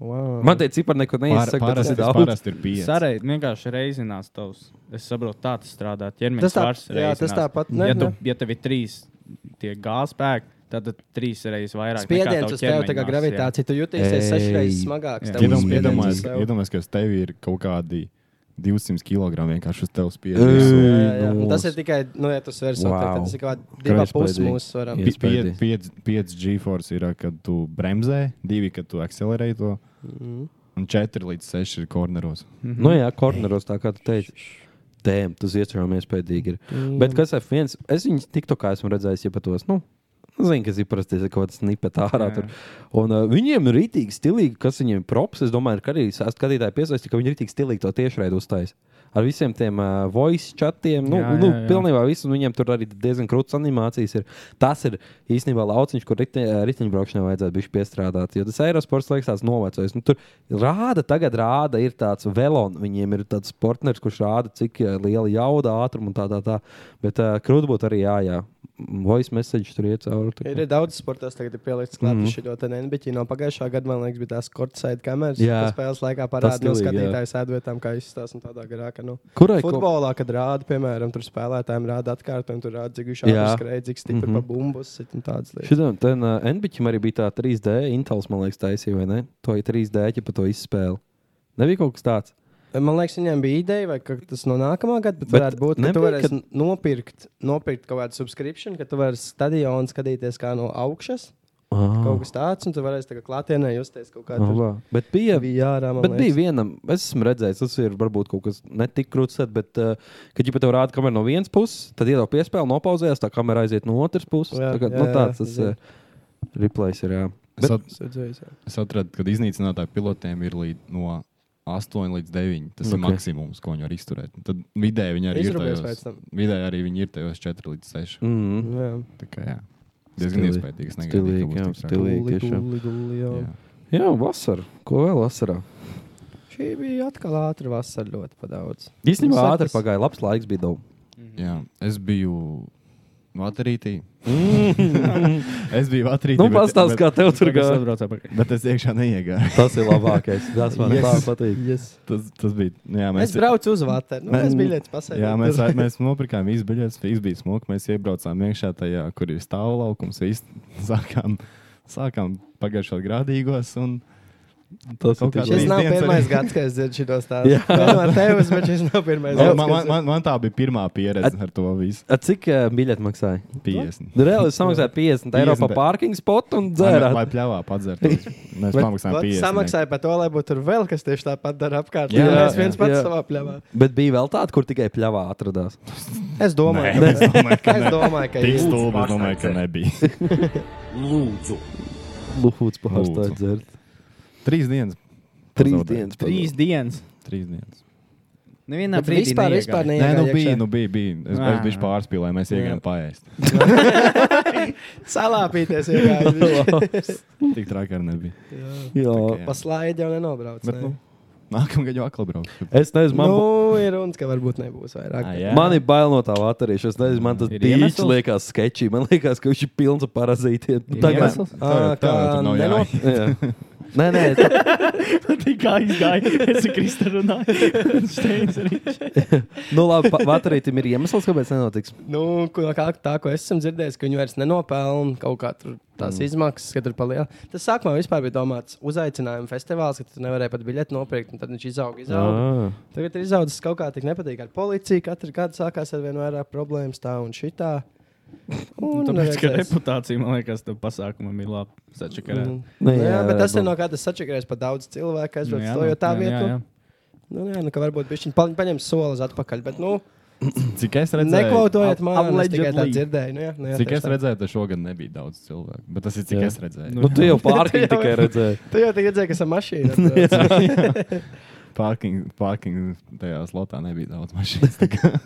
H: Wow.
A: Man tie cipari neko
B: Pār-
A: neiesaka, bet tas
B: parasti-
A: ir daudz.
B: parasti ir pieci.
I: Sarai vienkārši reizinās tavs. Es saprotu, tā tas strādā. Ķermenis
H: Tas tā-
I: svars
H: jā, tas
I: reizinās.
H: tāpat, ne,
I: ja, tu,
H: ne.
I: ja tev ir trīs tie gāzspēki, tad tu trīs reizes vairāk. nekā
H: Spiediens
I: tavu
H: uz tevi, tā kā
I: ķermeņmasa,
H: gravitācija.
I: jā.
H: Tu jutīsies sešreiz smagāks. tev būs spiediens uz tevi.
B: Iedomājieties, ka uz tevi ir kaut kādi 200 kg vienkārši uz tevis
H: Jā, jā, jā.
B: spiediens.
H: Un Tas ir tikai, nu, ja tu svers, wow. tad tas ir kaut kāda divi pusi mūsu svaram.
B: 5 G-force ir, kad tu bremzē, 2, kad tu akcelerē to,
H: Mhm.
B: un 4 līdz 6 ir korneros.
A: Nu jā, korneros, tā kā tu teici. Dēm, tas iecerām iespējīgi ir.
B: Mm.
A: Bet kas F1, es viņus tikko kā esmu redzējis, ja pat tos, nu, zinu, kas ir parasti ir kaut kāds nipet ārā
I: Jā.
A: tur. Un uh, viņiem ir rītīgi stilīgi, kas viņiem ir props, es domāju, ir, ka arī sā- skatītāji piesaisti, ka viņi rītīgi stilīgi to tiešraidu uztais. Ar visiem tiem uh, voice chatiem, nu,
I: Jā,
A: nu
I: jā, jā.
A: pilnībā visu, un viņiem tur arī diezgan krūts animācijas ir. Tas ir īstenībā lauciņš, kur rite- eh, riteņbraukšanai vajadzētu bišķi piestrādāt, jo tas aerosports liekas tāds novecojis. Nu, tur rāda, tagad rāda, ir tāds velons, viņiem ir tāds partners, kurš rāda, cik eh, liela jauda, ātruma un tā tā tā. Bet uh, krūti būtu arī jā, jā. Voice message tur iet cauri. tā kā.
H: Ir, ir daudz sporta, kas tagad ir pielikts klāta
A: Mhm.
H: mm. šī ļoti nebeigta. No pagājušā gada, man liekas, bija tās kortsaitas kameras,
A: Jā.
H: kas spēles laikā
A: Tas
H: parādīja no
A: stilīgi, jā.
H: skatītāju sēdvietām, kā izstāsta un tādā garā. ka, Nu,
A: Kurai ko-
H: futbolā, kad rāda, piemēram, tur spēlētājiem rāda atkārtot, tur rāda cik
A: Jā.
H: šādi skrēja, cik stipri
A: Mhm.
H: pa bumbus sit un tādas lietas.
A: Šitam tam uh, NBķim arī bija tā 3D intels, man liekas, taisīja, vai ne? To ir 3D ķepa, to izspēle. Nebija kaut kas tāds.
H: Man liekas, viņiem bija ideja, vai ka tas no nākamā gada, bet,
A: Bet
H: bet varētu būt, ka tu
A: nebija,
H: varēsi kad... nopirkt, nopirkt kaut kādu subscription, ka tu vari stadionu skatīties kā no augšas.
A: Ah. nu,
H: Kaut kas tāds, un tu varēsi tagad klātienē justies kaut kādā
A: Labā. Bet bija,
H: bija ārā. man
A: bet
H: liekas.
A: bija vienam, es esmu redzējis, tas ir varbūt kaut kas netik krūts, bet, uh, kad jau pat tev rāda kameru no vienas puses, tad iedod piespēli, nopauzējās, tā kamera aiziet no otras puses.
H: Jā,
A: Jā, Tagad,
H: jā,
A: jā, nu,
H: jā,
A: tāds
H: es
A: tas
H: zinu.
A: uh, replays ir. Jā.
B: Es,
A: Bet,
B: at, es atradu, ka iznīcinātāju pilotiem ir līd, no 8 līdz 9. Tas okay.
A: Ok.
B: ir maksimums, ko viņi var izturēt. Un Tad vidēji viņi arī ir
H: Izrubies pēc
B: tajos,
H: tam.
B: vidēji arī viņi ir tajos 4 līdz 6.
A: mm,
H: Jā.
B: Tā kā jā, diezgan
A: Stilīgi.
B: iespaidīgs.
A: Stilīgi, jā, stilīgi.
H: Gulli,
A: tiešām.
H: gulli, gulli, jā.
B: Jā.
A: jā, vasara. Ko vēl vasarā?
H: Šī bija atkal ātra vasara, ļoti pa daudz. Nu,
A: Īstenībā
H: Sākas-
A: ātri pagāja, labs laiks bija daudz.
B: jā, es biju vatarītī. es biju vatarītī.
A: Mm. Nu,
B: bet-
A: pastāsti,
B: bet-
A: kā tev tur
I: Tagad es
A: gāja.
I: atbraucu apakaļ.
B: Bet es iekšā neiegāju.
A: Tas ir labākais. Tas man yes. tā
H: Yes.
A: patīk.
H: Yes.
B: Tas, tas bija. nu Jā,
H: Es
B: mēs,
H: braucu uz Vatēnu. Nu,
B: Mē-
H: es biļetes pasēju.
B: Jā, mēs, a- mēs nopirkām visu biļetes, viss bija smuki. Mēs iebraucām iekšā tajā, kur ir stāvlaukums. Viss sākām, sākām pagājušā grādīgos. Un,
A: Tas ir
B: Kaut kā
A: tik
B: šis
A: labi.
H: Šis nav
B: Trīs dienas
H: pirmais
B: arī.
H: gads, kad es dzirdu šo stāstu.
A: Jā.
H: Jā, no tevis, bet šis nav pirmais
B: man,
H: gads.
B: man, man, man tā bija pirmā pieredze ar to visu
A: A, Cik uh, biļeti maksāja? Nu,
B: 50.
A: Reāli es samaksāju 50 eiro par
B: 50.
A: parking spotu un
B: Lai,
A: dzērā.
B: lai pļāvā padzert. Mēs pamaksājām 50.
H: Samaksāja par to, lai būtu tur vēl kas tieši tāpat dara apkārt.
B: Jā,
H: Jā,
B: jā,
H: es viens
A: jā.
H: pats
A: Jā.
H: savā pļāvā.
A: Bet bija vēl tāda, kur tikai pļāvā atradās.
H: Es domāju,
B: Nē, es
H: ka
B: domāju,
H: es domāju, ka
B: ka ne. Tik
H: ir.
B: stulbi, es domāju, ka nebija.
K: Lūdzu,
A: Lūdzu, pārstāj
B: Lūdzu.
A: dzert.
B: Trīs dienas.
A: Trīs
B: pazaudēju.
A: dienas.
I: Trīs dienas.
B: Trīs dienas.
I: Nevienā
H: Bet
I: brīdī
H: vispār, vispār
I: neiegāju.
B: Nē,
H: neiegāja
B: nu bija,
H: iekšā.
B: nu bija, bija. Es,
H: Ah.
B: es
I: Ā.
B: biju pārspīlējis, mēs iegājām paēst.
H: Salāpīties, ja
B: Tik traki arī nebija.
A: Jā.
B: jā.
H: paslaidi jau nenobrauc.
B: Bet,
H: ne?
B: nu, nākamā gada jau atkal braukšu.
A: Es nezinu, man, nu,
H: Nu, ir runas, ka varbūt nebūs vairāk.
B: Ā,
H: bet-
B: jā.
A: man ir bail no tā vatarīša. Es nezinu, man tas
I: Ir
A: dīķis
I: iemesls?
A: liekas sketčī. Man liekas, ka viņš ir pilns ar parazītiem. Tagad.
I: iemesls?
H: Ā, Ah, kā neno-
B: jāiet.
A: Jā. Nē, nē, tā,
I: Tā kā aizgāja, es ar Kristu runāju. Steins arī.
A: nu labi, pa- vatarītim ir iemesls, kāpēc nenotiks.
H: Nu, ko- kā, tā, ko es esmu dzirdējis, ka viņi vairs nenopelna kaut kā tur tās mm. izmaksas, ka tur palielina. Tas sākumā vispār bija domāts uzaicinājuma festivāls, ka tu nevarēji pat biļeti nopirkt, un tad viņš izauga. izauga.
A: Ā.
H: Tagad ir izaugs kaut kā tik nepatīk ar policiju. Katru gadu sākās ar vien vairāk problēmas tā un šitā. Un
I: Nu, Tāpēc, ka
H: nevajadzēs.
I: reputācija, man liekas, tam pasākumam ir labi. Sačakarē.
H: Mm.
A: Nu,
H: Nu, jā,
A: jā,
H: bet tas
A: varētu
H: ir
A: būt.
H: no kādas sačakarēs par daudz cilvēku. Es
I: Nu, jā,
H: domāju,
I: nu,
H: ka tā
I: jā, jā,
H: vieta.
I: jā.
H: Nu, jā, nu, ka varbūt viņš paņem solis atpakaļ. Bet, nu,
B: Cik es redzēju,
H: nekvotojiet
I: Al-
H: man, es tikai tā
I: allegedly.
H: dzirdēju. Nu, jā, nu, jā,
B: cik
H: tieši
B: es
H: tā.
B: redzēju, tad šogad nebija daudz cilvēku. Bet tas ir cik
A: Jā.
B: es redzēju.
A: Nu, tu jau pārkāpji
H: Tu jau-
A: tikai redzēji.
H: Tu jau tagad redzēji, ka esam mašīna.
B: Parking, parking tajā slotā nebija daudz mašīnu. Tā kā-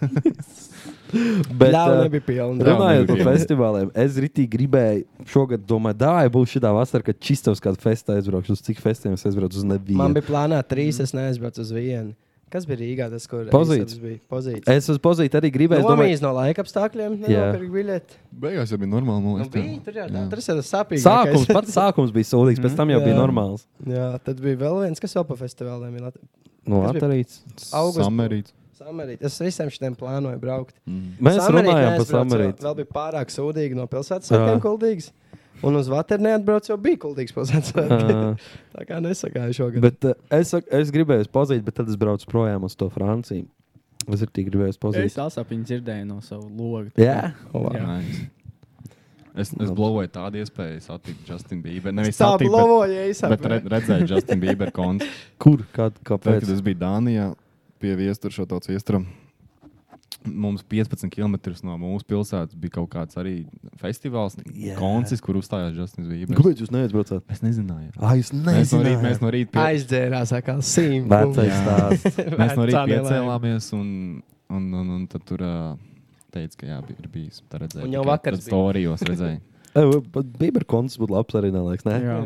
A: Bet,
H: Jā,
A: ā,
H: nebija pilna.
B: Ļauna
A: Runājot par
B: nebija.
A: festivāliem, es rītīgi gribēju, šogad domāju, tā jau būs šī vasara, kad čistos kādu festu aizbraukšu. Uz cik festiem es aizbraucu? Uz
H: Man
A: nevienu.
H: bija plānā trīs, es neaizbraucu uz vienu. Kas bija Rīgā? Tas, kur
A: Pozīts.
H: Eisers bija pozīcija.
A: Es uz pozīciju arī gribēju. es domāju-
H: Domājot no laika apstākļiem,
A: Jā.
H: nenopirku biļeti.
B: Beigās jau bija normāli. man
H: Nu,
B: liekas, tā.
H: bija, tur jau tā, tas ir tas sāpīgākais.
A: Sākums, pats sākums bija sūdīgs,
I: Mhm.
A: pēc tam jau bija
H: Jā.
A: normāls.
H: Jā, tad bija vēl viens, kas vēl pa festivāliem ir Lat-
A: No
H: Kas bija?
A: Latvijas.
H: Augusts.
B: Samerīts.
H: Samarīt. Es visiem šiem plānoju braukt.
B: Mhm.
A: Mēs
H: Samarīt
A: runājām par
H: neaizbraucu,
A: samarītu.
H: Vēl bija pārāk sūdīgi no pilsētas
A: Jā.
H: svētkiem kuldīgs. Un uz Vatēnu neatbraucu, jau bija kuldīgs pilsētas svētki.
A: Ā.
H: Tā kā nesagāju šogad.
A: Bet uh, es, sak- es gribēju uz pozīciju, bet tad es braucu projām uz to Franciju. Es arī gribēju uz
I: Es
A: pozīciju.
I: tās apiņu dzirdēju no sava loga.
A: Jā,
I: Jā.
B: Nice. Es, es blovēju tādu iespēju satikt Justinu Bieberu. Nevis
H: tā
B: satikt, bet,
H: blovoja īsā.
B: bet re, redzēju Justinu Bieberu koncertu.
A: kur, kad,
B: Tad,
A: kāpēc?
B: kad es biju Dānijā, pie viestura šo tautas viestura. Mums 15 km no mūsu pilsētas bija kaut kāds arī festivāls,
A: Jā.
B: yeah. koncerts, kur uzstājās Justins Bībers.
A: Kāpēc jūs neaizbraucāt?
B: Mēs nezinājām.
A: Ai, jūs
B: Mēs no rīta, mēs
A: nezināt.
B: no rīta, pie...
H: Aizdzērās, kā simts.
A: Vecais stāsts.
B: mēs no rīta piecēlāmies un, un, un, un tad tur uh, teica, ka jā, bija- ir bijis. Tā redzēja.
H: Un jau
B: tikai
H: vakars
B: tad Storijos redzēja.
A: Bīberkons būtu labs arī, nelaiks, ne?
I: Jā.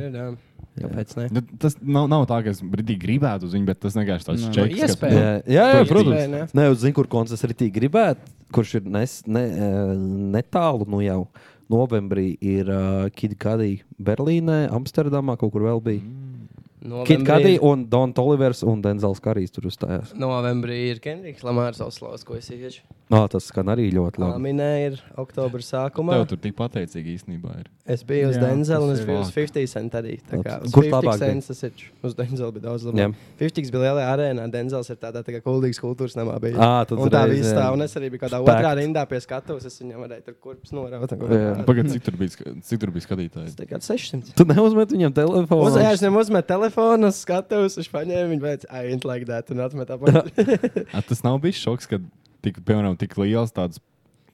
H: Nu, Kāpēc? Ne?
B: Nu, Tas nav, nav tā, ka es brīdī gribētu uz viņu, bet tas vienkārši tāds
H: Nu,
I: Nē,
B: čeks. ka-
H: iespēja.
A: Jā, jā, jā
B: Tu
A: protams.
H: gribēji,
A: Nē,
H: ne?
A: ne, es zinu, kur koncerts arī gribētu, kurš ir nes, ne, eh, netālu nu jau. Novembrī ir uh, Kidgadi Berlīnē, Amsterdamā kaut kur vēl bija. Mm. Kidgadi un Dons Olivers un Denzels Karīs tur uzstājās.
H: Novembrī ir Kendrija Lamārs Oslovs, ko es iešu.
A: Nā, tas skan arī ļoti labi.
H: Lamina ir oktobra sākumā.
B: Tev tur tik pateicīgi īstenībā ir.
H: Es biju uz
B: Jā,
H: Denzela un
B: tas
H: es
B: ir
H: biju uz
B: fuck.
H: 50 cent arī. tā kā
A: Tad
H: uz
A: kurš
H: 50
A: labāk bija?
H: Cents, tas ir uz Denzela bija daudz
A: Jā.
H: labāk. 50 bija lielā arēnā, Denzels ir tādā tā kā kuldīgas kultūras namā bija.
A: Ā, Ah, tad
H: un tā
A: reiz,
H: viss tā,
A: jā.
H: un es arī biju kādā
A: Spēkt.
H: otrā rindā pie skatuves, es viņam varēju tur kurpes noraut. un kaut
A: Jā.
H: kā tādu.
B: Pagaid, cik tur bija, sk- cik tur bija skatītāji?
H: Tā kā 600.
A: Tu neuzmet viņam telefonu.
H: Uz ēšaniem uzmet telefonu, skatos, viņš paņēma viņu, bet I ain't like that, un atmet apakaļ.
B: A, tas nav bijis šoks, ka tik, piemēram, tik liels tāds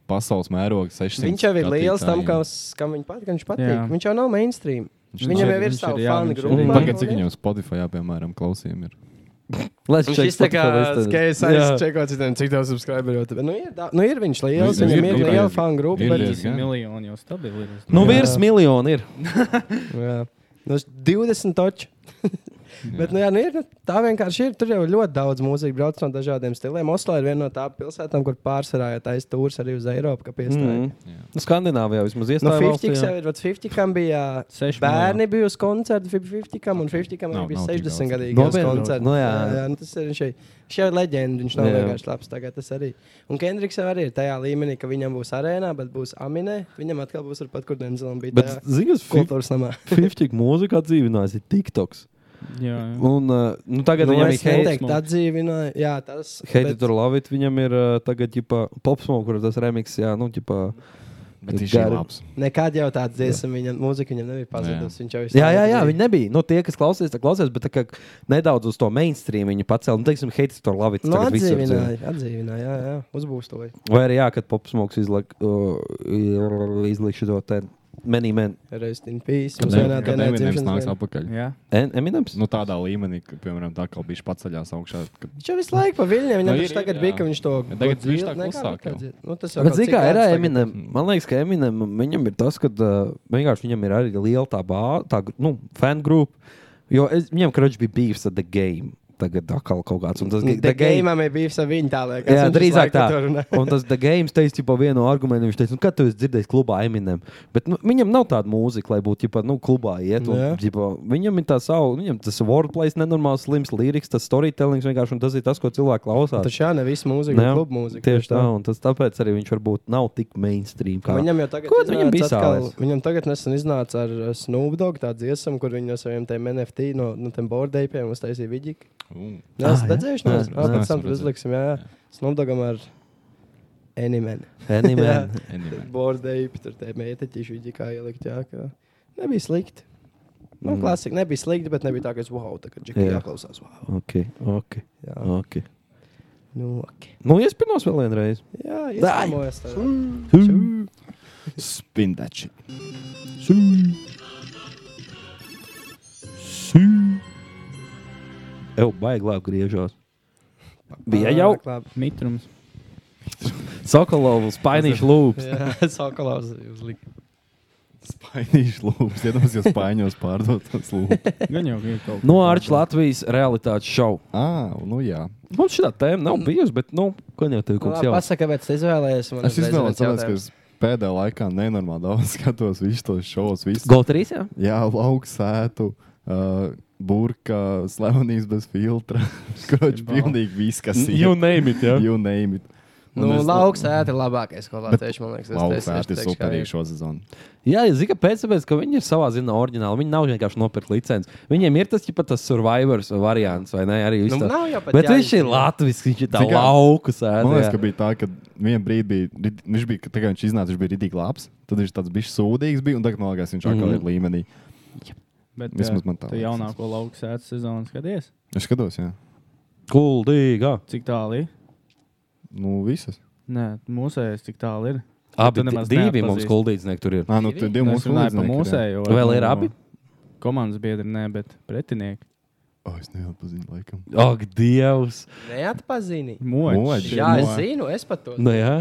B: pasaules mērogs, 600.
H: Viņš jau ir liels tam,
B: skatītājiem.
H: kas- kam viņa patīk. Viņš, patīk.
B: Jā.
H: viņš jau nav mainstream.
B: Viņš
H: Viņam
B: nav.
H: jau ir
B: Viņš
H: sava
B: jā,
H: fanu
B: viņš ir-
H: grupa.
B: Pagaid, cik viņam Spotify, piemēram, klausījumi ir.
A: Let's
H: Viņš ir tāds - es
A: Jā.
H: aizsācu citiem, cik daudz subscriberu jau tur ir. Nu, ir da- nu, ir viņš liels,
B: Nu, ir-
H: viņam ir
B: ir-
H: liela
B: ir-
H: fanu grupa.
B: ir
H: bet-
B: diezgan.
I: Miljoni jau stabili. ir.
A: Nu,
H: Jā.
A: virs miljonu ir.
H: Jā. Nu, es 20 toči. Bet, nu, jā, nu, ir, nu, tā vienkārši ir. Tur jau ir ļoti daudz mūzikas, brauc no dažādiem stiliem. Oslo ir viena no tām pilsētām, kur pārsvarā jau taisa tūrs arī uz Eiropu. Kāpēc? Mm.
A: Mm. Nu, Skandināvijā vismaz
H: No
A: iestājās.
H: 50 jau ir, bet 50 kam bija
I: Seši
H: bērni bija uz koncertu, 50 kam un 50 kam
B: Nav-
H: arī bija
B: nav tik
H: 60
B: daudz.
H: gadi.
A: Nopietni? Nu, jā.
H: jā nu, tas ir viņš. ir- Viņš jau ir leģenda, viņš nav
A: Jā.
H: vienkārši labs. Tagad tas arī. Un Kendriks jau arī ir tajā līmenī, ka viņam būs arēnā, bet būs aminē. Viņam atkal būs turpat, kur Denzelam bija.
A: Bet,
H: tajā
A: zini, kas fif-
H: kultūras namā.
A: 50 mūzika atdzīvinājis ir TikToks.
I: Jā, jā.
A: Un, uh, nu, tagad
H: Nu,
A: viņam
H: es
A: ir hate.
H: neteiktu, atdzīvināju. Jā, tas
A: Heidi
H: bet-
A: tur lavīt, viņam ir uh, tagad ģipa, popsmo, kur ir tas remix, jā, nu, ģipa,
B: Bet viņš ir
A: gari-
B: labs.
H: Nekad jau tāda dziesma, viņa mūzika viņam nebija pazudusi. Viņš jau ir.
A: Jā, jā, jā, viņi nebija. Nu, tie, kas klausās, tā klausās, bet tā kā nedaudz uz to mainstream viņi pacēla. Nu, teiksim, Heitis to labi
H: Nu, atdzīvināja, atdzīvināja, jā, jā, uzbūstoja.
A: Vai arī, jā, kad popsmoks izlaiž uh, šo te many men.
H: Rest in peace.
B: Kad
H: Mums vienā
B: Em- kad
H: dienā
B: Eminems
H: dzimšanas
B: nāks
H: dienā.
B: atpakaļ.
I: Jā.
A: En- Eminems?
B: Nu, tādā līmenī, ka, piemēram, tā kā bija paceļās augšā. Kad...
H: Viņš jau visu laiku pa viļņiem, viņam
B: Nu, ir,
H: taču
B: ir,
H: tagad
B: jā.
H: bija, ka viņš to
B: Ja tagad viņš
H: dzied-
B: tā
H: ne, kā
B: klusāk
H: tā
B: jau.
H: dzied- Nu, tas jau
A: Bet,
H: kaut
A: zini,
H: cik
A: kā ir
H: gads
A: ar
H: tagad.
A: Eminem? Man liekas, ka Eminem viņam ir tas, ka uh, vienkārši viņam ir arī liela tā bāra, tā nu, fan grupa. Jo es, viņam, kurš bija bijis ar The Game, tagad atkal kaut kāds. un Tas,
H: Nu, The Game'am ir bijis ar viņu tā, liekas.
A: Jā,
H: Viņš
A: drīzāk
H: visu
A: tā.
H: laiku tur runā.
A: Un tas The Games teica, jau vienu argumentu viņš teica, nu, kad tu esi dzirdējis klubā Eminem. Bet nu, viņam nav tāda mūzika, lai būtu, ja nu, klubā iet. Un,
H: Jā.
A: ģipa, viņam ir tā sava, viņam tas wordplay, nenormāls, slims, liriks, tas storytelling vienkārši, un tas ir tas, ko cilvēki klausās.
H: Taču jā, ne visu mūziku, bet
A: Jā,
H: klubu mūziku.
A: Tieši tā, un tas tāpēc arī viņš varbūt nav tik mainstream. Kā...
H: Viņam jau tagad,
A: Ko viņam
H: iznāca
A: bija
H: atkal,
A: sāpēs?
H: viņam tagad nesen iznāca ar uh, Snoop Dogg tādu dziesmu, kur viņi no saviem tiem NFT, no, no tiem boardēpiem uztaisīja vidiku.
B: Mm.
H: Nē, es
A: Ah, jā?
H: redzēju, no
A: Nē,
H: kuras
A: es
H: pāri
B: neesmu
H: visam tur
B: redzējis.
H: uzliksim. Jā, jā. Snoop Doggam ar Animēnu.
A: Animan.
B: Anyway.
H: Bordēji, tur tie mētiķi, viņi kā ielikt. Jā, kā. Nebija slikti. Nu,
A: Mm.
H: mm. klasika nebija slikti, bet nebija tā, ka es wow, tā kā džekija
A: Jā.
H: jāklausās. Wow.
A: Mm, Ok, ok.
H: Jā.
A: okay.
H: Nu, ok.
A: Nu, iespinos vēl vienreiz.
H: Jā,
A: Dai!
H: iespējams.
B: Spin that shit.
A: Evo, baigi labi griežos. Bija jau
H: Labi.
I: Mitrums.
A: Sokolovs, painīšu lūps.
H: Jā, sakalauz uzlikt.
B: Spainīšu lūpas, iedomājos, ja spaiņos pārdot tos lūpas.
I: Gan jau bija kaut kas.
H: Nu,
A: No Arčs Latvijas realitātes šovu.
B: Ā, nu jā.
A: Mums šī tēma nav bijusi, bet, nu, ko jau tev
H: Nu,
A: kaut kas
H: labi,
A: jauns.
H: Pasaka, kāpēc tu izvēlējies? Man
B: Es
H: uzreiz
B: izvēlos,
H: viens
B: tāpēc, ka
H: jautājums.
B: es pēdējā laikā nenormāli daudz skatos visus tos šovus. Visu.
A: Gold 3, jā?
B: Jā, lauksētu. Uh, Burka, slavenības bez filtra. Kroķis pilnīgi viss, kas ir.
A: You name it, jā.
B: You name it. Un
H: Nu,
B: es-
H: lauks ēta ir labākais, ko latvieši man liekas. es teicu,
B: Lauksēti
H: es teikšu, kā
B: superīgi
H: ir.
B: šo sezonu.
A: Jā, ja zika pēc tam, ka viņi ir savā ziņā oriģināli. Viņi nav vienkārši nopirkuši licenci. Viņiem ir tas, ja tas survivors variants, vai ne? Arī viss
H: Nu,
A: tā.
H: nav jau pat
A: Bet viņš ir
H: jāizdomā.
A: latviešu, viņš ir tā
B: Zini kā?
A: lauka
B: Man liekas, ka
A: sēde.
B: bija tā, ka vienā brīdī bija, rid- viņš bija, tā kā viņš iznāca, viņš bija ridīgi labs, tad viņš tāds bija sūdīgs, bija, un tagad, man liekas, viņš
A: Mhm.
B: atkal ir līmenī.
I: Bet,
B: Vismaz man tā
I: Tu
B: liekas.
I: jaunāko lauku sēdes sezonu skaties.
B: Es skatos, jā.
A: Kuldīga.
I: Cik tālu ir?
B: Nu, visas.
I: Nē, mūsējais cik tālu ir.
A: Abi
I: Tu nemaz
A: divi
I: neatpazīsti.
A: mums kuldīdznieki tur ir.
B: Nā, nu, tur divi
I: Nu, es
B: mūsu
I: runāju par
B: līdznieki, jā.
I: mūsējo.
A: Vēl ir
I: no
A: abi?
I: Komandas biedri, nē, bet pretinieki.
B: O, es neatpazinu, laikam.
A: Ak, Dievs!
H: Neatpazīni.
B: Moči.
I: Moči.
H: Jā, es
I: Moči.
H: zinu, es pat to
A: Nu, jā.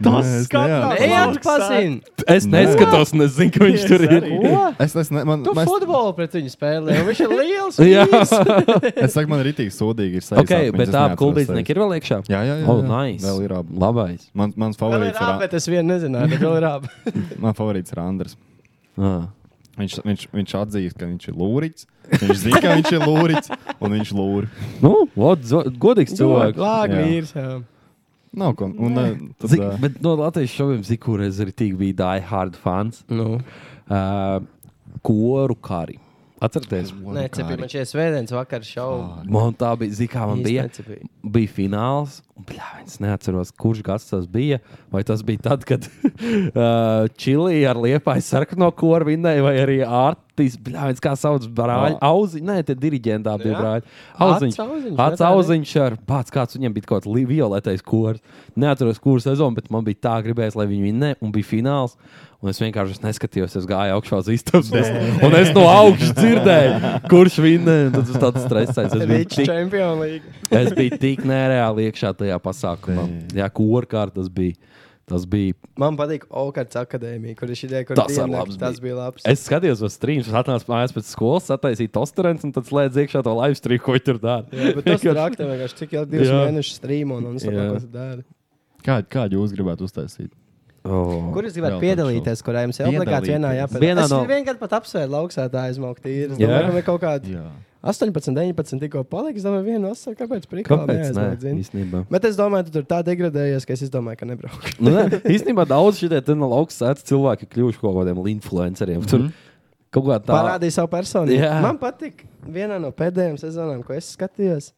B: Tas skatās.
H: neatpazinu.
A: Es
B: Nē.
A: neskatos, nezinu, ka viņš tur ir.
H: Ko?
B: Es, es, ne, man,
H: Tu
B: mēs,
H: futbolu pret viņu spēlē, un viņš ir liels.
A: Jā,
B: es saku, man ir rītīgi sūdīgi. Ir sejas
A: ok,
B: atmiņas,
A: bet
B: es
A: tā
B: neatceros
A: kuldīdznieki
B: sejas.
A: ir vēl iekšā.
B: Jā, jā, jā.
A: Oh,
B: jā.
A: nice.
B: Vēl ir abi.
A: Labais.
B: Mans, mans,
H: Vēl ir
B: favorīts ir
H: abi, bet es vienu nezināju, bet vēl ir abi.
B: An- man favorīts ir Andris.
A: Ah.
B: Viņš, viņš, viņš atzīst, ka viņš ir lūrīts. Viņš zina, ka viņš ir lūrīts, un viņš lūri.
A: Nu, vod, zo- godīgs cilvēks.
H: Lāk,
B: Jā.
H: vīrs. jā.
B: Nav ko. Un, eh, tad,
A: Zik,
B: eh,
A: bet no Latvijas šoviem zinu, kur es arī tik biju Die Hard fans.
H: Nu.
A: Uh, koru kari. Atcerieties,
H: Nē, cepī, man šeit svētdienas vakar šau.
A: Man tā bija, zina, kā man
H: Īsti
A: bija.
H: necipīja.
A: Bija fināls, un plā, es neatceros, kurš gads tas bija. Vai tas bija tad, kad uh, Čilija ar liepāju sarkano koru vinnēja, vai arī Artis, plā, viens kā sauc brāļi, auziņš, nē, tie diriģentā bija
H: Jā?
A: brāļi.
H: Acs Auziņš, ne
A: Ats
H: tā, ne?
A: auziņš ar pats kāds, viņam bija kaut kāds li- violetais kors. Neatceros, kur sezonu, bet man bija tā gribējis, lai viņi vinnē, un bija fināls. Un es vienkārši es neskatījos, es gāju augšā uz istabas, un- un es no augšas dzirdēju, kurš vinnē. un Tad tas tāds stresēs. Es biju
H: Viņš
A: tik
H: čempionu līga.
A: Es biju tik nereāli iekšā tajā pasākumā. Jā, kurkārt tas bija. Tas bija.
H: Man patīk Okarts akadēmija, kur ir šī ideja, kur
A: Tas ar
H: diennakts,
A: labs
H: tas bija labs.
A: Es skatījos uz streamu, kas atnāca mājās pēc skolas, sataisīja tosterens un tad slēdz iekšā to live streamu, ko viņi tur dara.
H: Jā, bet tas ir traki, tev vienkārši cik ilgi divus
A: Jā.
H: mēnešus strīmo un
A: Jā.
H: saprot, ko tu dari.
B: Kādu, kādu jūs gribētu uztaisīt?
A: Oh.
H: Kur jūs gribat
B: Vēl
H: piedalīties, kurā jums ir obligāti vienā
B: Piedalīties.
A: Vienā
H: jāpiedalās? Vienā no...
A: no-
H: Es vienkār pat apsvēru lauksētā aizmaukt īri. Es
A: Jā.
H: domāju, ka man ir kaut kādi
B: Jā.
H: 18, 19 tikko palika. Es domāju, vienu asaru, kāpēc prikāli
A: Kāpēc? Nē,
H: neaizmaukt, zini?
A: īstenībā.
H: Bet es domāju, tu tur tā degradējies, ka es izdomāju, ka nebraukšu.
A: Nu, nē, īstenībā daudz šie te no laukas sēdz cilvēki kļuvuši kaut kādiem influenceriem. Tur kaut kā tā.
H: Mhm. Parādīja savu personību.
A: Jā.
H: Man patīk vienā no pēdējām sezonām, ko es skatījos.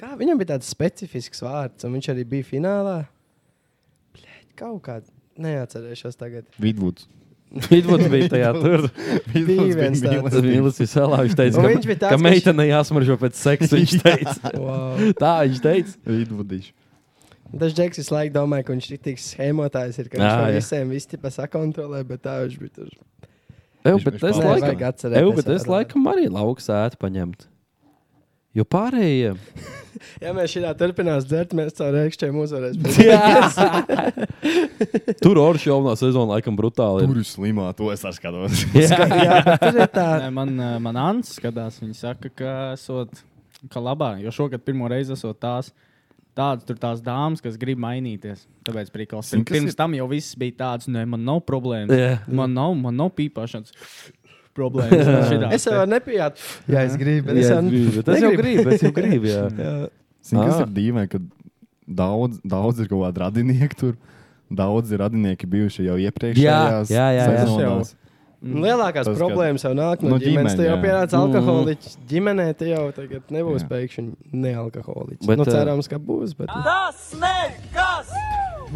H: Kā viņam bija tāds specifisks vārds, un viņš arī bija finālā. Bļaļ, kaut kā neatcerēšos tagad.
B: Vidvuds.
A: Vidvuds bija tajā tur.
H: Bija viens tāds.
A: Tas bija Līsīs Vēlā. Viņš teica,
H: Un
A: ka,
H: Nu, viņš bija tāds,
A: ka
H: ka viņš-
A: meitene jāsmaržo pēc seksa. Viņš teica.
H: Wow.
A: tā viņš teica.
B: Vidvudīši.
H: Tas Džeks visu laiku domāja, ka viņš ir tik schēmotājs, ir, ka
A: Jā,
H: viņš jau
A: jā.
H: visiem visu tipa sakontrolē, bet tā viņš bija tur.
A: Eju,
B: Viņš-
A: bet
B: viņš
A: es
B: palīdz.
A: laikam,
H: Vajag atcerēties,
A: eju, bet es
H: varētu.
A: laikam arī lauku sēdu paņemt. Jo pārējie.
H: Ja mēs šajā turpinās dzert, mēs caur rēkšķiem uzvarēsim.
A: Tur orš jaunā sezonā laikam brutāli. ir.
B: Tur jūs slimā, to es arī skatos.
H: jā, bet tur ir tā.
I: Nē, Man, eh, man Ants skatās, viņa saka, ka esot ka labā, jo šogad pirmo reizi esot tās. Tādas tur tās dāmas, kas grib mainīties. Tāpēc prikals.
B: Zini, kas
I: Pirms
B: ir-
I: tam jau viss bija tāds, nē, man nav problēmas.
A: Jā.
I: Man nav, man nav pīpāšanas problēmas. šitās
H: Es jau
I: te.
H: varu nepijāt. Jā, es gribu. bet Es
A: Jā,
H: jau
A: gribu, bet es jau gribu, es jau gribu. Jā.
B: Zini, kas
A: Ah.
B: ir dīvaini, ka daudz, daudz ir kaut kāda radinieka tur. Daudz ir radinieki bijuši jau iepriekšējās
A: Jā, jā, jā, jā.
B: sezonās.
H: Un Mm. Lielākās
B: Tas,
H: tas,
B: ka-
H: problēmas jau nāk no, no
B: No
H: ģimenes. Tu jau
B: ģimeņa, jā.
H: pierādzi alkoholiķi. Ģimenē te jau tagad nebūs
B: Jā.
H: pēkšņi nealkoholiķi.
A: Bet,
H: Bet, nu,
A: eh,
H: cerams, ka būs. Bet...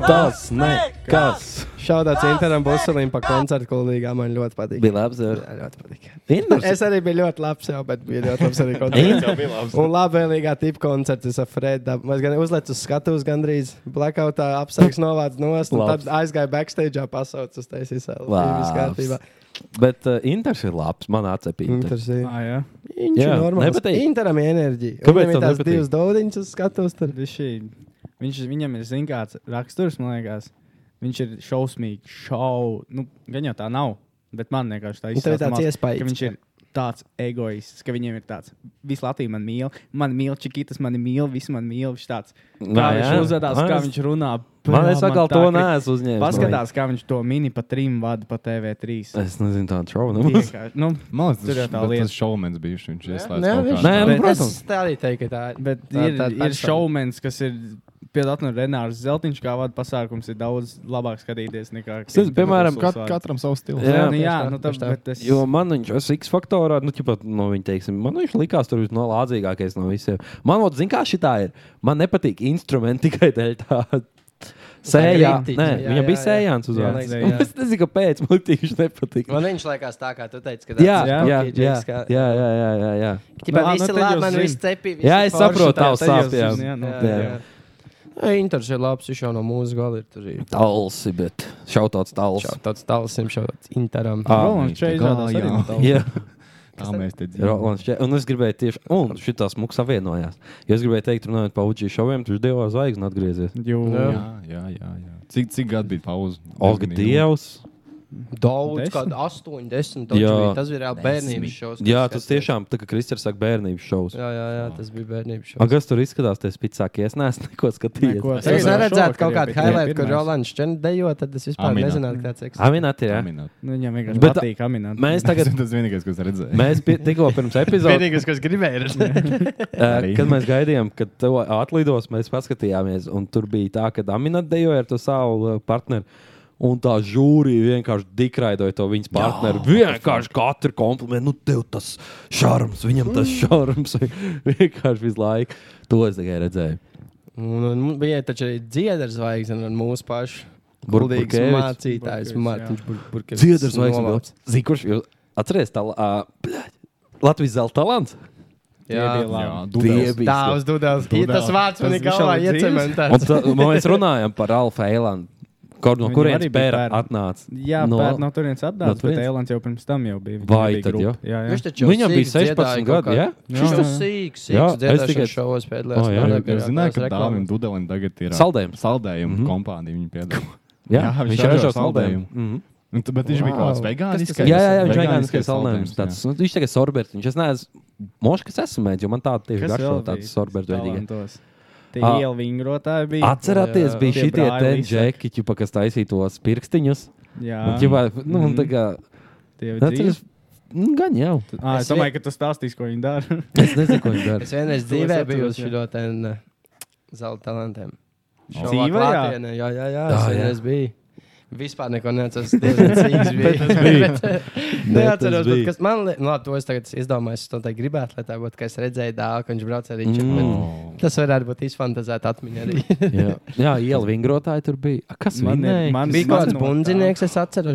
A: Tas nekas.
H: Šādāts Interam Buselim pa koncertu kolīgā man ļoti patīk.
A: Bija labs. ar-
H: Jā, ļoti patīk.
A: Interesanti.
H: Es arī biju ļoti labs, jau, bet bija ļoti labs arī koncerts. Un labvēlīgā tipa koncerts ar Fredu. Mēs gan uzliekam uz skatuves, gandrīz blackoutā apsakts novāc nost, un
A: Labs.
H: tad aizgāja backstage, pasauc uz taisīs vēl.
A: Labs.
H: Viss kārtībā.
A: Bet uh, Inters ir labs. Man atsepīja.
H: Interesanti.
I: Ā, jā.
H: Viņš
A: Jā,
H: ir normāls.
A: nepatīk.
H: Interam ir enerģija.
A: Kāpēc
H: Kāpēc
A: tev
H: tāds
A: nepatīk?
H: divs daudiņš uz skatuves? Tad...
I: Bišķi- Viņš, viņam ir zināms raksturs, man liekas. Viņš ir šausmīgi, šau. Nu, gan jau tā nav. Bet man vienkārši tā
H: Un Nu, tev ir
I: izskatās.
H: tāds iespējas.
I: Viņš ir tāds egoists, ka viņam ir tāds visu Latviju man mīl, man mīl, čikitas man mīl, visi man mīl. Viņš tāds kā
A: jā.
I: viņš uzvedās, kā
A: Man es-
I: viņš runā.
A: Man
I: Bļā,
A: es atkal
I: tā
A: to
I: kri-
A: neesmu uzņēmis.
I: Paskatās, kā viņš to mini pa trim vada pa TV3.
A: Es nezinu, tādu šaubu.
I: Vienkārši, Nu,
B: Man liekas,
I: Tur
B: tas
I: jau
B: ir
I: tā
B: tā
I: lieta.
B: lieta. Tas šovmens bija viņš.
H: Nē,
B: ieslēdz
H: viņš-
B: kaut
A: Nē,
B: kā
A: nu,
H: Bet
A: protams.
H: es tā arī teiktu, ka tā ir.
I: Bet
H: tā,
I: tā, ir,
H: tā
I: ir šaubens, kas ir piedāvāts no Renāras Zeltiņš, kā vada pasākums, ir daudz labāk skatīties nekā
A: Zini, piemēram,
I: Kim
B: Kat,
I: Kardashians.
B: katram savs stils.
A: Jā,
I: Jā, nu, jā,
H: tieši tā,
I: nu, tā,
H: tieši tā.
I: bet es
A: Jo man viņš ir X faktorā, nu, ķipa, no viņa teiksim, man viņš likās tur no lādzīgākais no visiem. Man, ot, zin, kā šitā ir, man nepatīk instrumenti tikai dēļ tā. Sējā,
H: kritiķa,
A: nē,
H: jā,
A: jā, viņam
H: jā,
A: bija
H: jā.
A: sējāns uz
I: Jā,
A: vārds.
I: jā, jā.
A: Es nezinu, kāpēc man tieši nepatīk.
H: Man viņš liekas tā, kā tu teici, ka
A: Jā, jā,
I: Jā,
A: jā,
H: ok,
A: jā,
H: Džeks, kā-
A: jā, jā, jā, jā, jā.
H: Tipā
I: Nu, ā,
H: visi
I: nu, tad
H: labi,
I: jau
H: man
I: zini.
H: viss cepī.
A: Jā, es saprotu tavu
I: tā jūs
A: sāpju. jā.
I: zini, jā, nu,
A: Jā,
I: jā.
A: jā.
H: Inters ir labs, viņš jau no mūsu gala ir tur. ir.
A: Talsi, bet šautāts tals.
H: Šā- Tāds tālsim šāds interam.
A: Ā.
I: Rolands
B: tā kā,
I: Čeizs izrādās arī
B: jā.
I: no tā.
A: Jā,
B: Tā mēs te dzīvojam.
A: Rolands Čē- un es gribēju tieši, un šitās mūks savienojās. Jo es gribēju teikt, runājot par Uģiju šoviem, tur Dievā zvaigznes atgriezies.
I: Jo,
B: Jā, jā, jā. jā. Cik, cik gadi bija pauze?
A: Olga Dievs,
H: Daudz, kāda 8, 10.
A: Jā.
H: Tas bija reāli bērnības šovs.
A: Jā, tas tiešām, tā, kā Kristers saka, bērnības šovs.
H: Jā, jā, jā, tas bija bērnības šovs.
A: A, kas tur izskatās, tas pitsāki? Es neesmu neko skatījies.
H: Neko. Es redzēju, kaut kādu highlight, kur Rolands Čenis dejo, tad es vispār
A: Aminat.
H: nezināju, ka tāds eksistē.
A: Aminat, jā.
B: Aminat.
I: Nu, viņam vienkārši
A: Bet
I: patīk aminēt.
A: Mēs tagad.
B: Tas vienīgais, ko es redzēju.
A: Mēs pi- tikko pirms epizodes.
I: Vienīgais, ko es gribēju, ir redzēt.
A: Eh, Kad mēs gaidījām, kad to atlidos, mēs paskatījāmies, un tur bija tā, ka Aminat dejoja ar to savu eh, partneri. Un tā žūrija vienkārši dikraidoja to viņas partneri. Vienkārši katru komplimentu, nu, tev tas šarms, viņam tas šarms. vienkārši visu laiku. To es tikai redzēju.
H: Un, un bija nu, taču arī dziedāra zvaigzne un mūsu pašu.
A: Bur-
H: Gudīgs
A: Burkevičs.
H: mācītājs, Mārtiņš Burkevs.
A: Dziedārs zvaigznes. Zini, kurš jūs atcerieties? Tā, uh, Latvijas zelta talants.
H: Jā,
A: Tie bija labi. Tie bija
H: Tā,
A: slabi.
H: uz Dudās. Ir Tas vārds man ir galvā
A: Un
H: iecementēts.
A: tā, mēs runājam par Alfa Eilandu. Kur no
I: Viņam
A: kurienes
I: arī bija
A: pērā
I: bērni.
A: atnāca?
I: Jā, no, bet no turienes atnāca. Bet
A: turienes?
I: Eilants jau pirms tam jau bija.
A: Vai
I: bija
A: tad
I: grupa.
A: jau?
I: Jā, jā.
A: Viņš taču jau Viņam bija sīks 16 dziedāja kaut gadi, kā- jā?
H: Viņš
A: Jā,
H: tur
A: jā.
H: sīks,
A: Jā,
H: sīks
A: es
H: dziedāšanas
A: tikai-
H: šovos pēdējos.
A: O, jā.
H: man
B: Es
H: liekas,
B: zināju,
H: tās
B: ka
H: reklāmas.
B: Dāvim Dudelim tagad ir uh,
A: Saldējums. Mhm.
B: Saldējumu mm -hmm. kompānija viņa piedāvā.
A: Jā, viņš ražo saldējumu. Mhm.
I: Mhm.
B: Mm -hmm. tu, bet viņš wow. bija kaut kāds vegānisks.
A: Jā, jā, jā viņš ir vegāniskais saldējums. Tāds, nu, viņš tagad sorbērtiņš. Es neesmu, moši, kas esmu mēģinājis, jo man tāda tieši
I: Kas
A: garšo
I: vēl bija
A: tāds sorbērts veidīgi.
I: talantos? Tie
A: Ā.
I: ielu vingrotāji bija.
A: Atcerieties, bija
I: Tie
A: šitie
I: brāļi
A: te
I: visi.
A: džekiķi, pa kas taisīja tos pirkstiņus.
I: Jā.
A: Un, ķipā, nu, un
I: Mhm.
A: tā kā,
I: Tie bija
A: atceries,
I: dzīvi?
A: nu, gan jau.
I: Ā,
H: Es
I: Ah, Es domāju, ka tu stāstīsi, ko viņi dara.
A: Es nezinu, ko viņš
H: Es vienreiz
I: To es
H: dzīvē
I: atceros,
H: biju uz
I: jā.
H: šo ten eh, zelta talantiem. Šovā
I: Dzīvē, jā?
H: klātienē, jā, jā, jā,
A: Tā,
H: es
A: jā.
H: vienreiz biju. Vispār neko neatceros. Tas
A: Bet tas bija. Bet tas
H: Neatceros, bet
A: bija.
H: kas man liekas, nu, labi, to es tagad izdomāju. Es to tā gribētu, lai tā būtu, ka es redzēju dāku, viņš brauc arī čipā.
A: Mm.
H: Tas varētu būt izfantazēta atmiņa arī.
A: Jā, jā iela vingrotāji tur bija. A, Kas
I: Man ir-
A: vinēja?
I: man-
H: Bija kaut kāds
I: no tā.
H: bundzinieks, es atceros,
I: Man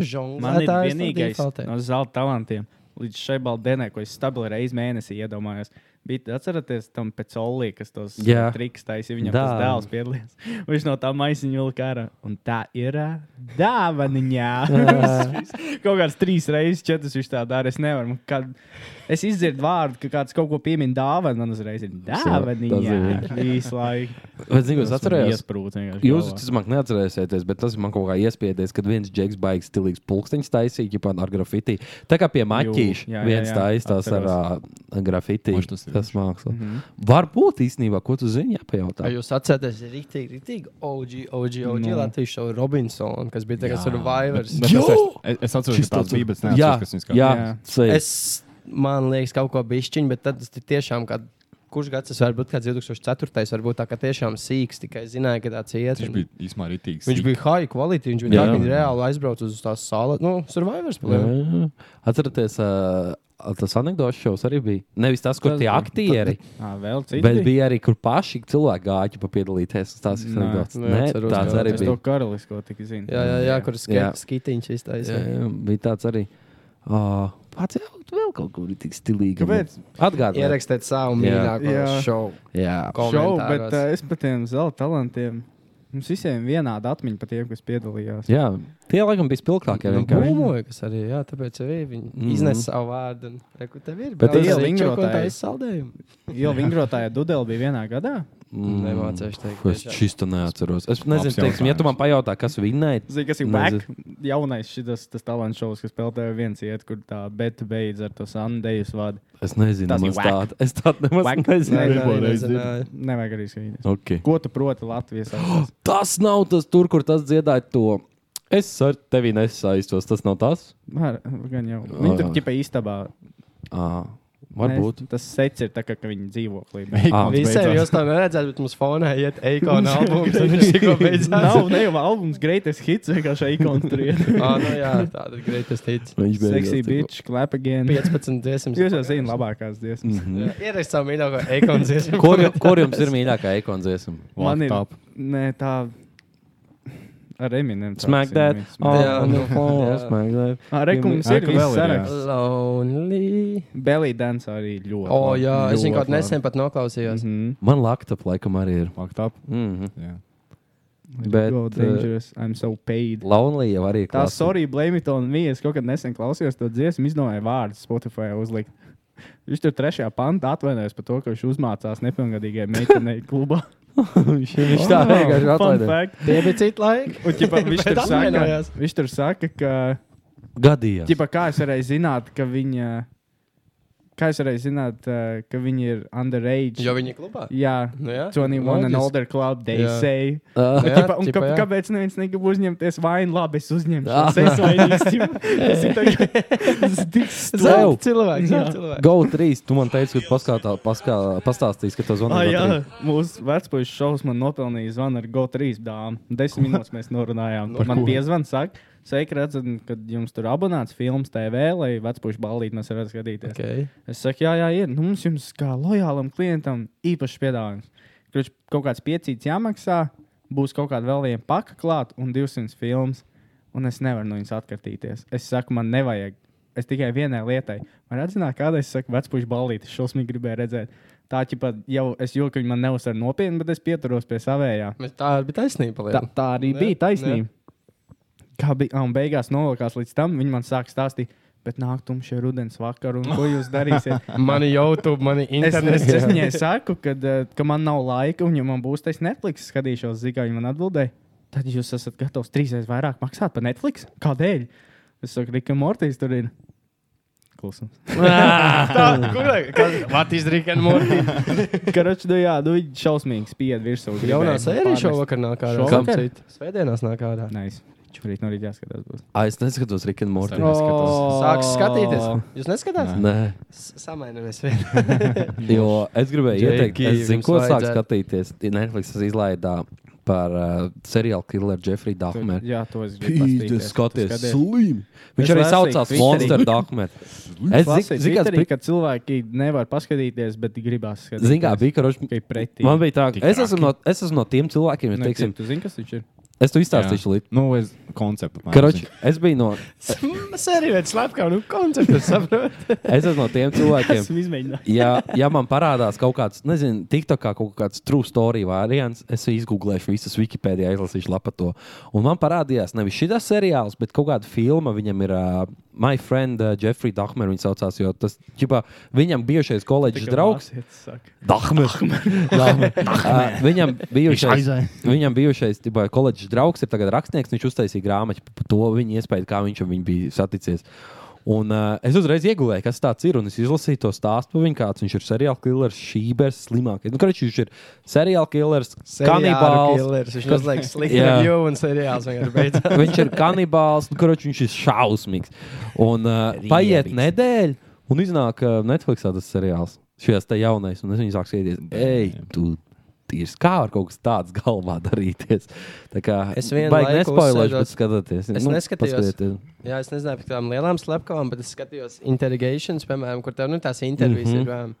I: ir
H: žonglētājs.
I: vienīgais no zelta talantiem. Līdz šai baldenē, ko es stabilu reizi mēnesī iedomājos, bija atcerieties tam pēc olī, kas tos uh,
A: Jā.
I: triks taisīja.
A: Dā.
I: Viņam tas dēls piedalījās. Viņš no tā maisiņa vilka ārā. Un tā ir ā, dāvaniņā. kaut kāds trīs reizes, četras viņš tā dara. Es nevaru. Man Kad es izdzirdu vārdu, ka kāds kaut ko piemin dāvanu, man uzreiz ir
A: ir
I: dāvaniņā. Visu laiku.
A: Bet, zinu, es
I: Tas man
A: atceros.
I: iesprūda vienkārši
A: Jūs
I: galvā.
A: visticamāk neatcerēsieties, bet tas man kaut kā iespiedies, kad viens džeks baigs stilīgs pulksteņš taisīja, ja pat ar grafitī. Tā kā pie maķīša
I: jā, jā,
A: viens
I: jā,
A: taisās ar ā, grafitī.
B: Mož tas ir
A: Tas māksla.
I: Mhm.
A: Varbūt īstenībā, ko tu zini, jāpajautā.
H: Vai jūs atceraties, ir rīktīgi, rīktīgi OG, OG, OG
I: Nu.
H: Latvijas šovu Robinsonu, kas bija tagad Survivors.
A: Jo!
B: Es, es atceros,
A: Šis
B: ka tāds
A: tāds-
B: bija, bet es
A: Jā,
B: neatceros, kas viņš
A: jā,
I: Jā.
A: sei.
H: Es, man liekas, kaut ko bišķiņu, bet tad tas ir tiešām kā. Kurš gads tas var būt? Kā 2004. varbūt tā kā tiešām sīks, tikai zināja, ka tāds iet.
B: Viņš bija īstenībā rītīgs.
H: viņš bija high quality, viņš bija
A: Jā.
H: tāds, ka reāli aizbraucis uz tās salas. Nu, survivors plēja.
A: Jā, jā. Atceraties, ā, tas anekdošu šovs arī bija. Nevis tas, kur
I: Tas
A: tie
I: bija.
A: aktieri.
I: Ā, Ah, Vēl cits.
A: Bet bija arī, kur paši cilvēki gāja pa piedalīties. Tas ir
I: Nē,
A: anekdots.
H: neatceros,
A: Tāds
H: jā,
A: arī
I: Es
A: bija.
I: to karalisko tik zinu.
H: Jā, jā, jā, kur
A: Jā.
H: skat- skitiņš
A: Jā,
H: iztaisīja.
A: jā, bija tāds arī. Uh, pats jau vēl kaut kur tik stilīgi.
I: Kāpēc?
A: Atgādājot,
H: Ierakstīt savu
A: Jā.
H: mīļāko
I: Jā.
H: šovu.
A: Jā,
I: šovu, bet
H: Komentāros.
I: uh, es par tiem zelta talantiem. Mums visiem ir vienāda atmiņa par tiem, kas piedalījās.
A: jā, tie laikam bija spilgtākie.
H: Nu,
A: vienkārši.
H: Bumboja, kas arī jā, tāpēc arī viņi mm. iznesa savu vārdu. Un, re, kur tev ir?
A: Bet
H: brauc
A: tas-
H: arī čeku un
I: Vingrotāji.
H: tā izsaldējumu.
I: Jo vingrotāja Dudela bija vienā gadā.
A: Mm.
H: Nemācēšu teikt.
A: Es
H: tiešām.
A: šis to neatceros. Es nezinu,
B: Labs
A: teiksim, ja tu man pajautā, kas vinnēja,
I: Zini, kas ir
A: Nezinu.
I: back? Jaunais šitas, tas talants šovs, kas spēlēja viens iet, kur tā beta beidz ar to Sandejas vadu.
A: es nezinu.
I: Tas ir
A: mans
I: whack.
A: tāda- Es tādu nemaz
I: Whack.
H: Nē,
A: nezinu.
H: nē,
B: Pirmo reizi
H: nezināju.
I: Nevajag arī skatīties.
A: Okay.
I: Ko tu proti Latvijas? valodas?
A: Tas nav tas tur, kur tas dziedāja to. Es ar tevi nesaistos. Tas nav tas.
I: Ar- Gan jau. Viņi tur ķipa istabā.
A: Uh, varbūt.
I: Mēs- Tas sets ir tā, kā, ka viņi dzīvoklī.
A: Ah.
H: Visiem jūs to neredzat, bet mums fonā iet eikona albums. un Viņš tikko beidzās.
I: Nav, ne jau albums Greatest Hits, vienkārši ikonu tur iet.
H: Ah, nu jā, tāda ir greita stīts.
A: Viņš
I: Sexy
A: beidzās tikko.
I: bitch, clap again.
H: 15 dziesmas.
I: Jūs jau zināt labākās dziesmas.
H: Mm. Ierakstīt savu mīļāko eikonu dziesmu.
A: Kur, ju- kur jums ir mīļākā ikona dziesma?
I: Man ir
B: Laptop.
I: nē, tā. Ar Eminem. tā
A: Smack
I: zinu,
A: that.
I: viens.
A: Oh,
H: Jā.
A: no, oh, smack that.
I: Ar
B: Ai,
I: rekomendāciju mums ir
B: ka vēl ir,
I: viss
B: jā.
I: saraksts.
H: Lonely.
I: Belly dance arī ļoti.
H: O, oh, jā, es viņu
I: Ļoti
H: kaut
I: labi.
H: nesen pat noklausījos.
I: Mhm.
A: Man lakta, laikam, arī ir.
B: Maktap.
A: Mm -hmm.
B: Jā.
A: Bet,
H: uh,
I: Go dangerous, I'm so paid.
A: Lonely jau arī ir.
I: Tā, sorry, blame it on me. Es kaut kad nesen klausījos to dziesmu, izdomāju vārdu Spotify uzlikt. Viņš tur trešajā pantā atvainojas par to, ka viņš uzmācās nepilngadīgai meitenei klubā. Oh,
A: Viņš tā vienkārši
I: Fun
A: atlaida.
I: fact.
H: Tie bija citi laiki.
I: Un, ķipa, viņš, tur
H: Bet
I: saka,
H: atvainojās.
I: viņš tur saka, ka
A: Gadījās.
I: Ķipa, kā es varēju zināt, ka viņa. Kā es varēju zināt, uh, ka viņi ir underage?
H: Jo viņi ir klubā?
I: Jā,
H: Nu jā,
I: 21 and
H: loģiski.
I: older club, they
H: Jā.
I: say.
H: Ah.
I: Nu,
H: Jā,
I: ķipa, un
H: ķipa,
I: kā,
H: jā.
I: kāpēc neviens negrib uzņemties vainu? Labi, es
A: Ah.
I: uzņemšos. Es vainīgs. ķipa. Tas ir tā- tas ir tik
A: Tev.
I: stulbi.
H: cilvēks,
I: Jā.
H: zelta cilvēks.
A: Go 3. Tu man teici, ka tu paskatā, paskā, pastāstīsi, ka tu zvani.
I: Ah,
A: Go 3.
I: jā, mūsu vecpuļu šovs man nopelnīja zvanu ar GO3 dāmu. Desmit minūtes mēs norunājām.
B: Par
I: man
B: ko?
I: piezvanīja, saka, sveiki, redzat, kad jums tur abonēts filmas TV, lai vecpuļu ballīti mēs varētu skatīties.
H: Okay.
I: Es saku, jā, jā, ir. Nu, mums jums kā lojālam klientam īpašs piedāvājums. Kurš kaut kāds piecīts jāmaksā, būs kaut kāda vēl viena paka klāt un 200 filmas, un es nevaru no viņas atkartīties. Es saku, man nevajag. Es tikai vienai lietai. Man atzināt, kāda es saku, vecpuļu ballīti, šausmīgi gribēju redzēt. Tā ķipa jau es jūtu, ka viņi man neuzsver nopietni, bet es pieturos pie savējā.
H: Bet Tā ir bija taisnība.
I: Tā,
H: liela.
I: tā arī
H: Ne,
I: bija taisnība. Kā bija, un beigās nolūkās līdz tam, viņi man sāk stāstīt, bet nāk tumšie rudens vakar, un ko jūs darīsiet?
H: Mani YouTube, mani
I: Es, es,
H: internets.
I: es viņai saku, kad, eh, ka man nav laika, un, ja man būs tas Netflix, skatīšos, zinu, kā viņa man atbildēja. Tad jūs esat gatavs trīsreiz vairāk maksāt par Netflix? Kādēļ? Es saku, Rika Mortīs tur ir. Klusums.
H: What is Rick and Morty?
I: Karoči, nu jā, nu viņi šausmīgi spied virsū.
H: Jaunā sērija šovakar nāk ārā.
I: Šovakar?
H: Cīt. Svētdienās nāk ārā.
I: Nē, es šorīt no rīta jāskatās. Būs.
A: Ai, es neskatos Rick and Morty.
B: Sarunā.
I: Oh.
H: Sāks skatīties. Jūs neskatās?
A: Oh. Nē,
H: S- Samainamies vien.
A: jo es gribēju
H: Jaki,
A: ieteikt, es zinu,
H: jums
A: ko sāk
H: vajadzētu.
A: skatīties. Netflix izlaidā par uh, seriāla killeru Jeffrey Dahmer.
I: Jā, to es
B: Pīdus,
I: gribu. pastīties. Tu
A: skaties,
I: skaties.
B: slim!
A: Viņš
I: Es
A: arī
I: lasīju
A: saucās
I: Twitterī.
A: Monster Document. Es
I: Lasīju
A: zinu, kāds
I: Twitterī,
A: bija.
I: ka cilvēki nevar paskatīties, bet gribās skatīties.
A: Zini, kā bija, ka rož...
I: Tikai pretī.
A: man bija tā,
B: Tik
A: ka es esmu,
B: traki.
A: no, es esmu no tiem cilvēkiem, ja
I: Nē,
A: teiksim,
I: tu zini, kas viņš ir?
A: es to izstāstīšu līdzi.
B: Nu, es konceptu.
A: Karoči, es biju no,
H: Sērija veids slepkā, nu koncepts, es saprotu.
A: es esmu no tiem cilvēkiem.
I: Esmu izmēģinājis.
A: Ja, ja man parādās kaut kāds, nezinu, TikTokā kaut kāds true story variants, es izgooglēšu visas Wikipēdijā, izlasīšu lapu to. Un man parādījās nevis šis seriāls, bet kaut kāda filma. Viņam ir uh, My Friend uh, Jeffrey Dahmer, viņa saucās, jo tas, ķipā, viņam bijušais koledžas draugs. Dahmer. Dahmer. Ā, Viņam bijušais,
B: aizēja.
A: viņam bijušais tibā, koledžas draugs ir tagad rakstnieks. Viņš uztaisīja grāmatu par to viņa iespēju, kā viņš ar viņu bija saticies. Un, uh, es uzreiz iegulēju, kas tas ir. un Es izlasīju to stāstu par viņu, kāds viņš ir seriāla killers, šībers, slimākais. Nu, kā viņš ir seriāla killers, kanibāls.
H: Viņš noslēdz slikti
A: Jā.
H: review un seriāls vienkārši beidzās.
A: Viņš ir kanibāls, nu, kurš viņš ir šausmīgs. Un uh, paiet nedēļa, un iznāk uh, Netflixā tas seriāls. Šajās te jaunais, un es viņu sāku sēdēt. Ej, tu tīrs, kā var kaut kas tāds galvā darīties. Tā kā
H: Es vienu
A: baigi
H: laiku
A: nespoilēšu, bet
H: uzsēdos-
A: skatieties.
H: Es neskatījos.
A: paskatieties.
H: Jā, es nezināju par tām lielām slepkavām, bet es skatījos interrogācijas, piemēram, kur tev nu, tās intervijas mm -hmm. ir. piemēram,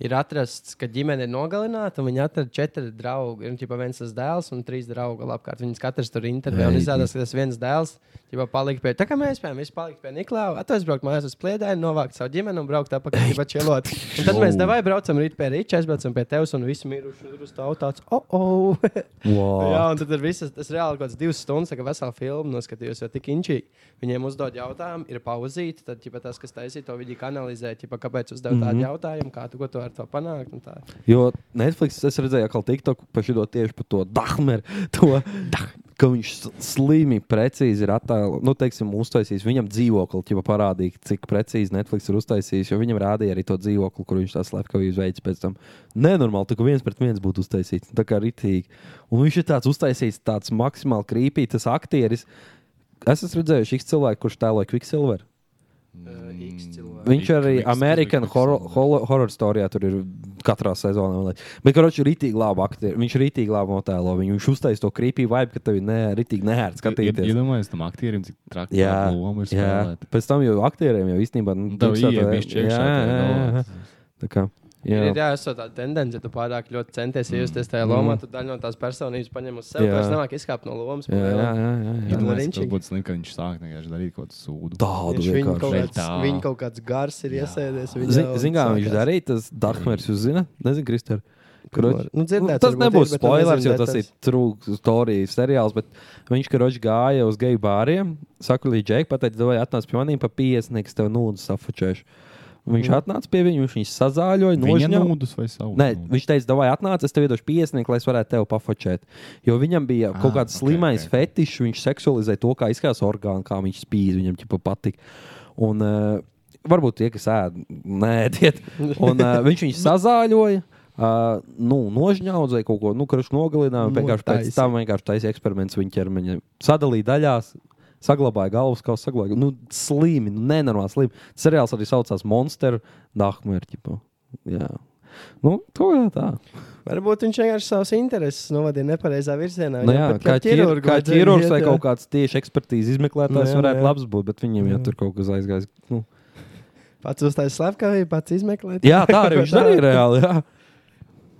H: Ir atrasts, ka ģimene ir nogalināta, un viņi atrada četri draugi. Ir jau viens tas dēls un trīs draugi apkārt. Viņus katrs tur intervijā. Un
A: Ei,
H: izrādās, ka tas viens dēls jau palika pie tā, kā mēs bijām. Viņš palika pie Niklausa, atbraukt mājās uz plēdēju, novākt savu ģimeni un braukt apakšā pie čelot. Un tad mēs devai braucam rīt pie rīča, aizbraucam pie tevis un visi miruši tur uz tavu tāds. Oh, oh.
A: Wow.
H: Jā, un tad ir visas, tas reāli kaut kāds divas stundas, tā kā vesela filma noskatījos, jo tik inčīgi. Viņiem uzdod jautājumu, ir pauzīta, tad ķipa, tas, kas taisīja to, viņi analizē, ķipa, kāpēc uzdev mm -hmm.
A: Mhm.
H: tādu jautājumu, kā tu ko tu ar to panākt. un tā.
A: Jo Netflix, es redzēju, ka TikTok pašidot tieši par to Dahmeru. To, ka viņš s- slimi precīzi ir attēlojis, nu, teiksim, uztaisījis viņam dzīvokli, jau parādīja, cik precīzi Netflix ir uztaisījis. Jo viņam rādīja arī to dzīvokli, kur viņš tā slepkavības veids pēc tam. Nenormāli, tā kā viens pret viens būtu uztaisīts, tā kā ritīgi. Un viņš ir tāds uztaisījis, tāds maksimāli krīpī, tas aktieris. Es esmu redzējis, šis cilvēks, kurš tēloja Quicksilver.
H: Uh, X cilvēki.
A: Viņš
B: Ik-
A: arī
B: ik-
A: American
B: ik-
A: horror, horror, horror storijā tur ir katrā sezonā. man liekas. Bet, kā viņš ir rītīgi labi aktieris, viņš ir rītīgi labi notēlo viņu. Viņš uztaisīja to krīpī vibe, ka tev ir nē, rītīgi nērti skatīties.
B: Iedomājieties, tam aktierim cik traki
A: Jā,
B: tā loma ir
A: jā.
B: spēlēta.
A: Pēc tam jau aktieriem jau īstenībā nu,
B: Tev
A: drīkstētu-
B: ieeja bišķi iekšā tajā galvā.
A: Tā kā,
H: Jā.
A: jā. Mm.
H: Ir jā, es to tādu tendenci, ja tu pārāk ļoti centies iejusties tajā lomā, tad daļa no tās personības paņem uz sevi.
A: Jā.
H: Tas nemāk izkāpt no lomas.
A: Jā, jā, jā, jā, jā.
B: Iedomājieties,
H: Viņš
B: tas būtu slikti, ka viņš sāk vienkārši darīt kaut kādu sūdu.
A: Tādu
H: viņu kaut,
A: vienkārši.
B: veidā.
H: kāds, viņu kaut kāds gars ir iesēdies. viņa jau
A: Ziniet, kā viņš
H: sākās.
A: darīja, tas Dārkmērs, jūs zināt, nezinu, Kristēns. Kroč,
H: Nu, dzirdēts
A: tas
H: varbūt
A: nebūs
H: ir, bet nu
A: spoilers, jo
H: nezinu
A: tas ir
H: detaļas.
A: true story seriāls. Bet viņš kroč gāja uz geju bāriem, saka, līdz džekai, pateica, vai atnāc pie maniem pa 50, es tev nulli safučēšu. Viņš mm. atnāca pie viņa, viņš viņu sazāļoja.
B: Viņa
A: nožņauja.
B: nūdus vai savu
A: Nē,
B: nūdu?
A: viņš teica, vai atnāc, es tev iedošu piesnieku, lai es varētu tevi pafočēt. Jo viņam bija kaut kāds okay, slimais okay. fetišs, viņš seksualizēja to, kā izskatās orgāns, kā viņš spīd, viņam ķipa patika. Un, uh, varbūt tie, kas ēd, nē, iet. Un, uh, viņš viņu sazāļoja. Uh, nu, nožņaudz vai kaut ko nu, tādu nogalinājumu. Vienkārši pēc
H: Notaisa.
A: tam vienkārši taisīja eksperiments viņa ķermeņa. Sadalīja daļās, saglabāja galvas kausu, saglabāja. Nu, slimi, nu, nenormāli slimi. Tas seriāls arī saucās Monster Dahmerķipa. Jā. Nu, to jau tā.
H: Varbūt viņš vienkārši savus intereses novadīja nepareizā virzienā.
A: Nu, jā,
H: Viņam pat
A: kā ķirurgs, kā
H: vajadzēja
A: ķirurgs
H: iet,
A: vai
H: jā.
A: kaut kāds tieši ekspertīzes izmeklētājs
H: Nu, jā,
A: varētu
H: jā.
A: labs būt, bet viņiem jau tur kaut kas aizgājis. Nu.
H: Pats uztaisīja slepkavību, pats izmeklēja.
A: Jā, tā arī viņš darīja reāli. Jā.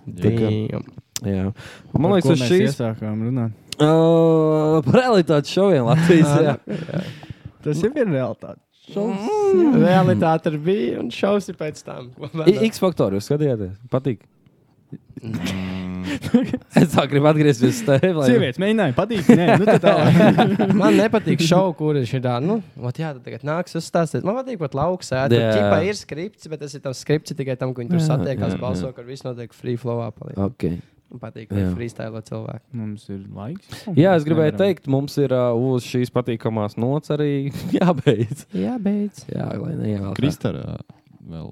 A: Tā
H: kā-
A: Jā. Man liekas, uz šīs
I: iesākām runāt.
A: uh, realitātes šoviem Latvijas. jā.
H: nu,
I: Tas jau ir realitāte.
H: Mm. Realitāte ir bija un šausmas ir pēc tam.
A: I- X faktori, jūs skatījāties? Patīk.
H: Mm.
A: es tā gribu atgriezties pie tevis.
I: Sievietes mēģināja patīk. Nē, nu tad tā.
H: Man nepatīk šovu, kur ir šī tā. Nu, vat jā, tad tagad nāks uzstāstīt. Man patīk, pat lauks. Jā,
A: Jā.
H: tā ir skripts, bet tas ir tavs skripts tikai tam, ka viņi tur
A: Jā,
H: satiekās,
A: jā,
H: balso, kur viss notiek free flowā. paliek.
A: Okay.
H: Man patīk,
A: Jā.
H: ka freestyle cilvēki.
I: Mums ir laiks.
A: Jā, es gribēju
I: Nevaram.
A: teikt, mums ir uh, uz šīs patīkamās nots arī jābeidz.
H: Jā, beidz.
A: Jā, lai neievēl.
B: Kristara vēl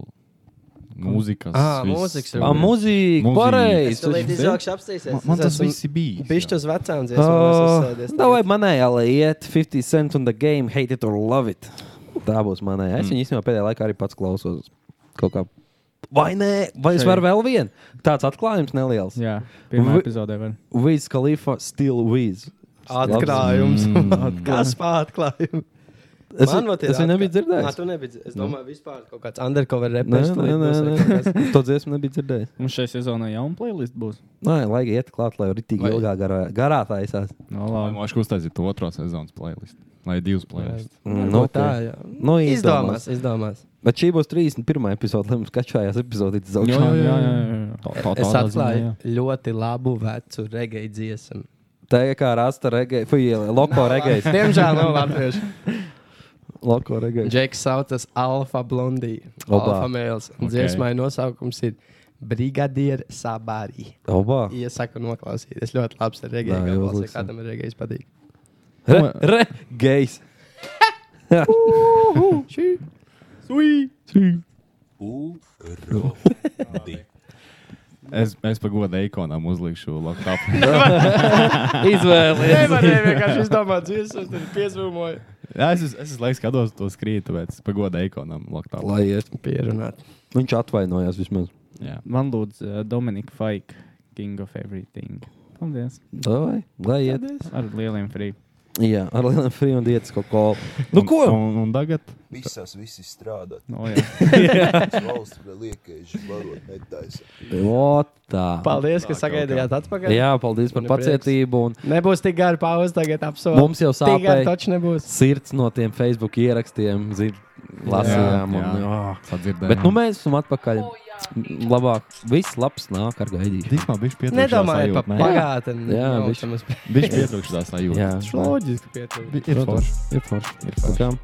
B: mūzikas.
H: Ā,
B: viss.
H: mūzikas ir
A: Ah, mūzika,
B: Mūzika.
H: Es
A: pareizi.
H: tam līdzi izvilkšu apstīsies.
B: Man tas viss ir bijis.
H: Bišķi uz vecām
A: Oh,
H: dziesmām.
A: Tā vai manējā, lai iet 50 cent un the game, hate it or love it. Tā būs manējā. Es viņu īstenībā pēdējā laikā arī pats klausos. Kaut kā. Vai nē, vai es
I: Šeit.
A: varu vēl vienu? Tāds atklājums neliels.
I: Jā, pirmā
A: Vi-
I: epizodē var.
A: Viz Khalifa, still viz.
H: Atklājums. Kas pārklājums?
A: Mm. Es, es viņu nebiju
H: Nā,
A: dzirdējis. Nu.
H: tu nebija. Es domāju, vispār kaut kāds undercover
A: Nē,
H: reperis.
A: nē, nē, nē. to dziesmu nebija dzirdējis.
I: Mums šai sezonai jauna playlist būs.
A: Nē, lai iet klāt, lai ritīgi ilgā garā, garā taisās.
I: No,
B: Lai
I: labi.
B: Mošu uztaisīt to otro sezonas playlist. Lai ir divas playlists.
A: Nu,
H: tā,
A: ok.
H: jā.
A: Nu, izdomās.
H: Izdomās, izdomās.
A: Bet šī būs 31. epizode, lai mums kačājās epizode.
B: Jā, jā, jā, jā,
I: jā.
B: Tā-
H: Es
B: tādā
H: atklāju
B: ziņā, jā.
H: ļoti labu vecu regēju dziesmu.
A: Tā ir kā rasta reggae, fui, loko reggae.
H: Diemžēl nav latviešu.
A: Loko reggae.
H: Džeks saucas Alfa Blondī.
A: Opa.
H: Alfa Mēls. Okay. Dziesmai nosaukums ir Brigadier Sabari.
A: Obā.
H: Iesaku noklausīties. Ļoti labs ir
A: Jā,
H: regēju. gabals, ja
A: uzliksim.
H: Kādam ir regējis patīk.
A: Re, re, gejs.
B: Es, es pagodu ikonām uzlikšu laptopu.
A: Izvēlies.
H: Nevarēja vienkārši izdomāt dziesmu, tad piezvumoju.
B: Jā, es, es, es, es laikam skatos to skrītu, bet es pagodu ikonām
H: Nu
B: laptopu.
A: Lai iet.
H: Pierunāt.
A: Viņš atvainojās vismaz.
B: Jā.
I: Man lūdzu, uh, Dominika Faika, King of Everything. Paldies.
A: Davai, Lai iet.
I: Ar lieliem frī.
A: Jā, ar lieliem frī un dietas kaut ko. Nu, ko?
B: Un, un, un tagad
D: Visās visi strādā.
I: No, jā.
D: Valsts liekais, varot netaisa.
A: O, tā.
H: Paldies, ka sagaidījāt atpakaļ.
A: Jā, paldies par
H: Man ir
A: pacietību. Un
H: Nebūs tik gara pauze tagad, apsolu.
A: Mums jau
H: Tik gara
A: sāpēja.
H: taču nebūs.
A: sirds no tiem Facebook ierakstiem, zin, lasījām.
B: Jā,
A: un,
B: jā.
A: oh.
B: sadzirdēju.
A: Bet nu, mēs esam atpakaļ. Labāk, viss labs nāk ar gaidīšanu.
B: Dīsmā bija pietrūkstās.
H: Nedomājiet par
B: pagājušā.
H: pagātni.
A: Jā,
H: nav
A: bišķi.
H: tam uz-
B: Bija pietrūkstās sajūta.
A: Jā.
H: Loģiski pietrūkst.
B: Bi- Ir forši.
A: Ir forši.
B: Ir forši.
A: Tiešām.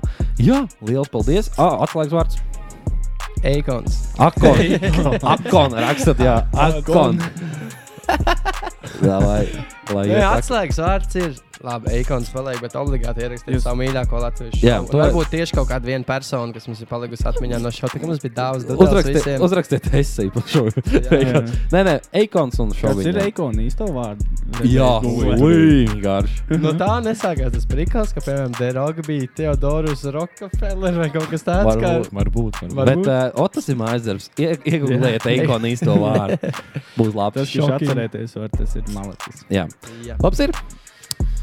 A: Jā, liels paldies. Ah, atslēgas vārds.
H: Eikons.
A: Akon. Akon rakstat, jā. Akon. Jā, lai. lai
H: Nē,
A: iet ak-
H: atslēgas vārds ir. Labi, eikons paliek, bet obligāti ierakstīt savu mīļāko latviešu.
A: Jā,
H: šovu.
A: to-
H: varbūt tieši kaut kāda viena persona, kas mums ir palikusi atmiņā no šā, ka mums bija daudz
A: Uzrakstiet, uzrakstiet esai par šo. Eikons. Nē, nē, eikons un šo.
I: Tas ir ikona īsto vārdu.
A: Jā, līnīgi garš.
H: No tā nesākās tas prikals, ka, piemēram, Deroga bija Teodorus Rockefeller vai kaut kas tāds. Kā...
A: Varbūt.
B: Varbūt. varbūt.
A: Bet uh, o, tas ir mājasdarbs. Ie- Iegūliet eikonu īsto vārdu. Būs labi.
I: Tas, kurš atcerēties var, tas ir malecis.
A: Jā.
H: Jā.
A: Labs ir.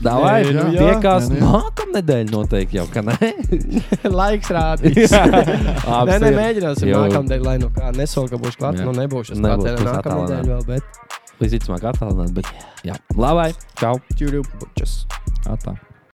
A: Davai,
B: Nē, nu jā.
A: tiekās
B: Nē, nu jā.
A: nākamnedēļ noteikti jau, ka nē?
H: Laiks rādīs. Nē, nē, mēģināsim
A: Jū.
H: nākamnedēļ, lai nu kā nesoka būšu klāt,
A: Jā.
H: nu nebūšu es
A: Nebūs,
H: klāt,
A: būs
H: nākamnedēļ vēl, bet.
A: Visticamāk attālināt, bet jā. Labai, čau!
H: Čurju, bučas.
A: Ah, tá.
B: Atā.